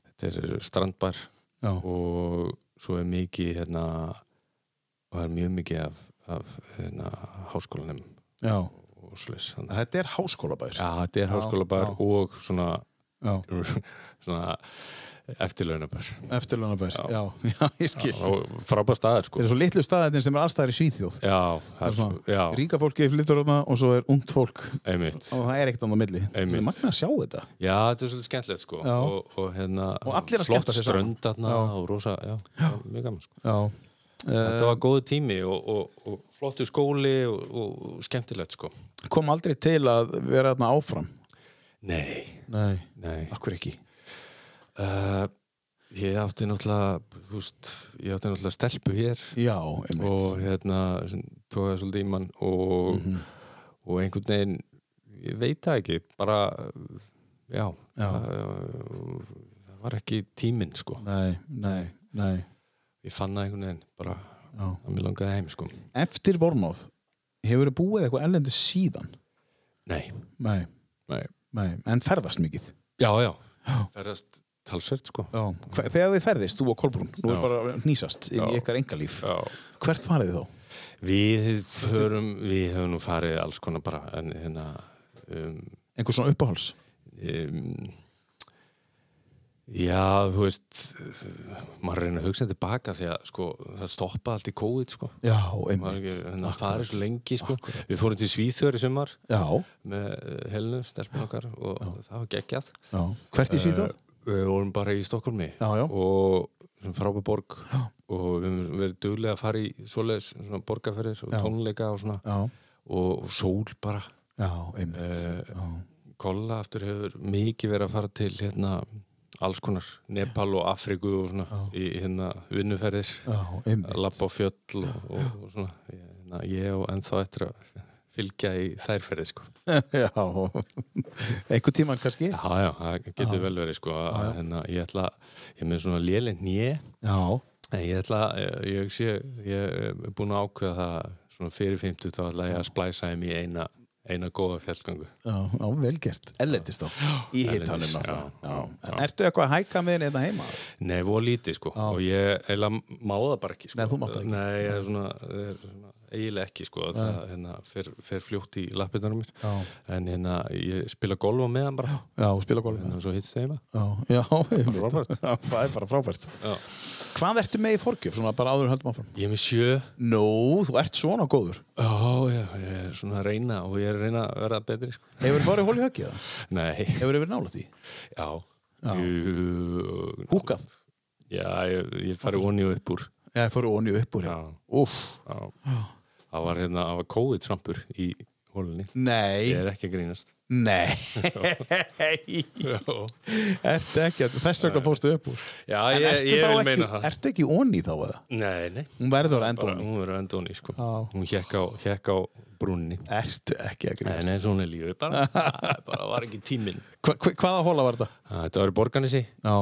þetta er strandbær
Já.
og svo er mikið hérna, og það er mjög mikið af, af hérna, háskólanum
Já.
og slis þannig að-
Þetta er háskólabær.
Já, þetta er
Já,
háskólabær
já.
og svona,
Já.
svona eftirlaunabær
Eftirlaunabær.
Já.
Já. Já, ég skil.
og frábæð staðar sko
Þetta er svo litlu staðið sem er allstaðar í Svíþjóð.
Já, það er
Svona.
svo, já,
Ríka fólki flyttur þarna og svo er ungt fólk
einmitt
og það er ekkert annað á milli.
Einmitt.
Það er magna að sjá þetta.
Já, þetta er svolítið skemmtilegt sko
Já.
og, og hérna,
Og allir að
flott
skemmta sér saman.
strönd þarna
Já.
og rosa, já, já. mjög gaman sko
Já.
Þetta var góðu tími og, og, og flottu skóli og, og, og skemmtilegt sko
Kom aldrei til að vera þarna áfram.
Nei,
Nei. Ah.
nei
Akkur ekki.
Uh, ég átti náttúrulega þú veist, ég átti náttúrulega stelpu hér
Já, einmitt.
og hérna sem tókaði svolítið í mann og, og einhvern veginn ég veit það ekki, bara uh, já,
Já.
Það, uh, það var ekki tíminn sko,
Nei, nei, nei.
ég fann það einhvern veginn bara
Já.
að mér langaði heim sko
Eftir Bornóð, hefur þú búið eitthvað ellendi síðan?
Nei,
Nei,
Nei.
nei. En ferðast mikið?
já, já,
Já.
ferðast talsvert sko
Já. Hve- Þegar þið ferðist, þú og Kolbrún, nú er
Já.
bara að hnýsast inn í
Já.
ykkar engalíf.
já.
Hvert farið þið þá?
Við förum, við höfum nú farið alls konar bara en hérna um,
Einhver svona uppáhals?
um, Já, þú veist uh, maður reynir að hugsa þetta baka því að sko, það stoppa allt í COVID sko.
Já,
maður er
einmitt.
ekki þannig að
Akkurat.
fara svo lengi sko. við fórum til Svíþjóður í sumar
Já,
með uh, Helenu, stelpun okkar og það var geggjað Eh,
já. Hvert í Svíþjóð?
við vorum bara í Stokkólmi
Já, já.
og sem frábæð borg og við höfum verið duglega að fara í svoleiðis svona borgarferðir
Já.
og tónleika og svona
Já,
og, og sól bara
já, einmitt.
uh,
Já,
Kolla aftur hefur mikið verið að fara til hérna alls konar Nepal og Afriku og svona í hérna vinnuferðir
já, einmitt.
að lappa á fjöll og, og, og svona ég, hérna, ég og ennþá eftir að fylgja í þær ferði sko
já, einhver tíman kannski?
Já, já, það getur vel verið sko að að, hérna, ég ætla, ég er með svona lélind njö
Já,
en ég ætla, ég, ég sé ég er búin að ákveða það svona fyrir 50 þá ætla ég að splæsa þeim í eina eina góða fjallgangu
já, já velgert. Ellendist þá? Í hitanum
erlendis,
náttúrulega.
já.
Já. En Ertu eitthvað að hæka með hérna heima?
Nei, voru lítið sko og ég eiginlega má það bara ekki sko.
Nei, þú mátt það ekki.
Nei, ég er svona, er svona eiginlega ekki sko það hérna, fer, fer fljótt í lappirnar á mér
Já.
en hérna, ég spila golf á meðan bara hérna,
Já, spila golf.
en svo hittst þeim
Já, já, einmitt.
frábært.
Já, það er bara frábært.
Já.
Hvað ertu með í forgjöf, svona bara áður en höldum áfram?
Ég er með sjö
Nú, þú ert svona góður.
Ó, já, ég er svona að reyna og ég er að reyna að vera betri sko
Hefur þið farið hól í höggið það?
Nei,
Hefur þið verið nálægt í?
já, Jú,
Húkað?
Já, ég, ég fari onni og upp úr
Já, þið farið onni og upp úr. hérna.
Já,
Já. Úff.
já Það var hérna, það var COVID-trampur í hólunni
Nei,
Ég er ekki að grínast
nei.
Já
ertu ekki, að- þess vegna fórstu upp úr.
Já,
En
ég,
ertu
ég
þá
vil
ekki,
meina það
Ertu ekki onni þá eða?
Nei, nei,
Hún verður að enda
bara,
onni.
hún verður endóni sko.
Já.
Hún hekk á, hekk á brúnni
Ertu ekki að
Nei,
gríma?
nei, svona er lífið bara, Það bara var ekki tíminn
Hva, hva, hvaða hóla var þetta?
Æ, Þetta var í borganessi
Já,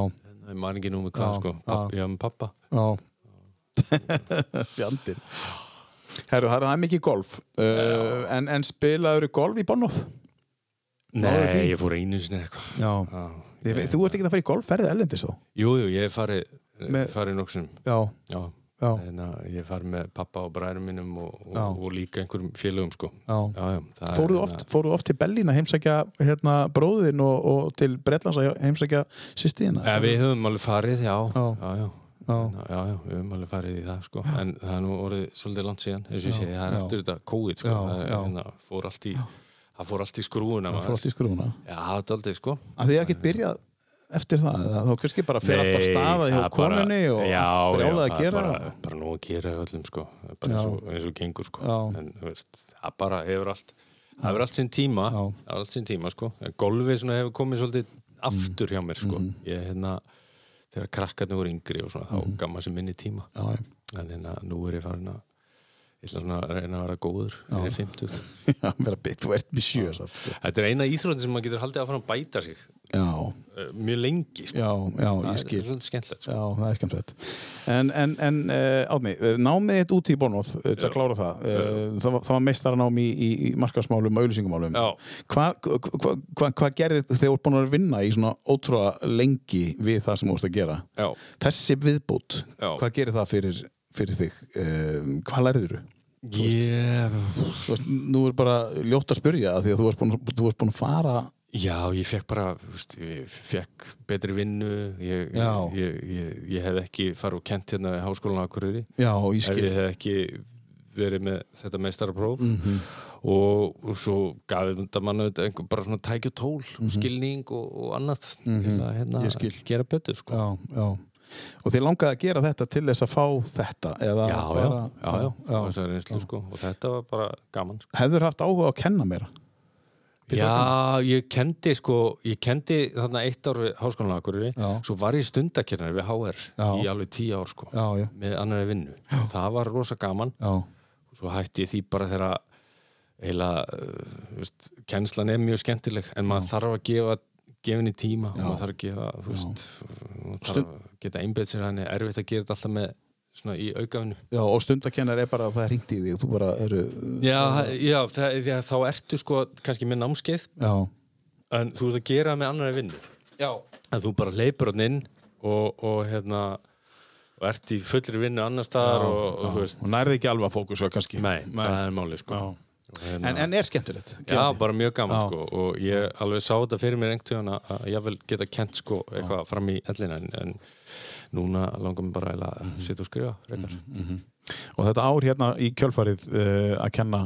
Ég man ekki nú með hvað,
Já,
sko Papp, Já, með pappa
Já Fjandinn Herru, það er það er mikið golf uh, en, en spilaður golf í Bonnoð Náðu því?
Nei, ég fór einu sinni eitthvað
Já Ég, veit, Þú ert ekki að fara í golf, ferðið ellendis þá
Jú, jú, ég hef farið
Með-
með... farið nokksum
Já,
Já,
já,
Þannig að ég hef farið með pappa og bræðum mínum og,
Já.
og, og líka einhverjum félögum sko
já
Já, já, það er
Fóruðu
hérna-
oft, fóruðu oft til Berlín að heimsækja hérna, bróðin og, og til Bretlands að heimsækja sýstiðina?
Ja, við höfum alveg farið, já,
Já.
já, já.
Já.
Já, já, við höfum alveg farið í það sko. en það er nú orðið svolítið langt síðan eins og ég
Já,
segi, það er
já.
eftir þetta COVID sko.
Já,
það, er,
já.
hérna, fór allt í, það fór allt í skrúuna
Fór allt í skrúna
Já, það er aldrei sko
Að því að ekkert byrjað eftir það eða Þá kannski bara fyrir alltaf staða hjá
það er bara-
konunni og
já,
allt brjálað
já,
að
það er
gera
bara, bara nú að gera hjá öllum sko. Það er bara eins og, eins og gengur sko.
Já.
en þú veist, það bara hefur allt það hefur allt sinn
Já.
tíma, það
Mhm.
hefur allt sinn tíma sko. En golfið svona hefur komið svolítið aftur hjá mér sko. ég hérna þegar krakkarnir voru yngri og svona þá gaf maður sér minni tíma
Mhm. Já, já.
en hérna, nú er ég farin að ég ætla svona að reyna að vera góður fyrir 50
Já, vera byggt, þú ert með sjö samt.
Þetta er eina íþróttin sem maður getur haldið að fara að bæta sig
Já,
eh, mjög lengi sko.
já, já,
Það
ég
er
skil
svolítið skemmtilegt sko.
Já, það er skemmtilegt En, en, en uh, Átni, eh, námið þitt úti í Bornóð eh, til að klára það uh, það, var- það var meistaranám í, í, í markaðsmálum og auðlýsingumálum
Já.
Hvað hva, hva, hva gerði þegar þú ert búin að vinna í svona ótrúa lengi við það sem þú ert að gera?
Já.
Þessi viðbót,
Já.
hvað gerir það fyrir, fyrir þig? Uh, hvað lærður þú?
Yeah.
Veist, nú er bara ljótt að spyrja af því að þú varst búin, þú varst búin að fara
Já, ég fekk bara, þú veist, ég fekk betri vinnu, ég,
Já.
ég, ég, ég hef ekki farið og kent hérna í háskólan á Akureyri,
Já, ég
ef
skil
ég hef ekki verið með þetta meistarapróf
Mhm.
og, og svo gaf þetta mann auðvitað einhver bara svona tækju tól, skilning og, og annað til að hérna,
Mhm. Ég skil.
gera betur sko.
já, já. Og þið langaði að gera þetta til þess að fá þetta eða
já,
bara,
já, já, já,
já.
já. Reynslu, sko. og þetta var bara gaman sko.
Hefður haft áhuga á að kenna meira?
Já, ég kendi sko, ég kendi þarna eitt ár við háskólan Akureyri,
Já.
svo var ég stundakernar við HR
Já.
í alveg tíu ár sko,
Já, já,
með annari vinnu. Það var rosa gaman,
já,
svo hætti ég því bara þegar að heila, uh, veist, kennslan er mjög skemmtileg, en maður þarf að gefa gefinni tíma og maður þarf að gefa, þú veist, maður þarf að geta einbeitt sér hann, er erfitt að gera þetta alltaf með svona í aukafinu.
já og stundakennar er bara að það hringt í því og þú bara eru
Já, já, það, já, þá ertu sko kannski með námskeið,
Já,
en þú ert að gera það með annari vinnu.
Já.
að þú bara leipur hann inn og, og hérna og ert í fullri vinnu annar staðar og, og þú veist,
og nærði ekki alveg að fókusa kannski
nei, það er máli sko.
Já.
Og hérna,
en, en er skemmtilegt
já, bara mjög gaman
Já.
sko og ég alveg sá þetta fyrir mér einhvern tíðan að ég vil geta kent sko eitthvað fram í ellin en, en núna langar mér bara eiginlega
Mhm.
að sitja og skrifa mm
Og þetta ár hérna í kjölfarið uh, að kenna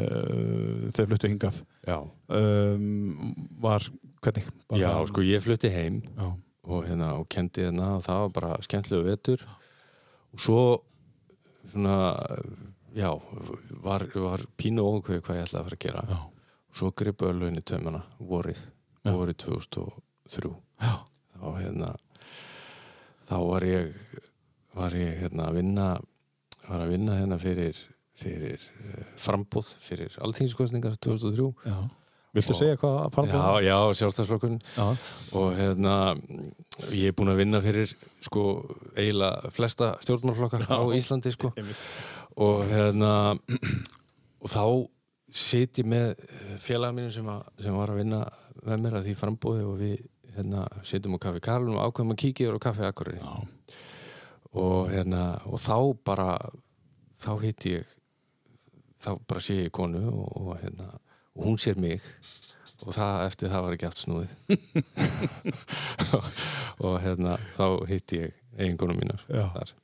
uh, þegar fluttu hingað
já,
um, var hvernig? Bara,
já, sko ég flutti heim
já,
og, hérna, og kendi hérna og það var bara skemmtilega vetur og svo svona, já var, var pínu ókveð hvað ég ætlaði að fara að gera
já,
og svo gripu örlögin í taumana vorið, vorið 2003
já,
þá hérna þá var ég var ég hérna að vinna var að vinna hérna fyrir fyrir uh, frambúð, fyrir alþingiskostningar 2003
já. Viltu
Og-
segja hvað að fara
Já, Sko. já, sjálfstæðsflokkun
Já.
og hérna ég er búinn að vinna fyrir sko eiginlega flesta stjórnmálflokka á Íslandi sko og hérna og þá sit ég með eh, félaga mínum sem, að, sem var að vinna með mér að því frambúði og við hérna sitjum á kaffi Karlun og ákveðum að kíkja yfir á kaffi Akureyri og hérna og þá bara þá hitti ég þá bara sé ég konu og, og hérna og hún sér mig og það eftir það var ekki allt snúið og hérna þá hitti ég eiginkonu mínar
Já.
þar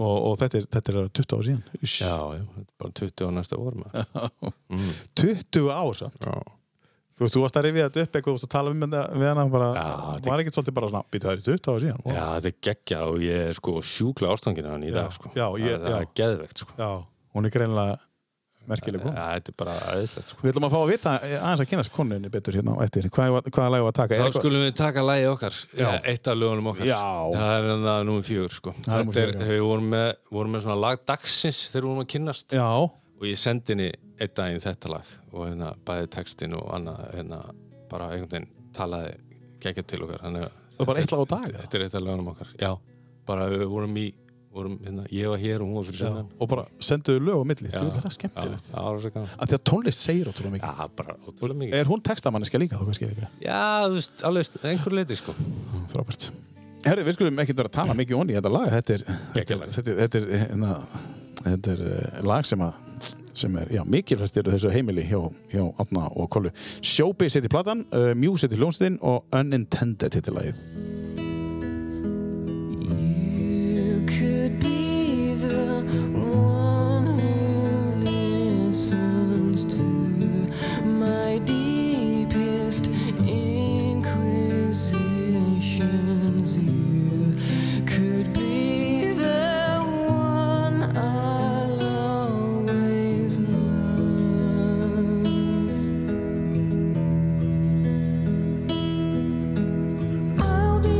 og, og þetta, er, þetta er 20 ár síðan Ish.
já, já, þetta er bara 20 á næsta Mm. orma
20 ár samt
já,
þú veist, þú varst að rifja þetta upp eitthvað þú varst að tala um þetta við hana bara,
Já, þetta-
var ekkert svolítið bara svona býtu það er 20 ár síðan
já, þetta er geggja og ég er sko sjúkla ástangina hann í dag sko.
já, ég-
það, það
já.
er geðvegt sko.
Já, hún er greinilega merkileg
ja,
kona
þetta er bara aðeinslegt sko.
við ætlum að fá að vita eh, aðeins að kynast konunni betur hérna á eftir hvað, var- hvaða lag var að taka
þá
Er eitthvað-
skulum við taka lagið okkar já. eitt af lögunum okkar
Já.
það er þannig að númum fjögur sko.
Það er númer
þetta er,
fjögur, já.
við vorum með, vorum með svona lag dagsins þegar við vorum að kynnast
já,
og ég sendi henni einn daginn þetta lag og hérna bæði textin og annað hérna bara einhvern veginn talaði geggjað til okkar þannig að
það var bara eitt lag á dag
þetta er eitt af lagunum okkar já, bara við vorum í vorum, hérna, ég var hér og hún var fyrir
Já,
sunnan
og bara senduðu lög á milli
Já.
Þú veist, það er
já,
skemmtilegt
það var svo gaman
að því að tónlist segir ótrúlega mikið
já, bara ótrúlega mikið
er hún textamanniska líka þá kannski ekki
já, þú veist, alveg einhver leiti sko
frábært Mm. Herri, við skulum ekkert vera að tala mikið onni í þetta lag þetta er, þetta
Geggjað
er,
lag.
þetta er, þetta er, hérna, þetta er eh, lag sem, að, sem er já, mikilvægt eru þessu heimili hjá, hjá Átna og Kollu Showbiz heitir platan, uh, Muse heitir hljónstinn og Unintended heitir lagið
You could be the one who listens to my deepest inquisitions. You could be the one I'll always love. I'll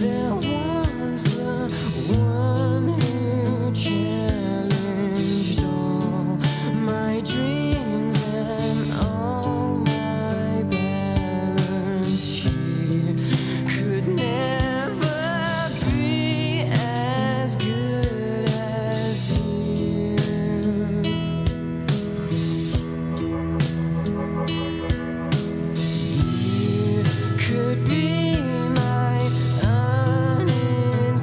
there was the one who challenged all my dreams and all my balance. She could never be as good as you. Could be my unintended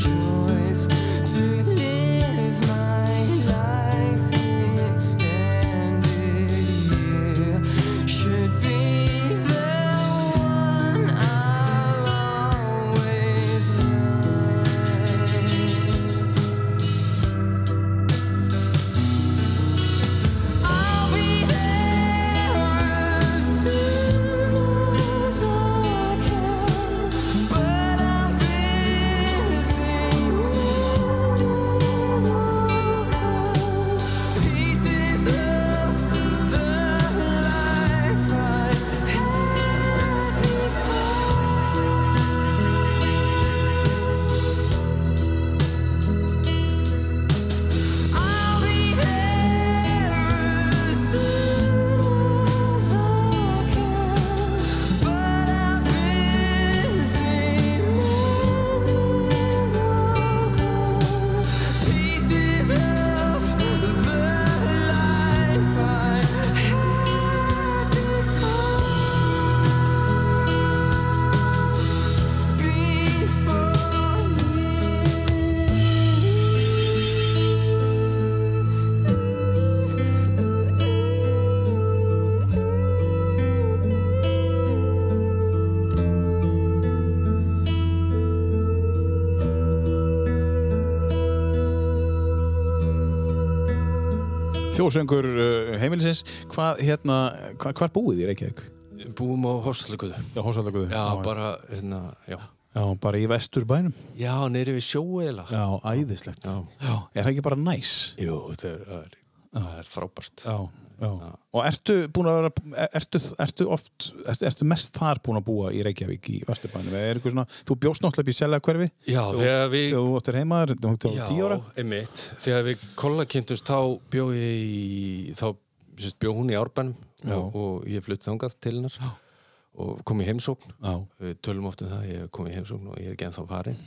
choice to live my life extended. Should be the one I'll always love. I'll be there as soon as I can, but I'm busy pieces of the life I had before. I'll be there as soon as I can, but I'm busy broken pieces of the life I had before, before you.
Þjóðsöngur uh, heimilisins, hvað hérna, hva, hvar búið þið í Reykjavík?
Búum á hóstalökuðu.
Já, hósallaguðu.
Já, bara, hérna, já.
Já, bara í vesturbænum.
Já, neyri við sjóu eða.
Já, æðislegt.
Já.
Er það ekki bara næs?
Jú, það er, það er, það er frábært.
Já, já. Og ertu búin að vera, ertu, ertu oft, ertu, ertu mest þar búin að búa í Reykjavík í vesturbænum? Eða er eitthvað svona, þú bjóst náttúrulega upp í Seljakverfi?
Já, þegar við...
Þú áttir heimaður, þú áttir
Já,
tíu ára?
einmitt. Þegar við kollakynntumst þá bjó ég í, þá sérst, bjó hún í árbænum og, og ég flutt þangað til hennar og kom í heimsókn.
Já.
Við tölum oft um það, ég kom í heimsókn og ég er ekki ennþá farin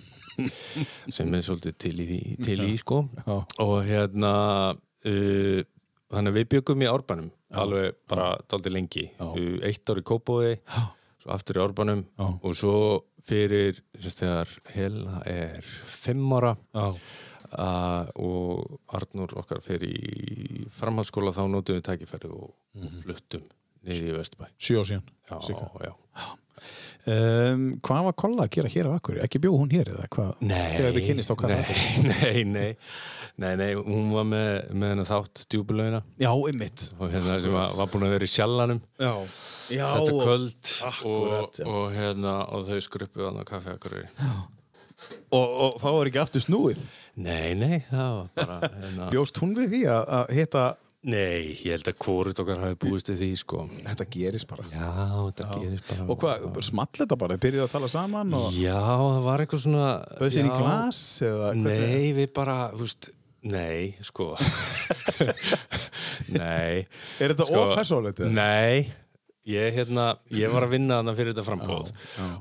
sem er svolítið til í, því- til í sko.
Já.
Og hérna, uh, þannig að við byggum í árbænum alveg bara daldið lengi. Uh, Eitt ár í Kópói, svo aftur í árbænum
Já.
og svo fyrir, sérst, þegar Helena er fimm ára
Já.
Uh, og Arnur okkar fyrir í framhaldsskóla þá notum við tækifæri og
Mhm.
fluttum niður í Vesturbæ
Sjö ár síðan.
Já,
cirka.
já
Um, hvað var Kolla að gera hér á Akureyri? Ekki bjó hún hér eða hvað?
Nei,
Þegar við kynnist á hvað?
nei, nei, nei, nei, nei, hún var með, með hennar þátt djúbulögina
Já, einmitt.
og hérna sem var, var búin að vera í sjallanum
Já. Já.
þetta kvöld
Akkúrat, já.
og, og hérna og þau skruppu hann á kaffi akkur
Og, og þá er ekki aftur snúið.
Nei, nei, það var bara hérna,
Bjóst hún við því að, að hitta,
Nei, ég held að hvorut okkar hafi búist við því sko
þetta gerist bara.
Já, þetta gerist bara
Og hvað, small þetta bara? Þeir Byrjuðu að tala saman og
Já, það var eitthvað svona
bauð sér í
já.
glas eða hvernig?
Nei, við bara, þú veist Nei, sko Nei Sko,
Er þetta ópersónlegt eða?
Nei, ég, hérna, ég var að vinna þarna fyrir þetta frambóð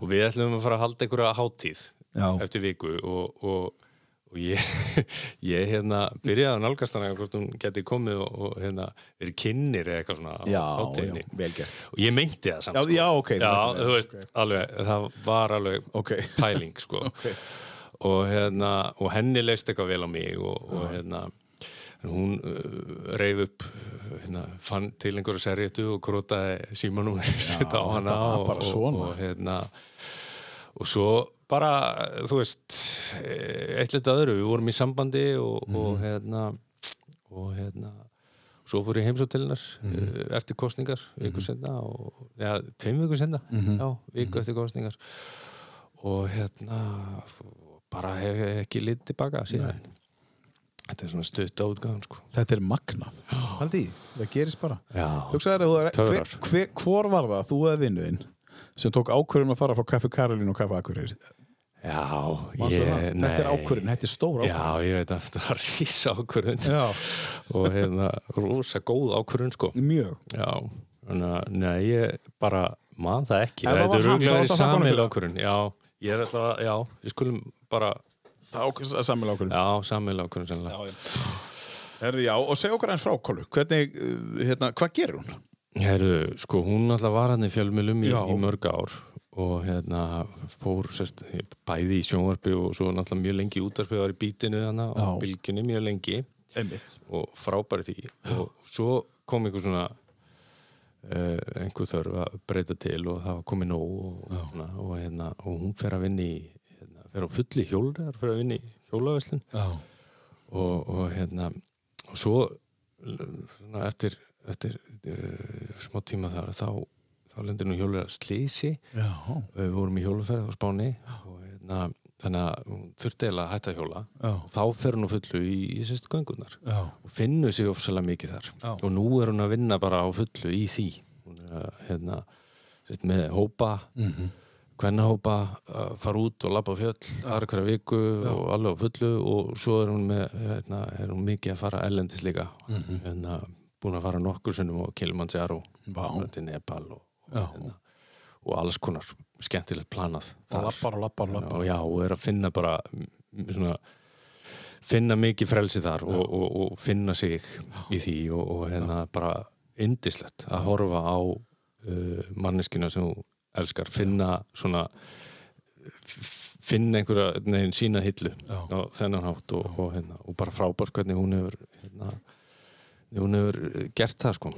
og við ætlum að fara að halda einhverja hátíð
Já.
eftir viku og, og, og ég, ég hérna, byrjaði að nálgast hana hvort hún geti komið og, og hérna, verið kynnir eða eitthvað svona á
Já,
hátíðinni
já, vel gert.
og ég meinti það samt sko.
Já, já, ok, þú
já,
meintir það,
þú veist, alveg, það var alveg
Ok.
pæling sko. og, hérna, og henni leist eitthvað vel á mig og, og hérna en hún uh, reif upp uh, hérna, fann til einhverju serjetu og krótaði símanum þetta á hana
þetta var
og,
bara
og,
svona.
og hérna og svo bara, þú veist eh, eitt litt öðru, við vorum í sambandi og,
Mhm.
og hérna og hérna svo fór ég heimsótt til hennar
Mhm.
eh, eftir kostningar, viku senna og, ja, tveim viku senna,
Mhm.
já, viku eftir kostningar og hérna bara hef ég ekki litið tilbaka síðan þetta er svona stutta útgáðan sko
Þetta er magnað. Haldi, í, það gerist bara.
Já.
Hugsaðu þér að þú er, hver,
Töfrar.
hver, hvor var það, þú eða vinnuðinn, sem tók ákvörðun að fara frá Kaffi Karolín og Kaffi Akureyri
Já,
Manstu
ég,
það? Þetta er
nei.
ákvörðun, þetta er stór ákvörðun
Já, ég veit að þetta var rísa ákvörðun
Já.
og hérna, rosa góð ákvörðun sko
Mjög
Já, þannig að, nei, ég bara man það ekki
Ef það
Þetta
var
er
hann,
rúglega
þá
verið
átti að þakka honum
samil
fyrir.
ákvörðun Já, ég er alltaf að, já, við skulum bara
Samil ákvörðun
Já, samil ákvörðun sennilega
Herði, já, og segja okkur aðeins frá Kollu Hvernig, uh, hérna, hvað gerir hún?
Herru, sko, hún alltaf var hann í fjölmjölum í,
Já.
í mörg ár og hérna fór sest, bæði í sjónvarpi og svo náttúrulega mjög lengi í útarpi var í bítinu hana og
Já.
bylgjunni mjög lengi
Einmitt
og frábæri því og svo kom einhver svona uh, einhver þörf að breyta til og það var komið nóg og, svona, og, hérna, og hún fer að vinna í hérna, fer á fulli hjólar fer að vinna í hjólaveslin
Já,
og, og hérna og svo l- svona, eftir, eftir uh, smá tíma þar þá, þá lendir nú hjólur að slísi
já,
við vorum í hjóluferð á Spáni og hérna, þannig að hún þurfti eiginlega að hætta að hjóla
Já.
og þá fer hún á fullu í, í sérst göngunar
já,
og finnur sig ofsalega mikið þar
Já.
og nú er hún að vinna bara á fullu í því hún er að hérna sérst, með hópa mm
Mhm.
-hmm. hvernahópa, að fara út og labba á fjöll aðra hverja viku og alveg á fullu og svo er hún, með, hérna, er hún mikið að fara ellendis líka mm
Mhm.
-hmm. hérna, búin að fara nokkur sunnum og Kilimanjaro
Vá.
til Nepal og,
Já.
og, hérna, og alls konar skemmtilegt planað
Það
þar.
lappar og lappar og lappar
Já, og er að finna bara mm, svona, finna mikið frelsi þar og, og, og finna sig í því og, og hérna bara indislegt að horfa á uh, manneskina sem þú elskar finna svona f- finna einhverja, neðin, sína hillu
Já.
á þennan hátt og, og, hérna, og bara frábært hvernig hún hefur hérna, hún hefur eh, gert það sko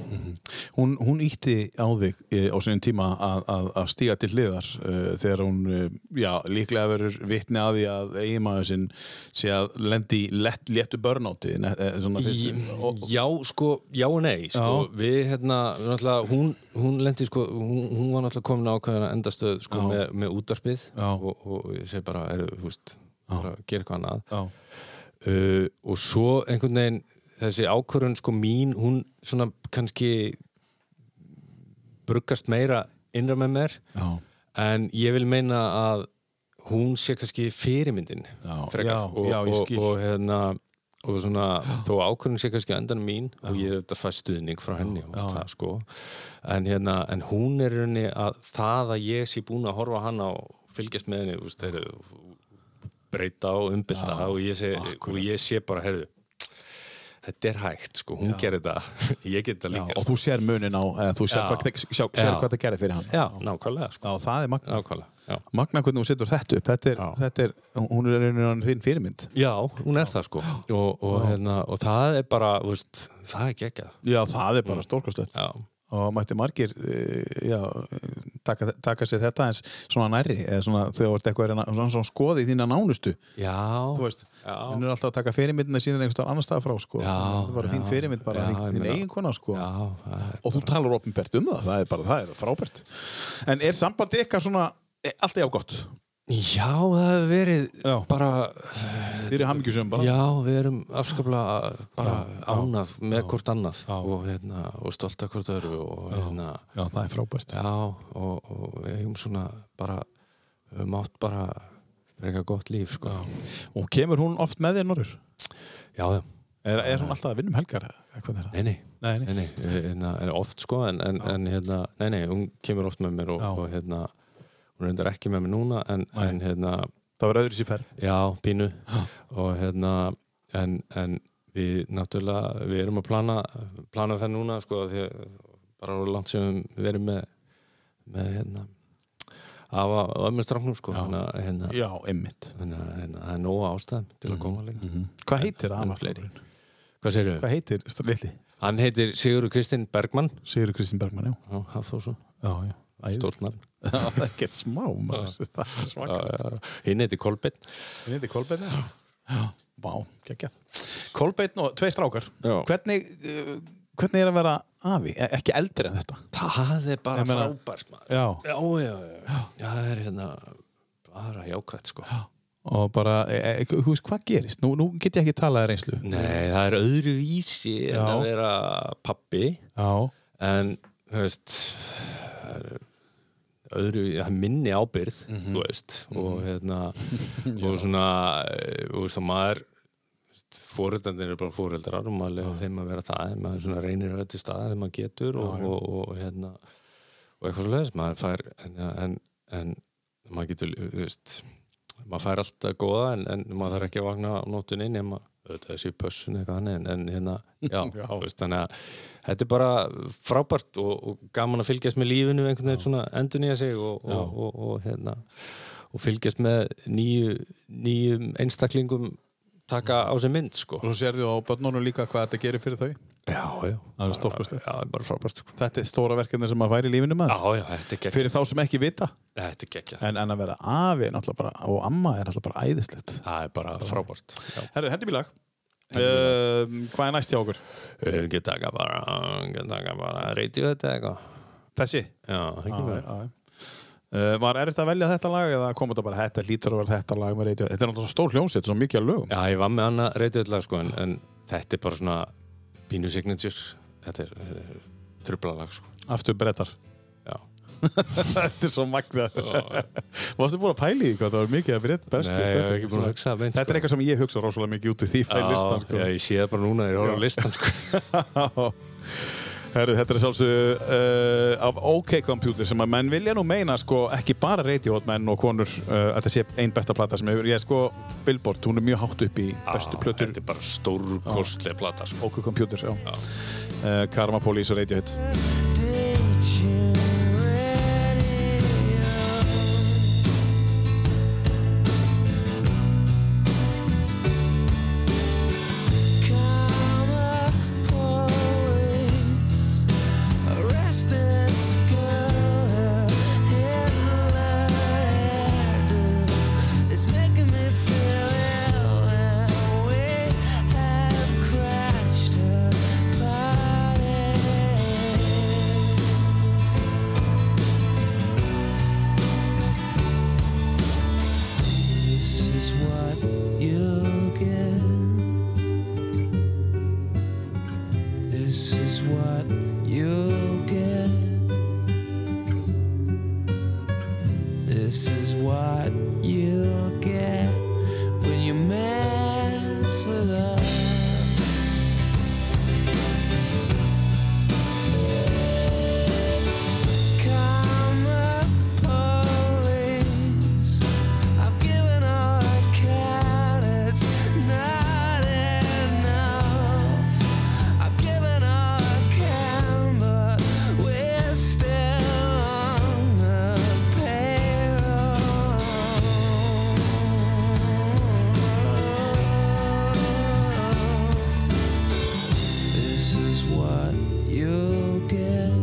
Hún, hún ítti á þig eh, á sinni tíma að, að, að stíga til hliðar uh, þegar hún, uh, já, líklega verður vitni að því að eiginmaður sinn sé að lendi í lett, léttu börnáti svona
Í-
fyrst og,
Já, sko, já og nei sko,
Já.
Við, hérna, náttúrulega hún, hún lendi, sko, hún, hún var náttúrulega komin ákveðina endastöð, sko,
Já.
með, með útarpið
Já.
og, og ég segi bara, er, þú veist bara gera eitthvað annað
Já,
uh, og svo einhvern veginn þessi ákvörðun, sko, mín hún svona kannski bruggast meira innra með mér
já,
en ég vil meina að hún sé kannski fyrirmyndin
Já,
frekar.
já,
og,
já, ég
og,
skil.
og hérna og svona, þó ákvörðin sé kannski á endanum mín og ég er þetta fæst stuðning frá henni og allt það sko en, hérna, en hún er í rauninni að það að ég sé búin að horfa á hana og fylgjast með henni úst, heru, breyta og umbylta og, ég sé, og ég sé bara, heyrðu þetta er hægt sko, hún gerir þetta ég get þetta
já,
líka sko.
og þú sér munin á, eh, þú sér
Já.
hvað, sjá, sér
Já.
hvað það gerir fyrir hann
já, nákvæmlega sko,
Já, það er magna,
nákvæmlega já.
magna hvernig hún setur þetta upp þetta er,
Já.
þetta er hún er einhvern veginn þín fyrirmynd
Já, hún er það sko og, og, hérna, og það er bara, þú veist, það er geggjað
Já, það er bara stórkastlegt
Já,
og mætti margir eh, já, eh, taka, taka sér þetta eins svona nærri, eða svona þegar þú ert eitthvað að reyna- svona, svona skoði þína nánustu
já,
þú veist,
Já.
hún er alltaf að taka fyrirmyndina síðan einhvers staðar annar stað frá sko.
Já,
það er bara
já.
þín fyrirmynd, bara
Já,
þín,
ég
þín
meina-
eigin kona sko.
já það er-
og þú talar opinbert um það, það er bara það er frábært en er sambandi ykkar svona er allt í á gott,
já, það hefur verið
Já.
bara,
þið eru hamingjusum bara
já, við erum afskaplega bara ánað með hvort annað og, hérna, og stolt af hvort öðru og hérna,
Já, það er frábært
já, og, og við hefum svona bara, við höfum átt bara frekar gott líf, sko
og kemur hún oft með þér norður?
Já, já,
Er, er hún alltaf að vinna um helgar? eða hvernig er það?
nei, nei
Nei, nei.
Nei, nei, hérna, en oft sko en, en, en hérna, nei, nei, hún kemur oft með mér og,
Já.
og hérna, hún reyndar ekki með mér núna en, en hérna,
það var öðru sér ferð
já, pínu og hérna, en, en við náttúrulega, við erum að plana plana það núna sko því, að bara voru langt sem við erum með með hérna af að ömmur strafnum sko hérna, hérna,
Já, einmitt
hérna, hérna, það er nóga ástæðum til að koma líka
Hvað heitir
En
aðvarslókurinn?
fleiri. Mm. Hvað segirðu?
Hvað heitir st- litli?
Hann heitir Sigurður Kristinn Bergmann
Sigur Kristinn Bergmann, já.
Já, Hafþórsson,
Já, já. Æður.
stórt nafn
Það er ekkert smá, maður. Það er svakalegt.
hinn heiti Kolbeinn
Hinn heiti Kolbeinn, já. Já. Vá, geggjað. Kolbeinn og tvei strákar.
Já.
Hvernig, uh, hvernig er að vera afi? E ekki eldri en þetta.
það er bara
Ég meina-
frábært maður
Já.
já, já, já, já, það er hérna bara jákvæmt sko
Og bara, e e hú veist, hvað gerist? Nú, nú get ég ekki talað þér einslu.
nei, það er öðru vísi en
Já.
að vera pappi
Já.
en, þú veist það er öðru, það er minni ábyrð þú veist og hérna og svona, eh, þú veist að maður fóreldarnir eru bara fóreldrar og maður leiður þeim að vera það en maður svona reynir að vera til staðar þegar maður getur og, og, og, hérna og eitthvað svo leiðis, maður fær en, en, en maður getur, þú veist maður fær alltaf góða en, en maður þarf ekki að vakna á nótunni nema auðvitað þessi pössun eitthvað hann en, en hérna, já, þú veist, þannig að þetta er bara frábært og, og gaman að fylgjast með lífinu einhvern veginn svona endur nýja sig og, og, og, og, hérna og fylgjast með nýju, nýjum einstaklingum taka á sig mynd sko
Og svo sérðu á börnunum líka hvað þetta gerir fyrir þau.
já, já,
Það er stórkostlegt.
já, það er bara frábært sko
Þetta er stóra verkefni sem að væri í lífinu maður.
já, já, þetta er geggjað
Fyrir þá sem ekki vita.
þetta er geggjað,
En, en að vera afi er náttúrulega bara, og amma er náttúrulega bara æðislegt.
það er bara frábært já.
Herðu, hendi mér lag. Uh, hvað er næst hjá okkur?
við höfum ekki taka bara við getum taka bara reytið þetta eitthvað
Þessi? Ah,
já, ekki
Já,
með
já, já. Uh, var erfitt að velja þetta lag eða kom þetta bara þetta hlýtur að vera þetta lag með Radiohead þetta er náttúrulega stór hljómsveit, svo mikið að lögum
Já, ég var með annað reytiðlega sko en, en þetta er bara svona pínu signature þetta er, þetta er trublalag sko
aftur brettar,
Já,
þetta er svo magnað varstu búin að pæli því hvað það var mikið að brett
Nei, ég hef ekki búin að hugsa það meint
þetta er eitthvað sem ég hugsa rosalega mikið út í því fæl listan sko.
Já, ég sé það bara núna, þegar ég horf á listan sko
Herru, þetta er sjálfsög uh, af OK Computer sem að menn vilja nú meina sko ekki bara Radiohead menn og konur uh, að það sé einn besta plata sem hefur, ég sko Billboard, hún er mjög hátt upp í bestu plötur
Þetta er bara stórkostlega plata sko
OK Computer, já, Uh, Karma Police og Radiohead
It's making me feel ill, and we have crashed a party. This is what you get. This is what you get. This is what you get when you mess with us. Karma police. I've given all I can. It's not enough. I've given all I can, but we're still on the payroll. This is what you get.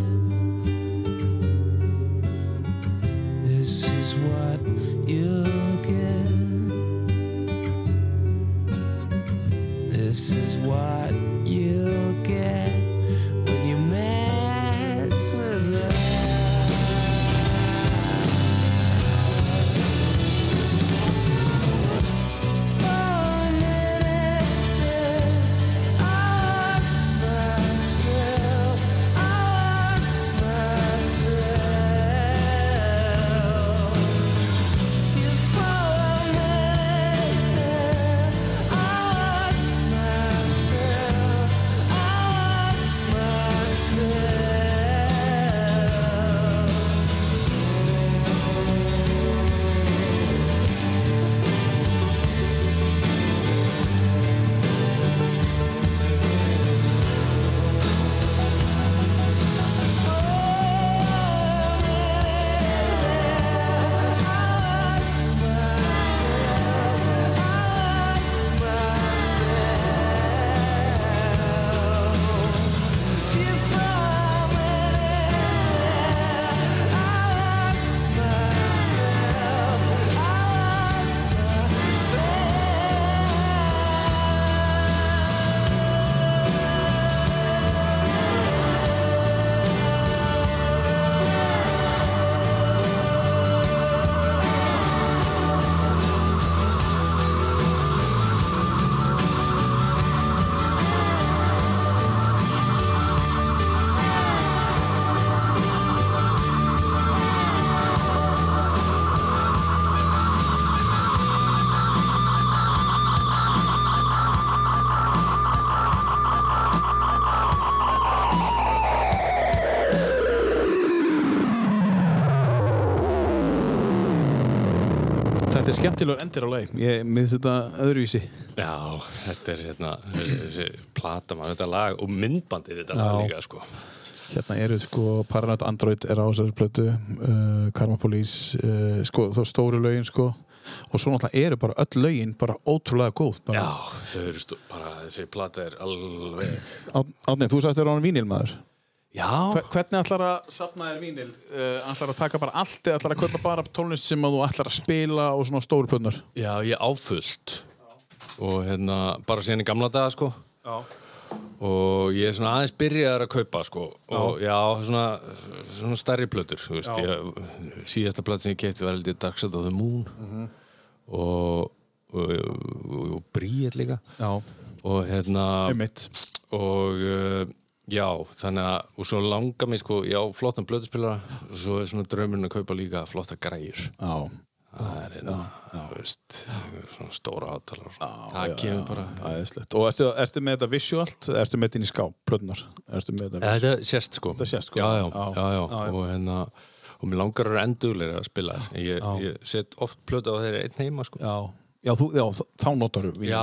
This is what you get. This is what you get when you mess with us. For a minute there, I lost myself. I lost myself. For a minute there, I lost myself.
Þetta er skemmtilegur endir á lagi. Ég miðst þetta öðruvísi.
Já, þetta er hérna þessi, þessi plata maður, þetta lag og myndbandið við þetta lag
Já.
líka sko
Hérna eru sko Paranoid Android er á þessari plötu, uh, Karma Police, uh, sko þá stóru lögin sko og svo náttúrulega eru bara öll lögin bara ótrúlega góð.
Já,
Bara.
þau eru stú, bara, þessi plata er alveg
Átni, þú sagðist þér á hann vínil maður.
Já,
Hver- Hvernig ætlar að safna þér vínil? Uh, ætlar að taka bara allt eða ætlar að kaupa bara tónlist sem að þú ætlar að spila og svona stóru plötunar?
já ég áfullt og hérna, bara síðan í gamla daga sko
Já.
og ég er svona aðeins byrjaður að kaupa sko og já, svona, svona stærri plötur þú veist, ég, síðasta plöt sem ég kefti var heldur Dark Side of the Moon og, og, og, og Bríet líka
Já,
og hérna
einmitt.
og uh, já, þannig að og svo langar mér sko, já, flottan blöðspilara og svo er svona draumurinn að kaupa líka flotta græjur
Já,
það er hérna, þú veist svona stóra átalar það kemur bara
aðeinslegt. Og ertu, ertu með þetta visualt? Ertu með þetta inn í skáp, plötunar? Ertu með þetta?
þetta sést sko,
Þetta sést, sko.
Já, já,
Já.
já, já.
Já, já.
og hérna og mér langar að vera endurlega að spila þær. ég, ég set oft plötu á þeirra einn heima sko. já,
Já, já, þú, já þ- þá notar þú
já,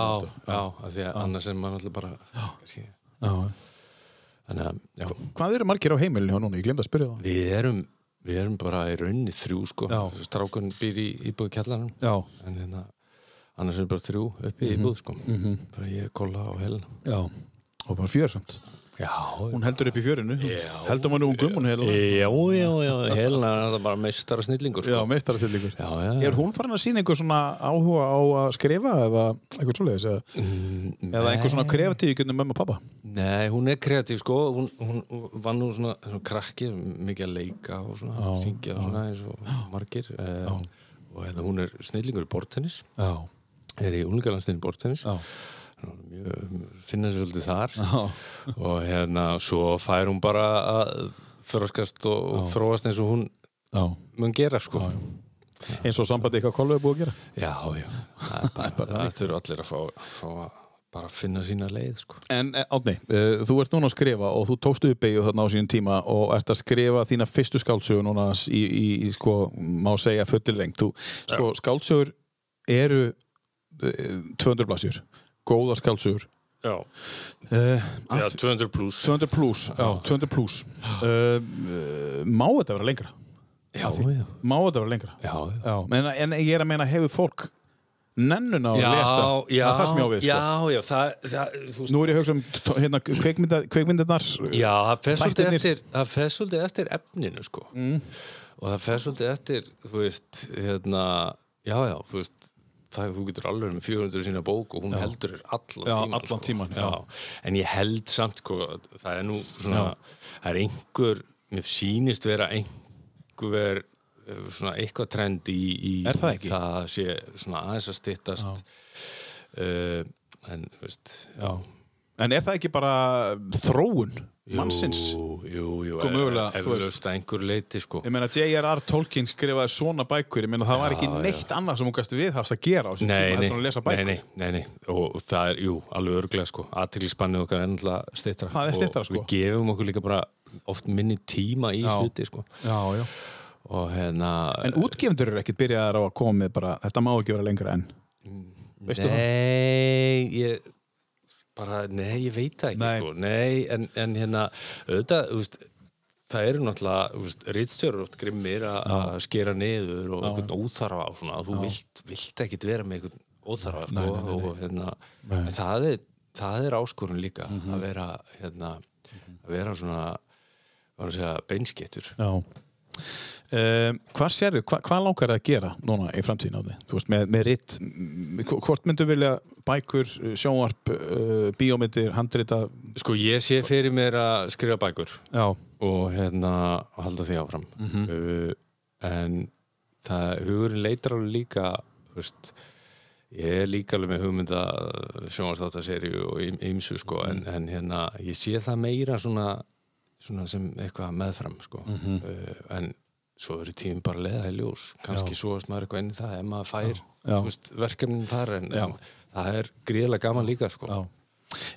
af því að annars er maður alltaf bara kannski-
já.
þannig að, já
Hvað eru margir á heimilinu hjá núna? Ég glemt að spyrja það
Við erum, við erum bara í rauninni þrjú sko,
Já.
strákun býr í íbúðu kjallanum
Já,
en hérna, annars erum bara þrjú upp í íbúð sko, bara ég, Kolla og Helena
já Og bara fjörsamt
Já,
Hún heldur upp í fjörinu Heldur um mann ungum, hún heldur
já, já, já, Helena er þetta bara meistara snillingur
Já,
sko
meistarastillingur
Já, já, já.
Er hún farin að sína einhver svona áhuga á að skrifa eða eitthvað svoleiðis eða, eða einhver svona kreatíu gennum mömmu og pappa
Nei, hún er kreatív sko, hún, hún hún vann nú svona, svona krakki, mikið að leika og svona, syngja og svona eins og margir eh, og hérna, hún er snillingur í bortennis,
Já,
er í unlingalandstinni bortennis
já,
mjög- finna sér svolítið þar
já,
og hérna svo fær hún bara að þroskast og, og þróast eins og hún
já.
mun gera sko já,
Eins og sambandi eitthvað kollu er búið að gera
já, það er bara, það þurfa allir að fá, fá að bara finna sína leið sko
En eh, Árni, eh, þú ert núna að skrifa og þú tókstu upp beigju þarna á sínum tíma og ert að skrifa þína fyrstu skáldsögu núna s- í, í, í sko, má segja fullir lengt. Þú, sko, skáldsögur eru eh, 200 blassjur, góða skáldsögur.
já,
Uh,
já 200 pluss
200 pluss, já, 200 pluss. Uh, má þetta vera lengra?
já, já,
Má þetta vera lengra?
já,
Já, en, en ég er að meina, hefur fólk nennuna að
já,
lesa?
já,
Það er það sem ég á við, sko.
já, já, það, það, þú veist,
Nú er ég að hugsa um t- hérna, kveikmynda, kveikmyndirnar.
já, það fer svolítið
Þættirnir.
eftir, það fer svolítið eftir efninu, sko,
Mm.
og það fer svolítið eftir, þú veist, hérna, já, já, þú veist, það, þú getur alveg með 400 sína bók og hún heldur þér allan
Já,
tíman,
allan tímann, já.
en ég held samt, sko, að það er nú svona, það er einhver, mér sýnist vera einhver, eh, svona eitthvað trend í, í
Er það ekki?
það sé svona aðeins að styttast, uh, en, þú veist,
Já. En er það ekki bara þróun mannsins?
Jú, jú, jú
Sko, mögulega,
ef
þú
við
veist.
löst að einhver leiti sko
Ég meina J.R.R. Tolkien skrifaði svona bækur Ég meina það var ekki neitt annað sem hún gæst viðhafst að gera á þessum
Nei,
tíma
nei,
heldur en að lesa
nei,
bækur
nei, nei, nei, og það er, jú, alveg örglega sko, aðteglisspannið okkar er ennlega stittra
Það er styttra, sko.
Við gefum okkur líka bara oft minni tíma í
Já.
hluti sko
Já, já.
Og hérna,
En útgefendur eru ekkit byrjaðar á að koma með bara Þetta má ekki vera lengra en
Mm,
veistu það?
nei, ég, bara, nei, ég veit það ekki
Nei.
sko Nei, en, en hérna, auðvitað, þú veist, það eru náttúrulega, þú veist, rítstjórar oft grimmir að- að skera niður og einhvern óþarfa á svona, þú vilt, vilt ekkit vera með einhvern óþarfa sko, og hérna, en það er, það er áskorun líka
Mhm.
að vera hérna, að vera svona var að segja beinskettur
Já um, Hvað sérðu, hva, hvað langar það að gera núna í framtíðin á því? Þú veist, með, með ritt m- hv- Hvort myndu vilja bækur, eh, sjónvarp, uh, bíómyndir, handrita
sko ég sé fyrir mér að skrifa bækur
Já,
og hérna halda því áfram
Mhm.
uh, en það hugurinn leitar alveg líka þú veist, ég er líka alveg með hugmynda sjónvarsþáttaserju og ým- ýmsu sko,
Mhm.
en, en hérna ég sé það meira svona, svona sem eitthvað meðfram sko.
Mhm.
uh, en svo eru tíminn bara að leiða í ljós kannski svo maður eitthvað inn í það ef maður fær
Já.
þú veist, verkefnin þar en,
Já.
en það er gríðlega gaman líka sko.
já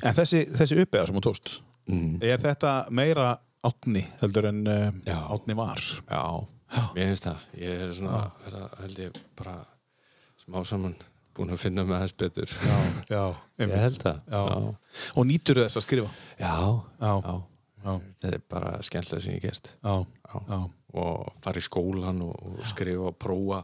En þessi, þessi uppeða sem hún tóst
Mm.
Er þetta meira átni heldur en uh,
Já.
átni var?
Já, mér finnst það. Ég er svona, vera, held ég bara smá saman búin að finna mig aðeins betur
Já,
ég
einmitt.
held það
Já.
já,
Og nýtur þess að skrifa?
já,
Já.
já.
Já,
þetta er bara skemmtilega sem ég hef gert
já,
Já.
já.
og fara í skólan og, og skrifa og prófa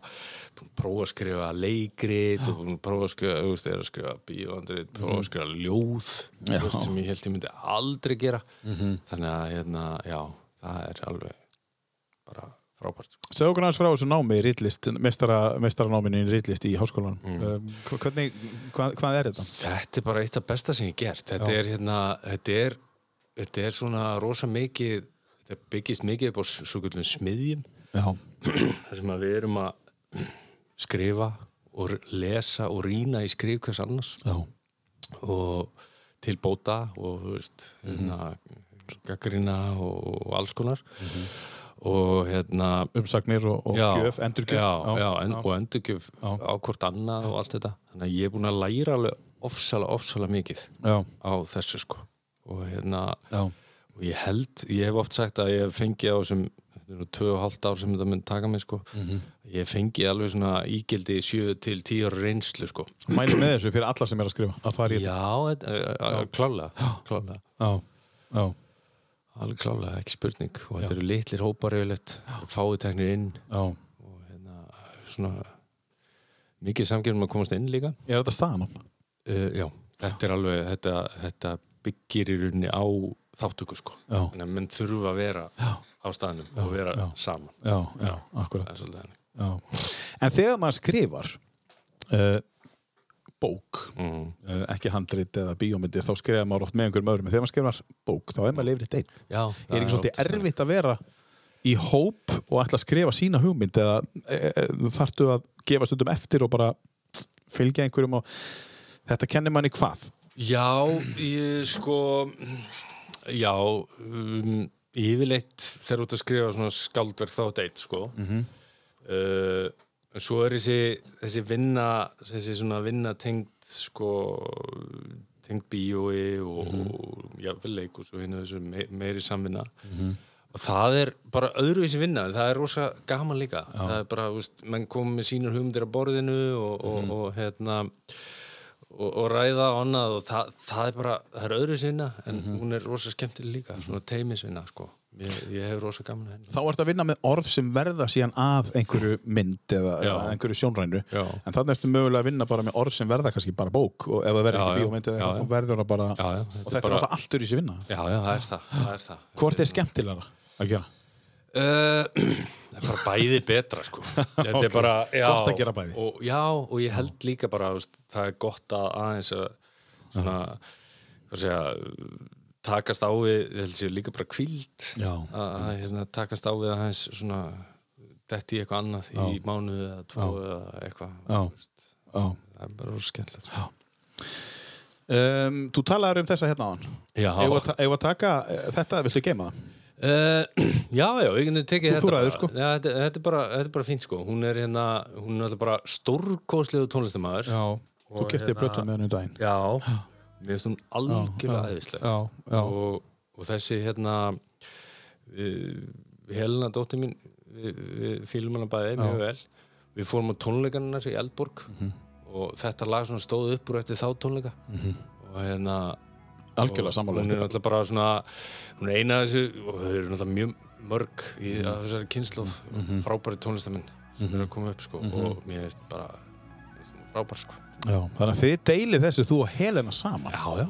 prófa að skrifa leikrit og búin að prófa að skrifa, þú veist, er að skrifa bíóandrit, prófa að skrifa ljóð þú
Mhm. Já. Mhm.
veist, sem ég held ég myndi aldrei gera þannig að hérna, já, það er alveg bara frábært sko.
Segðu okkur aðeins frá þessu námi í ritlist, mestara, mestaranáminu í ritlist í háskólan. Mm. Hvernig, hvað, hvað er þetta?
þetta er bara eitt af besta sem ég hef gert þetta er hérna, þetta er þetta er svona rosa mikið þetta byggist mikið upp á s- svo gullum smiðjum
Já,
þar sem að við erum að skrifa og r- lesa og rýna í skrif hvers annars
já,
og til bóta og þú veist hérna, gaggrina og, og alls konar og hérna
umsagnir og, Mhm. og gjöf, endurgjöf.
já, já, en, og endurgjöf
Já.
á hvort annað og allt þetta þannig að ég er búin að læra alveg ofsalega, ofsalega mikið
já,
á þessu sko og hérna
já,
og ég held, ég hef oft sagt að ég hef fengið á þessum, þetta eru tvö og hálft ár sem þetta mun taka mig sko ég hef fengið alveg svona ígildi í sjö til tíu ára reynslu sko
Mæli með þessu fyrir alla sem er að skrifa, að fara í þetta.
já, þetta- eh, eh, klálega klálega,
Já, já,
alveg klálega, ekki spurning og þetta eru litlir hópar yfirleitt fáuteknir inn
já.
og hérna, svona mikið samgjörnum að komast inn líka
Er þetta staðanám?
uh, já, þetta er alveg þetta, þetta byggir í rauninni á þáttöku sko,
Já.
þannig að menn þurfa að vera á staðnum og vera saman
Já, já, akkurat.
Það er svolítið þannig.
Já. En þegar maður skrifar uh, bók,
Mm.
uh, ekki handrit eða bíómyndir, þá skrifa maður oft með einhverjum öðrum. En þegar maður skrifar bók, þá er maður leifrið einn.
Já,
er ekki svolítið erfitt að vera í hóp og ætla að skrifa sína hugmynd eða e, e, þarftu að gefa stundum eftir og bara fylgja einhverjum og þetta kennir manni hvað
Já, ég sko Já um, Yfirleitt þegar út að skrifa svona skaldverk þá deitt sko mm Eh, En svo er þessi, þessi vinna þessi svona vinna tengd sko tengd bíói og, mm -hmm. og jafnvel leikus og hérna þessu me, meiri samvinna og það er bara öðruvísi vinna en það er rosa gaman líka það er bara, þú veist, menn kom með sínur hugmyndir á borðinu og, og, og hérna og, og ræða og annað og það, það er bara, það er öðru sinna en hún er rosa skemmtileg líka, svona teimisvinna sko, ég, ég hef rosa gaman að henni
þá ertu að vinna með orð sem verða síðan að einhverju mynd eða,
Já.
eða einhverju sjónrænu
Já.
en þannig ertu mögulega að vinna bara með orð sem verða kannski bara bók og ef það verður
Já,
ekki
já.
bíómynd eða
Já,
eitthvað,
já.
þá verður það bara
Já, já,
og
þetta
þetta
er bara-
er alltaf alltur í sér vinna
Já, já, það er það, það, er það.
hvort er skemmtilega að gera?
Uh, það er bara bæði betra sko. Þetta
Ok,
er bara já,
gott að gera bæði.
og, Já, og ég held líka bara þú veist, það er gott að aðeins að svona, hvað segja takast á við, ég held sér líka bara kvíld
Já,
að að,
Mm.
hérna, takast á við aðeins svona detti í eitthvað annað í mánuði eða tvo eða eitthvað
Já.
þú veist.
Já.
það er bara rosa skemmtilegt sko.
Um, þú talaður um þessa hérna á hann
Já,
Ef að, ta- eigum að taka eh, þetta, viltu geima það?
Uh, já, já, við getum tekið
Þú-
þetta
þú ræður,
bara.
sko.
já, þetta, þetta, er bara, þetta er bara fínt sko Hún er hérna, hún er alltaf bara stórkóslegu tónlistamæður
Þú
Og
kefti
hérna-
plötu með henni í daginn
Já, mér finnst hún algjörlega æðislega
Já, já,
og, og þessi hérna uh, Helena dóttir mín við, við fílum hana bæði mjög vel Við fórum á tónleikannar í Eldborg
Mhm.
og þetta lag svona stóð upp úr eftir þá tónleika
Mhm.
og hérna
algjörlega sammála
hún er náttúrulega bara svona hún er eina af þessu og þau eru náttúrulega mjög mörg í mm. þessari kynnslóð frábæri tónlistamenn sem eru að koma upp sko og mér veist bara mér finnst hún frábær sko
Já, þannig að þið deilið þessu þú og Helena saman
já já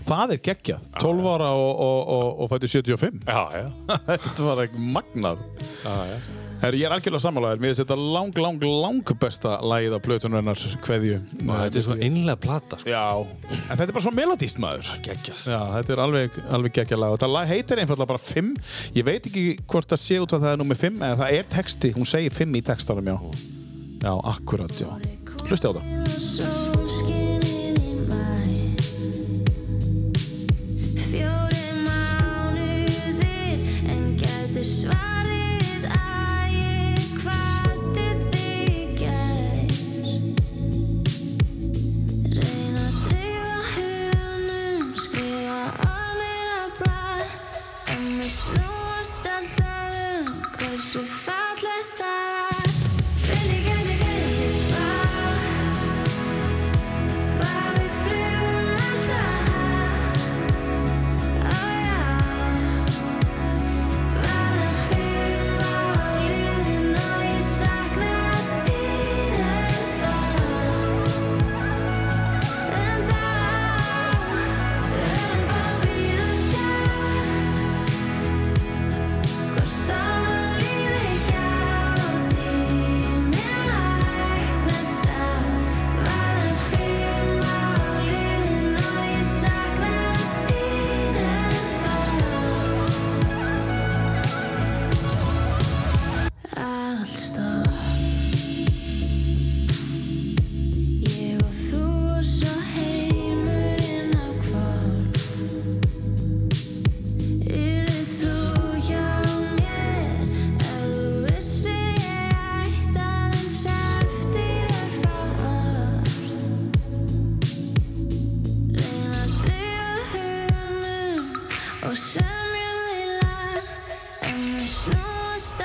Það er geggjað, 12 ára og, og, og, og fættu 75
já já,
Þetta var ekki magnað
já, já.
Herri, ég er algjörlega sammála þér Mér finnst þetta lang, lang, lang besta lagið á plötunarnar Kveðju
og þetta er svo einlega plata sko
Já, en þetta er bara svo melodíst maður
geggjað
Já, þetta er alveg, alveg geggja lag og þetta lag heitir einfallega bara 5 ég veit ekki hvort það sé út að það er nummer 5 eða það er texti, hún segir 5 í textanum já, já, akkurat, já hlusti á það
Svarið að ég hvati þig gær Reyna að dreifa huganum, skrifa á mér að blað En við snúast alltaf um hversu fallegt það var Finn ég gæti gæti svar
um um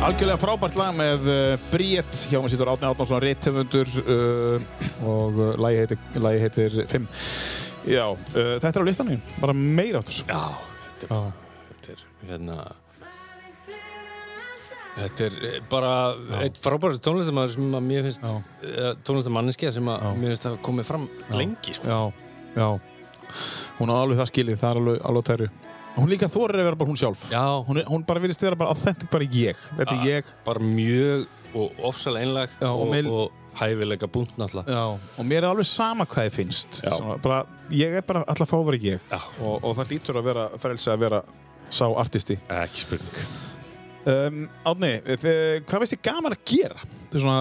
Algjörlega frábært lag með uh, Bríett, hjá mér sýtur Átni Átnánsson, réttöfundur uh, og uh, lagi heitir, lagi heitir 5. Já, uh, þetta er á listanum, mínum, bara meira áttur.
Já, þetta er, þetta er, hérna, þetta er eh, bara eitt frábæri tónlistamæður sem að mér finnst,
Já.
eh, tónlistamanniski sem að
Já.
mér finnst að komið fram lengi, sko.
Já, já. Hún á alveg það skilið, það er alveg, alveg tæru. Hún líka þorir að vera bara hún sjálf.
Já, hún
Hún, er, hún bara virðist vera bara authentic, bara ég. Þetta er ég.
er bara mjög og ofsal einlag
Já, og
og,
meil-
og hæfilega búnt náttúrulega.
Já, og mér er alveg sama hvað þið finnst.
Já.
Svona, bara, ég er bara alltaf að fá að vera ég.
Já.
Og, og það lítur að vera frelsi að vera sá artisti.
Eh, Ekki spurning.
Um, Átni, þið, hvað veist þið gaman að gera? Þið er svona,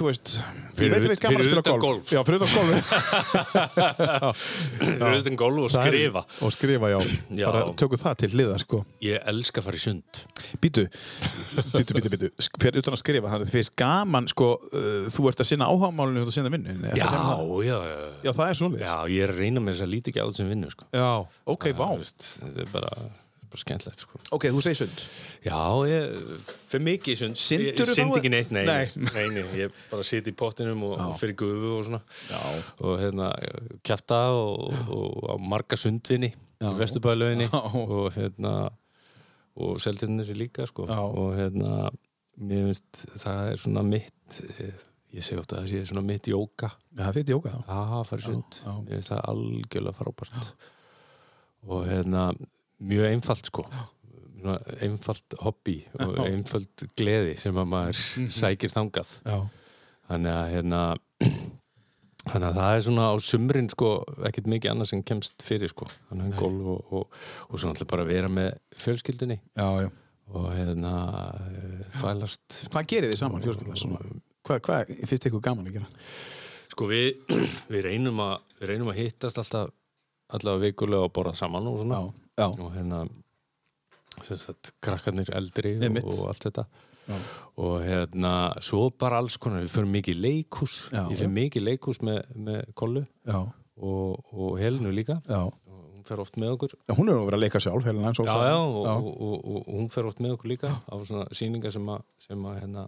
þú veist, ég
Fyrir
veit að
ut-
við erum gaman að
fyrir
spila
utan
golf.
golf.
Já, fyrir utan golf.
Rauðin gólf og
Það er-
skrifa.
Og skrifa, já.
Já.
Bara tökum það til liða, sko.
Ég elska að fara í sund.
Býtu, býtu, býtu, býtu. Sk- Fyrir utan að skrifa, þannig að þið finnst gaman, sko, uh, þú ert að sinna áhagamálinu og þú ert að sinna vinnunni.
Já, já, já.
Já, það er svolítið.
Já, ég er að reyna með þess að líti ekki á þetta sem vinnu, sko.
Já, ok, vá.
Þú veist, Þetta er bara, bara skemmtlegt, sko.
Ok, þú segir sund.
Já, ég, fyrir mikið sund
Syndirðu
ég, ég
þá?
synd ekki neitt, nei,
Nei.
nei. nei Ég bara siti í pottinum og, og fyrir gufu og svona
Já.
og hérna, kjæfta og, og á marga sundvinni í Vesturbæðlauginni og hérna og seltinni sér líka, sko
Já.
og hérna, mér finnst það er svona mitt eh, ég segi ofta að það sé svona mitt jóka
Já, þið er jóka þá.
Já, farið sund.
já.
Ég finnst það algjörlega frábært. Og hérna, mjög einfalt sko. Svona Einfalt hobby og einfalt gleði sem að maður
Mhm.
sækir þangað.
Já.
Þannig að hérna, þannig að það er svona á sumrin sko, ekkert mikið annað sem kemst fyrir sko. Þannig að golf og, og, og svona alltaf bara að vera með fjölskyldinni
Já, já.
og hérna eh, þvælast
Hvað gerir þið saman, fjölskylda? Svona, hvað, hvað finnst ykkur gaman að gera?
Sko við, við, reynum að, við reynum að hittast alltaf allavega vikulega og borða saman og svona
já.
og hérna sem sagt, krakkarnir eldri
Einmitt.
og, og allt þetta
Já.
og hérna svo bara alls konar við fyrir mikið í leikhús
Já,
ég
já.
fyrir mikið í leikhús með, með kollu
Já,
og, og helinu líka
já.
og hún fer oft með okkur
Já, Hún er að vera að leika sjálf, Helena, eins og
já,
sagði.
já, og, Og, og, og, og hún fer oft með okkur líka á svona sýningar sem að, sem að, hérna,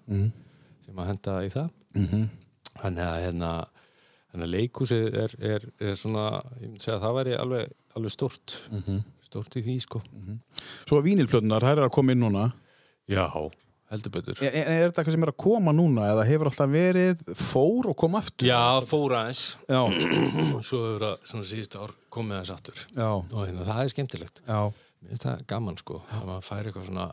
sem að henda í það -hmm. þannig að hérna, hérna leikhúsið er, er, er svona ég myndi segja að það væri alveg, alveg stort -hmm. stort í því sko
Svo að vínilplötunar, þær eru að koma inn núna.
já, heldur betur
Er, E, er, er þetta eitthvað sem er að koma núna eða hefur alltaf verið fór og kom aftur?
Já, fór aðeins
Já,
og svo hefur það svona síðustu ár komið aðeins aftur
já,
og hérna, það er skemmtilegt
já.
Mér finnst það gaman sko að maður fær eitthvað svona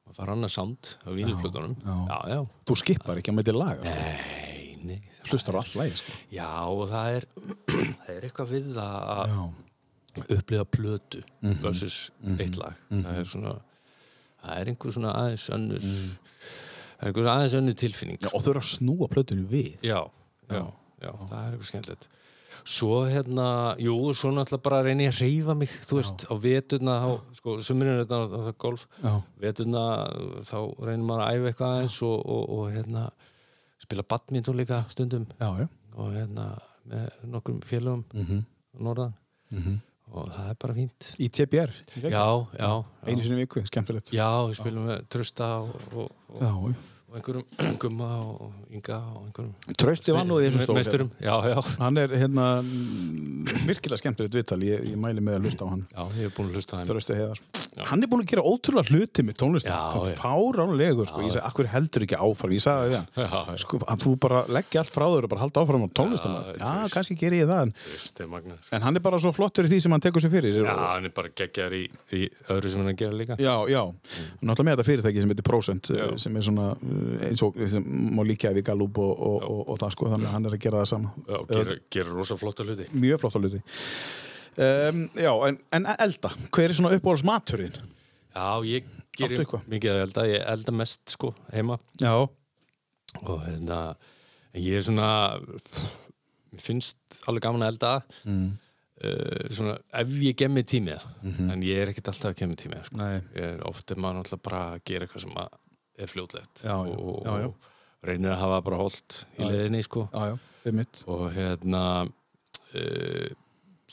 maður fær annað sand á vínilplötunum Já, já,
Þú skipar ekki að með til laga.
Eh.
sko.
eini
Hlustar á all lagi, sko.
Já, og það er það er eitthvað við það að
Já,
upplifa plötu versus eitt lag það er svona það er einhver svona aðeins önnur það er einhver aðeins önnur tilfinning
og þau eru að snúa plötunum við.
já, já, já, það er eitthvað skemmtilegt svo hérna, jú, svo náttúrulega bara reyni ég að reyfa mig, þú veist, á veturna þá, sko, sumurinn er þetta það er golf
Já.
veturna, þá reynir maður að æfa eitthvað aðeins og, og, og hérna spila badminton líka stundum
Já, já.
og hérna með nokkrum félögum mm -hmm. norðan -hmm. og það er bara fínt
Í TBR.
já, já, já,
Einu sinni í viku, skemmtilegt.
já við spilum með Trösta og, og, og,
Já, já.
og einhverjum gumma og Inga og einhverjum
Trösti var nú í þessum
Me-
stóru.
meisturum, já, já
Hann er hérna mm, virkilega skemmtilegt viðtal, ég, ég mæli með að hlusta á hann.
Já, ég hef búin að hlusta á þeim
Þrösti Heiðar. Hann er búinn að gera ótrúlega hluti með tónlistin.
Já,
Það
já.
er fáránlegur, sko. Ég segi, akkur heldur ekki áfram? Ég sagði það við
Já,
hann.
já.
Sko, að þú bara leggja allt frá þér og bara halda áfram á tónlistin.
Já,
Já,
þú veist.
kannski gerir ég það. En,
Kristi Magnus
en hann er bara svo flottur í því sem hann tekur sér fyrir.
Já, hann er bara geggjar í, í öðru sem hann er að gera líka
Já, já.
Mm.
Náttúrulega með þetta fyrirtæki sem heitir Prosent, eh, sem er svona eh, eins og sem má líka við Gallup og, og, og, og það, sko. Þannig að hann er að gera það sama.
Já, gera, gera rosa flotta hluti
Mjög flott á hluti. Um, já, en, en elda, hver er svona uppáhalds maturinn?
Já, ég
Áttu
gerir
eitthvað?
mikið að elda Ég elda mest sko heima
Já,
og hérna en ég er svona mér finnst alveg gaman að elda mm. svona ef ég gemmi tími mm
Mhm.
-hmm. en ég er ekkert alltaf að gemmi tími sko.
Nei.
ég er oft er maður náttúrulega bara að gera eitthvað sem að er fljótlegt
Já, já.
og,
Já, já.
og reynir að hafa bara holdt í leðinni sko
já, já, við mitt.
og hérna uh,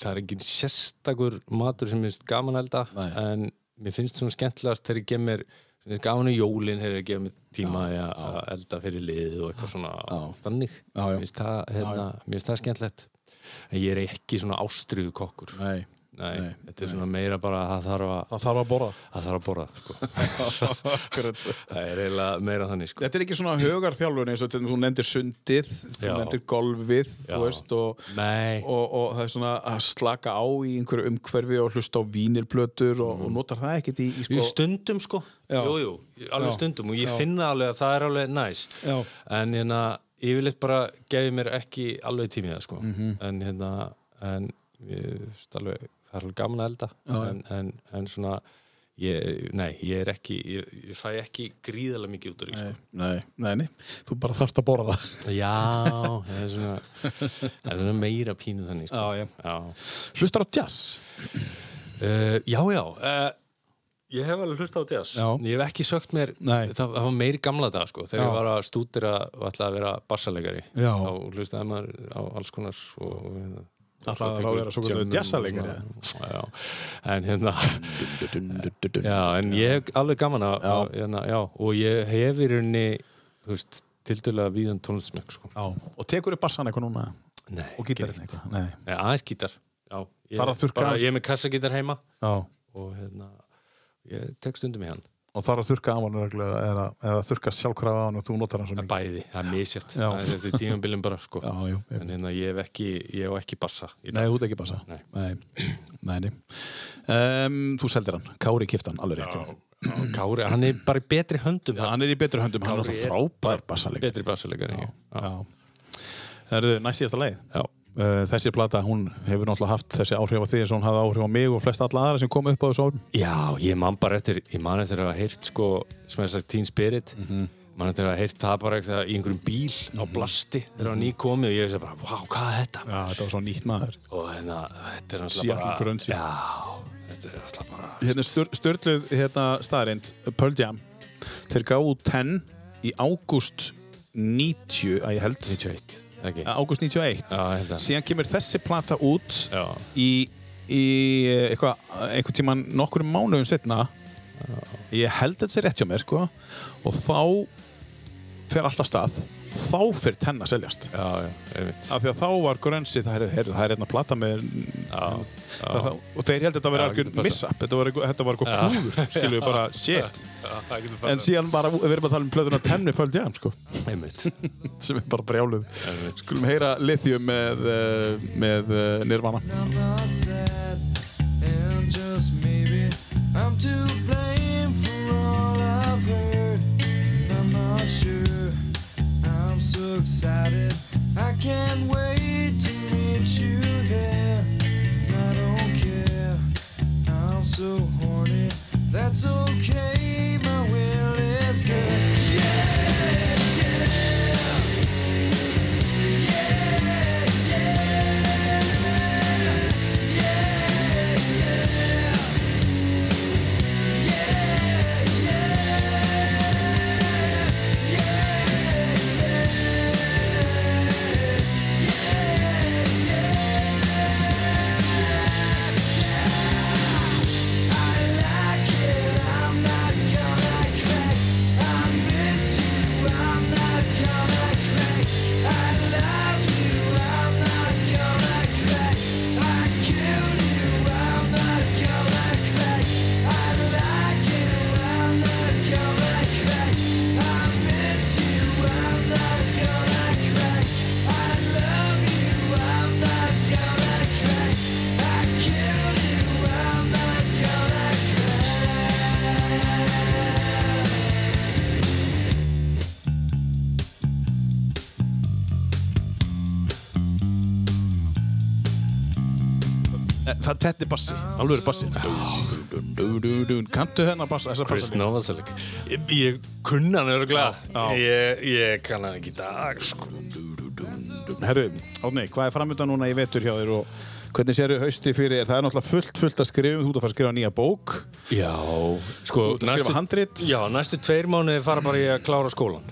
það er engin sérstakur matur sem mér finnst gaman að elda
Nei.
en mér finnst svona skemmtilegast þegar ég gem mér Þetta er gaman í jólin hefur gefið mér tíma í að að elda fyrir lið og eitthvað svona þannig.
Já, já.
Mér finnst það, hérna, mér finnst það skemmtilegt. En ég er ekki svona ástriðu kokkur. Nei,
Nei. nei,
þetta er svona meira bara að það þarf að,
Það þarf að borða.
það þarf að borða, sko. það er eiginlega meira þannig, sko.
Þetta er ekki svona högarþjálfun eins og til dæmis, þú nefndir sundið, þú
Já.
nefndir golfið, þú
Já.
veist, og,
Nei,
og, og það er svona að slaka á í einhverju umhverfi og hlusta á vínilplötur og, og notar það ekkert í, í
Jú,
sko...
stundum sko
Já.
Jú, jú, alveg
Já.
stundum og ég
Já.
finna alveg að það er alveg næs
Já.
en hérna, yfirleitt bara gefi mér ekki alveg tími í það sko
Mhm.
en hérna, en ég, veist alveg, það er alveg gaman að elda en, en, en svona ég, nei, ég er ekki, ég, ég fæ ekki gríðarlega mikið út úr því sko.
Nei, nei, nei, þú bara þarft að borða.
Já, það er svona það er svona meira pínu þannig sko.
já.
Já.
Hlustar á jazz?
Uh,
Eh,
já, já uh, Ég hef alveg hlusta á jazz
Já.
Ég hef ekki sögt mér,
Nei.
það, það var meiri gamla dag sko, þegar
Já.
ég var að stúdira og ætlaði að vera bassalegari
Já.
þá hlustaði maður á alls konar og, og hérna
Ætlaðir að vera svokallaður
Djömmum og
jazzaleikari,
svona. Já, en hérna Já, en ég hef alveg gaman að já. Hérna, já, og ég hef í rauninni þú veist, tildulega víðan tónlismökk sko.
Já. Og tekur upp bassan eitthvað núna?
Nei,
Og gítarinn eitthvað? Nei.
Nei, aðeins gítar já, ég,
Þarf að þurrka
bara,
aðeins.
Ég er með kassagítar heima
Já.
og hérna, ég tek stundum í hann
Og þarf að þurrka afanur reglulega eða, eða þurrka sjálfkrafa afanur og þú notar hann svo mikið.
bæði, það er misjætt
Já.
þetta er tímanbílum bara sko.
Já, jú. ég-
en hérna ég hef ekki, ég hef ekki bassa
Nei,
í dag.
þú ert ekki bassa.
Nei.
Nei, nei. nei. Um, þú seldir hann, Kári kifti hann, alveg rétt. Já.
Kári, hann er bara í betri höndum
Já, hann er í betri höndum, hann er alltaf frábær bassalegri.
betri bassalegari já. Já.
Það eru næst síðasta leið.
Já.
Uh, þessi plata, hún hefur náttúrulega haft þessi áhrif á því eins og hún hafði áhrif á mig og flest alla aðra sem kom upp á þessu árum.
ég man bara eftir ég man eftir að hafa heyrt sko, sem er sagt Teen Spirit man eftir að hafa heyrt það bara eitthvað í einhverjum bíl á blasti þegar hann nýkomið og ég veist bara, wow, hvað er þetta
Já, þetta var svo nýtt maður.
og hérna, þetta er alltaf
Seattle
bara
Grunge.
já, þetta er alltaf bara
Hérna störtluð hérna, staðarind, Pearl Jam, þeir gáðu 10 í ágúst 90, að ég held,
91, ekki? Já, hérna,
ágúst 91.
ég held að
Síðan kemur þessi plata út
já,
í, í eh, eitthvað, einhvern tíman nokkur mánuðum setna ég held þetta sé rétt hjá mér sko og þá fer alltaf stað þá fer tenn að seljast
já, já, einmitt
af því að þá var grönsi það er, heyrðu, það er einna plata með já, það, og þeir held þetta að vera
Já, getur
algjör
passað.
missap þetta var eitthvað- þetta var eitthvað klúður skilum við bara shit en síðan bara við erum að tala um plöðuna tennu pöld jam sko
einmitt,
sem er bara brjáluð
einmitt.
skulum heyra lithium með, eh, með eh, Nirvana
I'm not sad, and just maybe I'm to blame for all I've heard. I'm not sure, I'm so excited. I can't wait to meet you there. I don't care, I'm so horny. That's okay, my will is good.
Eh, Það þetta er bassi, alveg er bassi Dú, dú, dú, Kanntu hennar bassa, þessa
Chris
bassa
Novoselic ég, ég kunna hann örgulega
Já.
ég, ég kann hann ekki í dag sko.
Herru, Árni, hvað er framöndan núna í vetur hjá þér og hvernig sérðu hausti fyrir þér? Það er náttúrulega fullt, fullt að skrifa, þú ert að fara að skrifa nýja bók
já, sko,
Þú ert að skrifa handrit
já, næstu tveir mánuði fara bara ég að klára skólan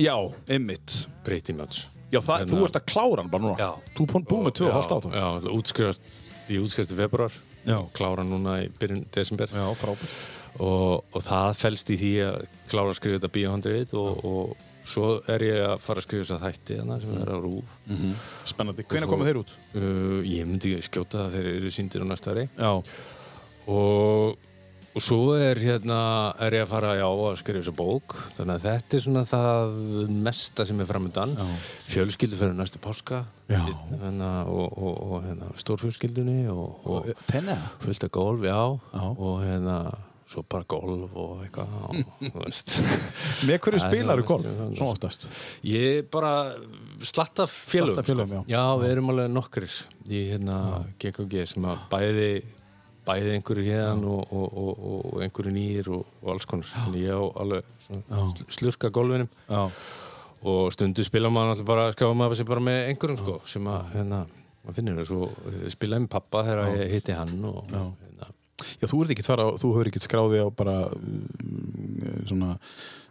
Já, einmitt
breyti mjög
Já, það, þú ert að klára hann bara núna
Já.
Þú er búin búin með tvö og hálft átum
já, útskrifast í útskrifast í februar
Já.
klára núna í byrjun desember
Já, frábært
og, og það felst í því að klára að skrifa þetta bíóhandrið og, og svo er ég að fara að skrifa þessa þætti hana sem er á rúf
Spennandi. Hvenær Mhm. koma þeir út?
uh, ég myndi skjóta að þeir eru síndir á næsta ári
Já.
og, og svo er hérna er ég að fara já, að skrifa þessa bók þannig að þetta er svona það mesta sem er framöndan fjölskyldu fyrir næstu páska
Já.
hérna, og, og, og hérna, stórfjölskyldunni og, og
Penna?
fullt af golf, já,
Já.
og hérna svo bara golf og eitthvað og, þú veist
Með hverju
Það er
spilaru
nú
golf?
veist, já,
Svo oftast.
ég bara sko. slatta félög
Slatta félögum, já.
við erum alveg nokkrir í hérna GKG sem að bæði bæði einhverju hérðan og, og, og, og einhverju nýjir og, og alls konar þannig ég á alveg svona
Já.
sl- slurka golfinum
Já.
og stundu spila maður alltaf bara skáfa maður sér bara með einhverjum sko sem að hérna maður finnir það svo eh, spilaði með pappa þegar ég hitti hann og hérna,
Já, þú ert ekkert fara, á- þú hefur ekkert skráði á bara mm, svona,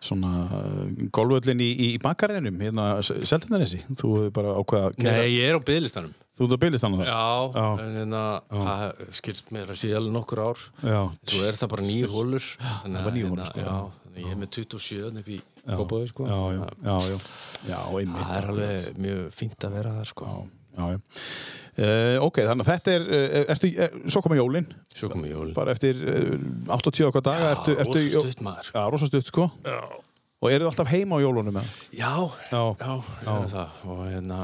svona uh, golföllin í, í, í bakkarðinum, hérna Seltjarnarnesi, þú hefur bara ákveða að gera-
Nei, ég er á byðlistanum
þú ert að bylist þannig það?
Já,
Já.
en hérna það skilst mér að sé alveg nokkur ár
Já.
Svo er það bara nýju hólur Þannig
það var níu holur, sko.
já, þannig að ég er með 27 upp í Kópaði sko
Já, já, já, já, já, einmitt.
Það er alveg mjög fínt að vera það sko
Já, já, já. Uh, ok, þannig að þetta er, uh, ertu, er, svo koma jólin,
Svo komið jól
bara eftir uh, 80 okkar daga,
Já,
ertu, ertu,
rosa stutt, maður.
Já, rosa stutt, sko. Já. Og eru alltaf heima á jólunum, eða?
Já,
Já,
já, já. það Og hérna,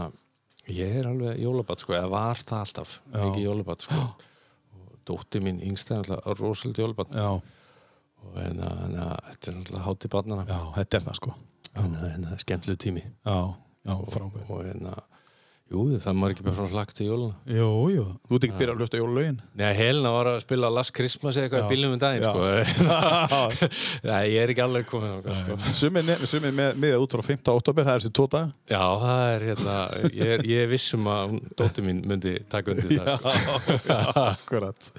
ég er alveg jólabat sko Eða var það alltaf, mikið jólabat sko Og dótti mín yngst er alltaf rosalit jólabat
já,
Og hérna, hérna, þetta er alltaf hátíð barnana
já, þetta er það, sko.
Þannig að hérna, skemmtlu tími
Já, já, frábæð.
og hérna Jú, það er maður ekki bara frá hlagt til jóluna
Jú, jú, þú ert ekki byrjað að hlusta jólalögin
Nei, Helena var að spila Last Christmas eða eitthvað í bílnum um daginn
Já.
sko. Nei, ég er ekki alveg komin á sko.
Sumir, nef- sumir með, með út frá 5. oktober, það er þessi tóta
Já, það er hérna Ég, er- ég er viss um að hún- dóttir mín myndi taka undir það sko.
Akkurat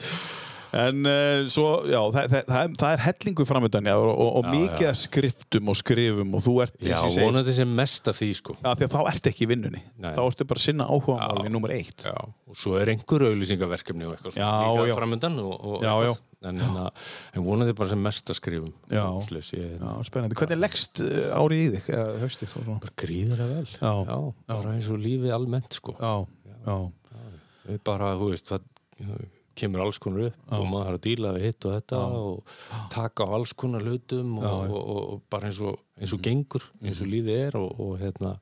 En uh, svo, já, það, það, það, er- það er hellingu framöndan já, og, og, og
Já,
mikið
já.
af skriftum og skrifum og þú ert,
Já,
eins og ég segi,
vonandi sem mest af því sko.
að því að þá ert ekki í vinnunni
Nei.
þá ertu bara að sinna áhugamáli nummer eitt
Já, og svo er einhver auglýsingaverkefni og eitthvað svona
Já,
líka
já.
framöndan og, og
Já, já.
eitthvað. En, hérna, en vonandi bara sem mest að skrifum
Já.
Svoleiðis, ég,
Já, spennandi, hvernig leggst eh, árið í þig eða haustið og svona
Bara gríðara vel
Já.
bara eins og lífið almennt sko.
Já, já,
við bara, þú veist, það kemur alls konar upp og maður þarf að díla við hitt og þetta og taka á alls konar hlutum og, og, og, og bara eins og, eins og gengur, eins og lífið er og, og hérna,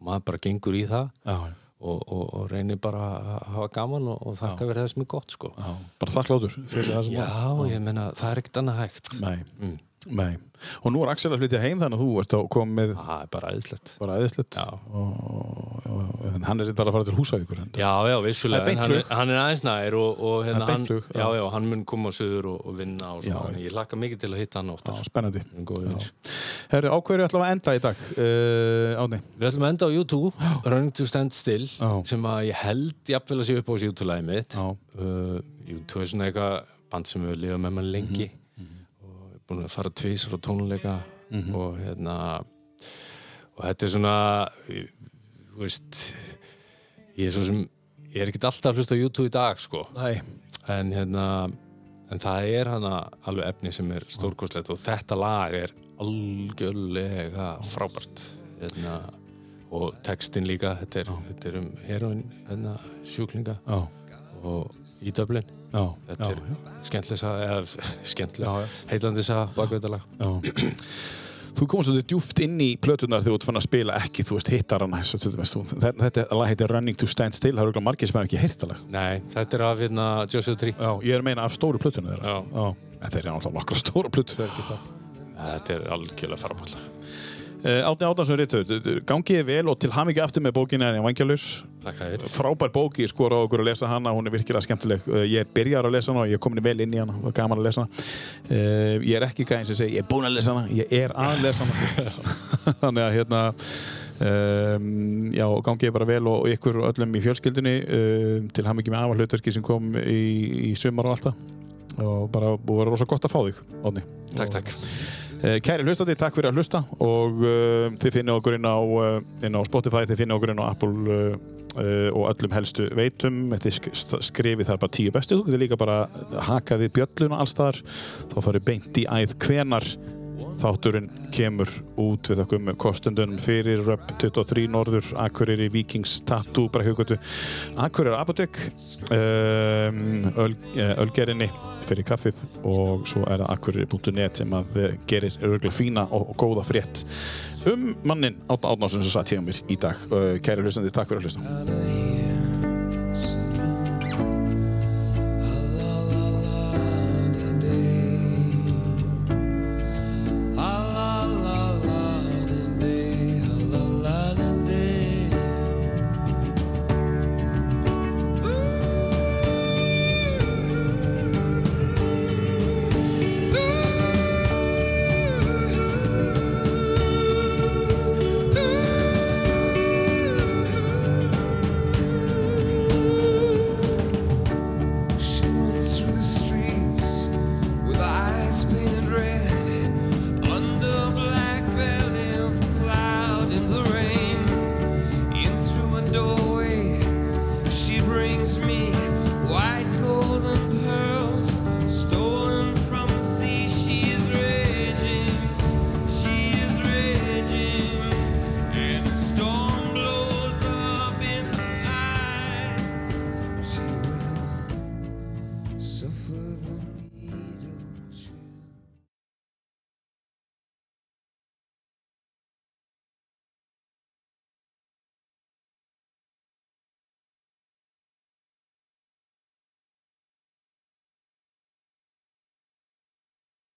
maður bara gengur í það
já,
og, og, og reynir bara að hafa gaman og, og þakka verið það sem er gott sko.
já. bara þakklátur fyrir það sem
Já, ég meina, það er ekkert annað hægt
Nei,
Mm.
nei Og nú er Axel að flytja heim þannig að þú ert að koma með
það er bara aðeinslegt
bara aðeinslegt
Já.
en hann er reyndar að fara til Húsavíkur en
Já, já, vissulega,
Það er
en
beint
hann,
flug.
er- hann er aðeins nær og, og hérna,
Það er beint
hann,
flug, já.
já, já, hann mun koma á söður og, og vinna og
Já,
svona, já, ég hlakka mikið til að hitta hann ofta
Já, spennandi
góðir vinir.
Herri, á hverju ætlum við að enda í dag? Uh, Átni
Við ætlum að enda á YouTube, Running to Stand Still,
Já.
sem að ég held jafnvel að sé upp á þessu YouTube-læði mitt.
Já.
Uh, YouTube er svona eitthvað band sem hefur lifað með
Mhm,
mann lengi og er búin að fara tvísar á tónleika
Mhm.
og hérna og þetta er svona ég- þú veist ég er svo sem, ég er ekkert alltaf að hlusta á YouTube í dag sko
Nei
en hérna en það er hana alveg efni sem er stórkostlegt og þetta lag er algjörlega frábært hérna og textin líka, þetta er, þetta er um heroin, hérna, sjúklinga
Já,
og í Dublin
já,
þetta er skemmtileg saga, eða
Já, já.
skemmtileg, heitlandi saga bakveitala.
já. Þú komst svolítið djúft inn í plötunar þegar þú ert fann að spila ekki, þú veist, hittar hana svo, til dæmis, þú, þetta, þetta lag heitir Running to Stand Still, það eru örugglega margir sem hefur ekki heyrt það lag.
Nei, þetta er af hérna Joshua Tree
Já, ég er að meina af stóru plötunar þeirra.
Já.
já. En þeir eru náttúrulega nokkra stóra plötur, það er ekki það.
þetta er algjörlega faraballa
Uh, Átni Átnarsson Ritthöð, gangiði vel og til hamingi aftur með bókina en ég vangjalus.
Takk að þér
Frábær bók, ég skora á okkur að lesa hana, hún er virkilega skemmtileg. Eh, Ég er byrjar að lesa hana og ég er komin vel inn í hana, var gaman að lesa hana. Eh, Ég er ekki gæðin sem segi, ég er búinn að lesa hana, ég er að lesa hana. Þannig að hérna, um, já, gangi ég bara vel og og ykkur öllum í fjölskyldunni um, til hamingi með afa hlutverki sem kom í, í sumar og allt það. Og bara búið að vera rosa gott að fá þig, Átni.
Takk, takk
Eh, Kæri hlustandi, takk fyrir eh, að hlusta og uh, þið finnið okkur inn á, uh, inn á Spotify, þið finnið okkur inn á Apple uh, uh, og öllum helstu veitum eftir sk- st- skrifið þar bara tíu bestu þú getur líka bara hakað við bjölluna alls þar þá farið beint í æð hvenar þátturinn kemur út við okkur kostundunum fyrir Röp 23 Norður, Akureyri, Vikings Tattoo, Brekkugutu, Akureyri Apotek um, öl, eh, Ölgerinni fyrir kaffið og svo er það akureyri.net sem að eh, gerir örgulega fína og, og góða frétt um mannin Átna Átnásson sem satt hjá mér í dag. Uh, Eh, Kæri hlustandi, takk fyrir að hlusta.
out of here.
Ah,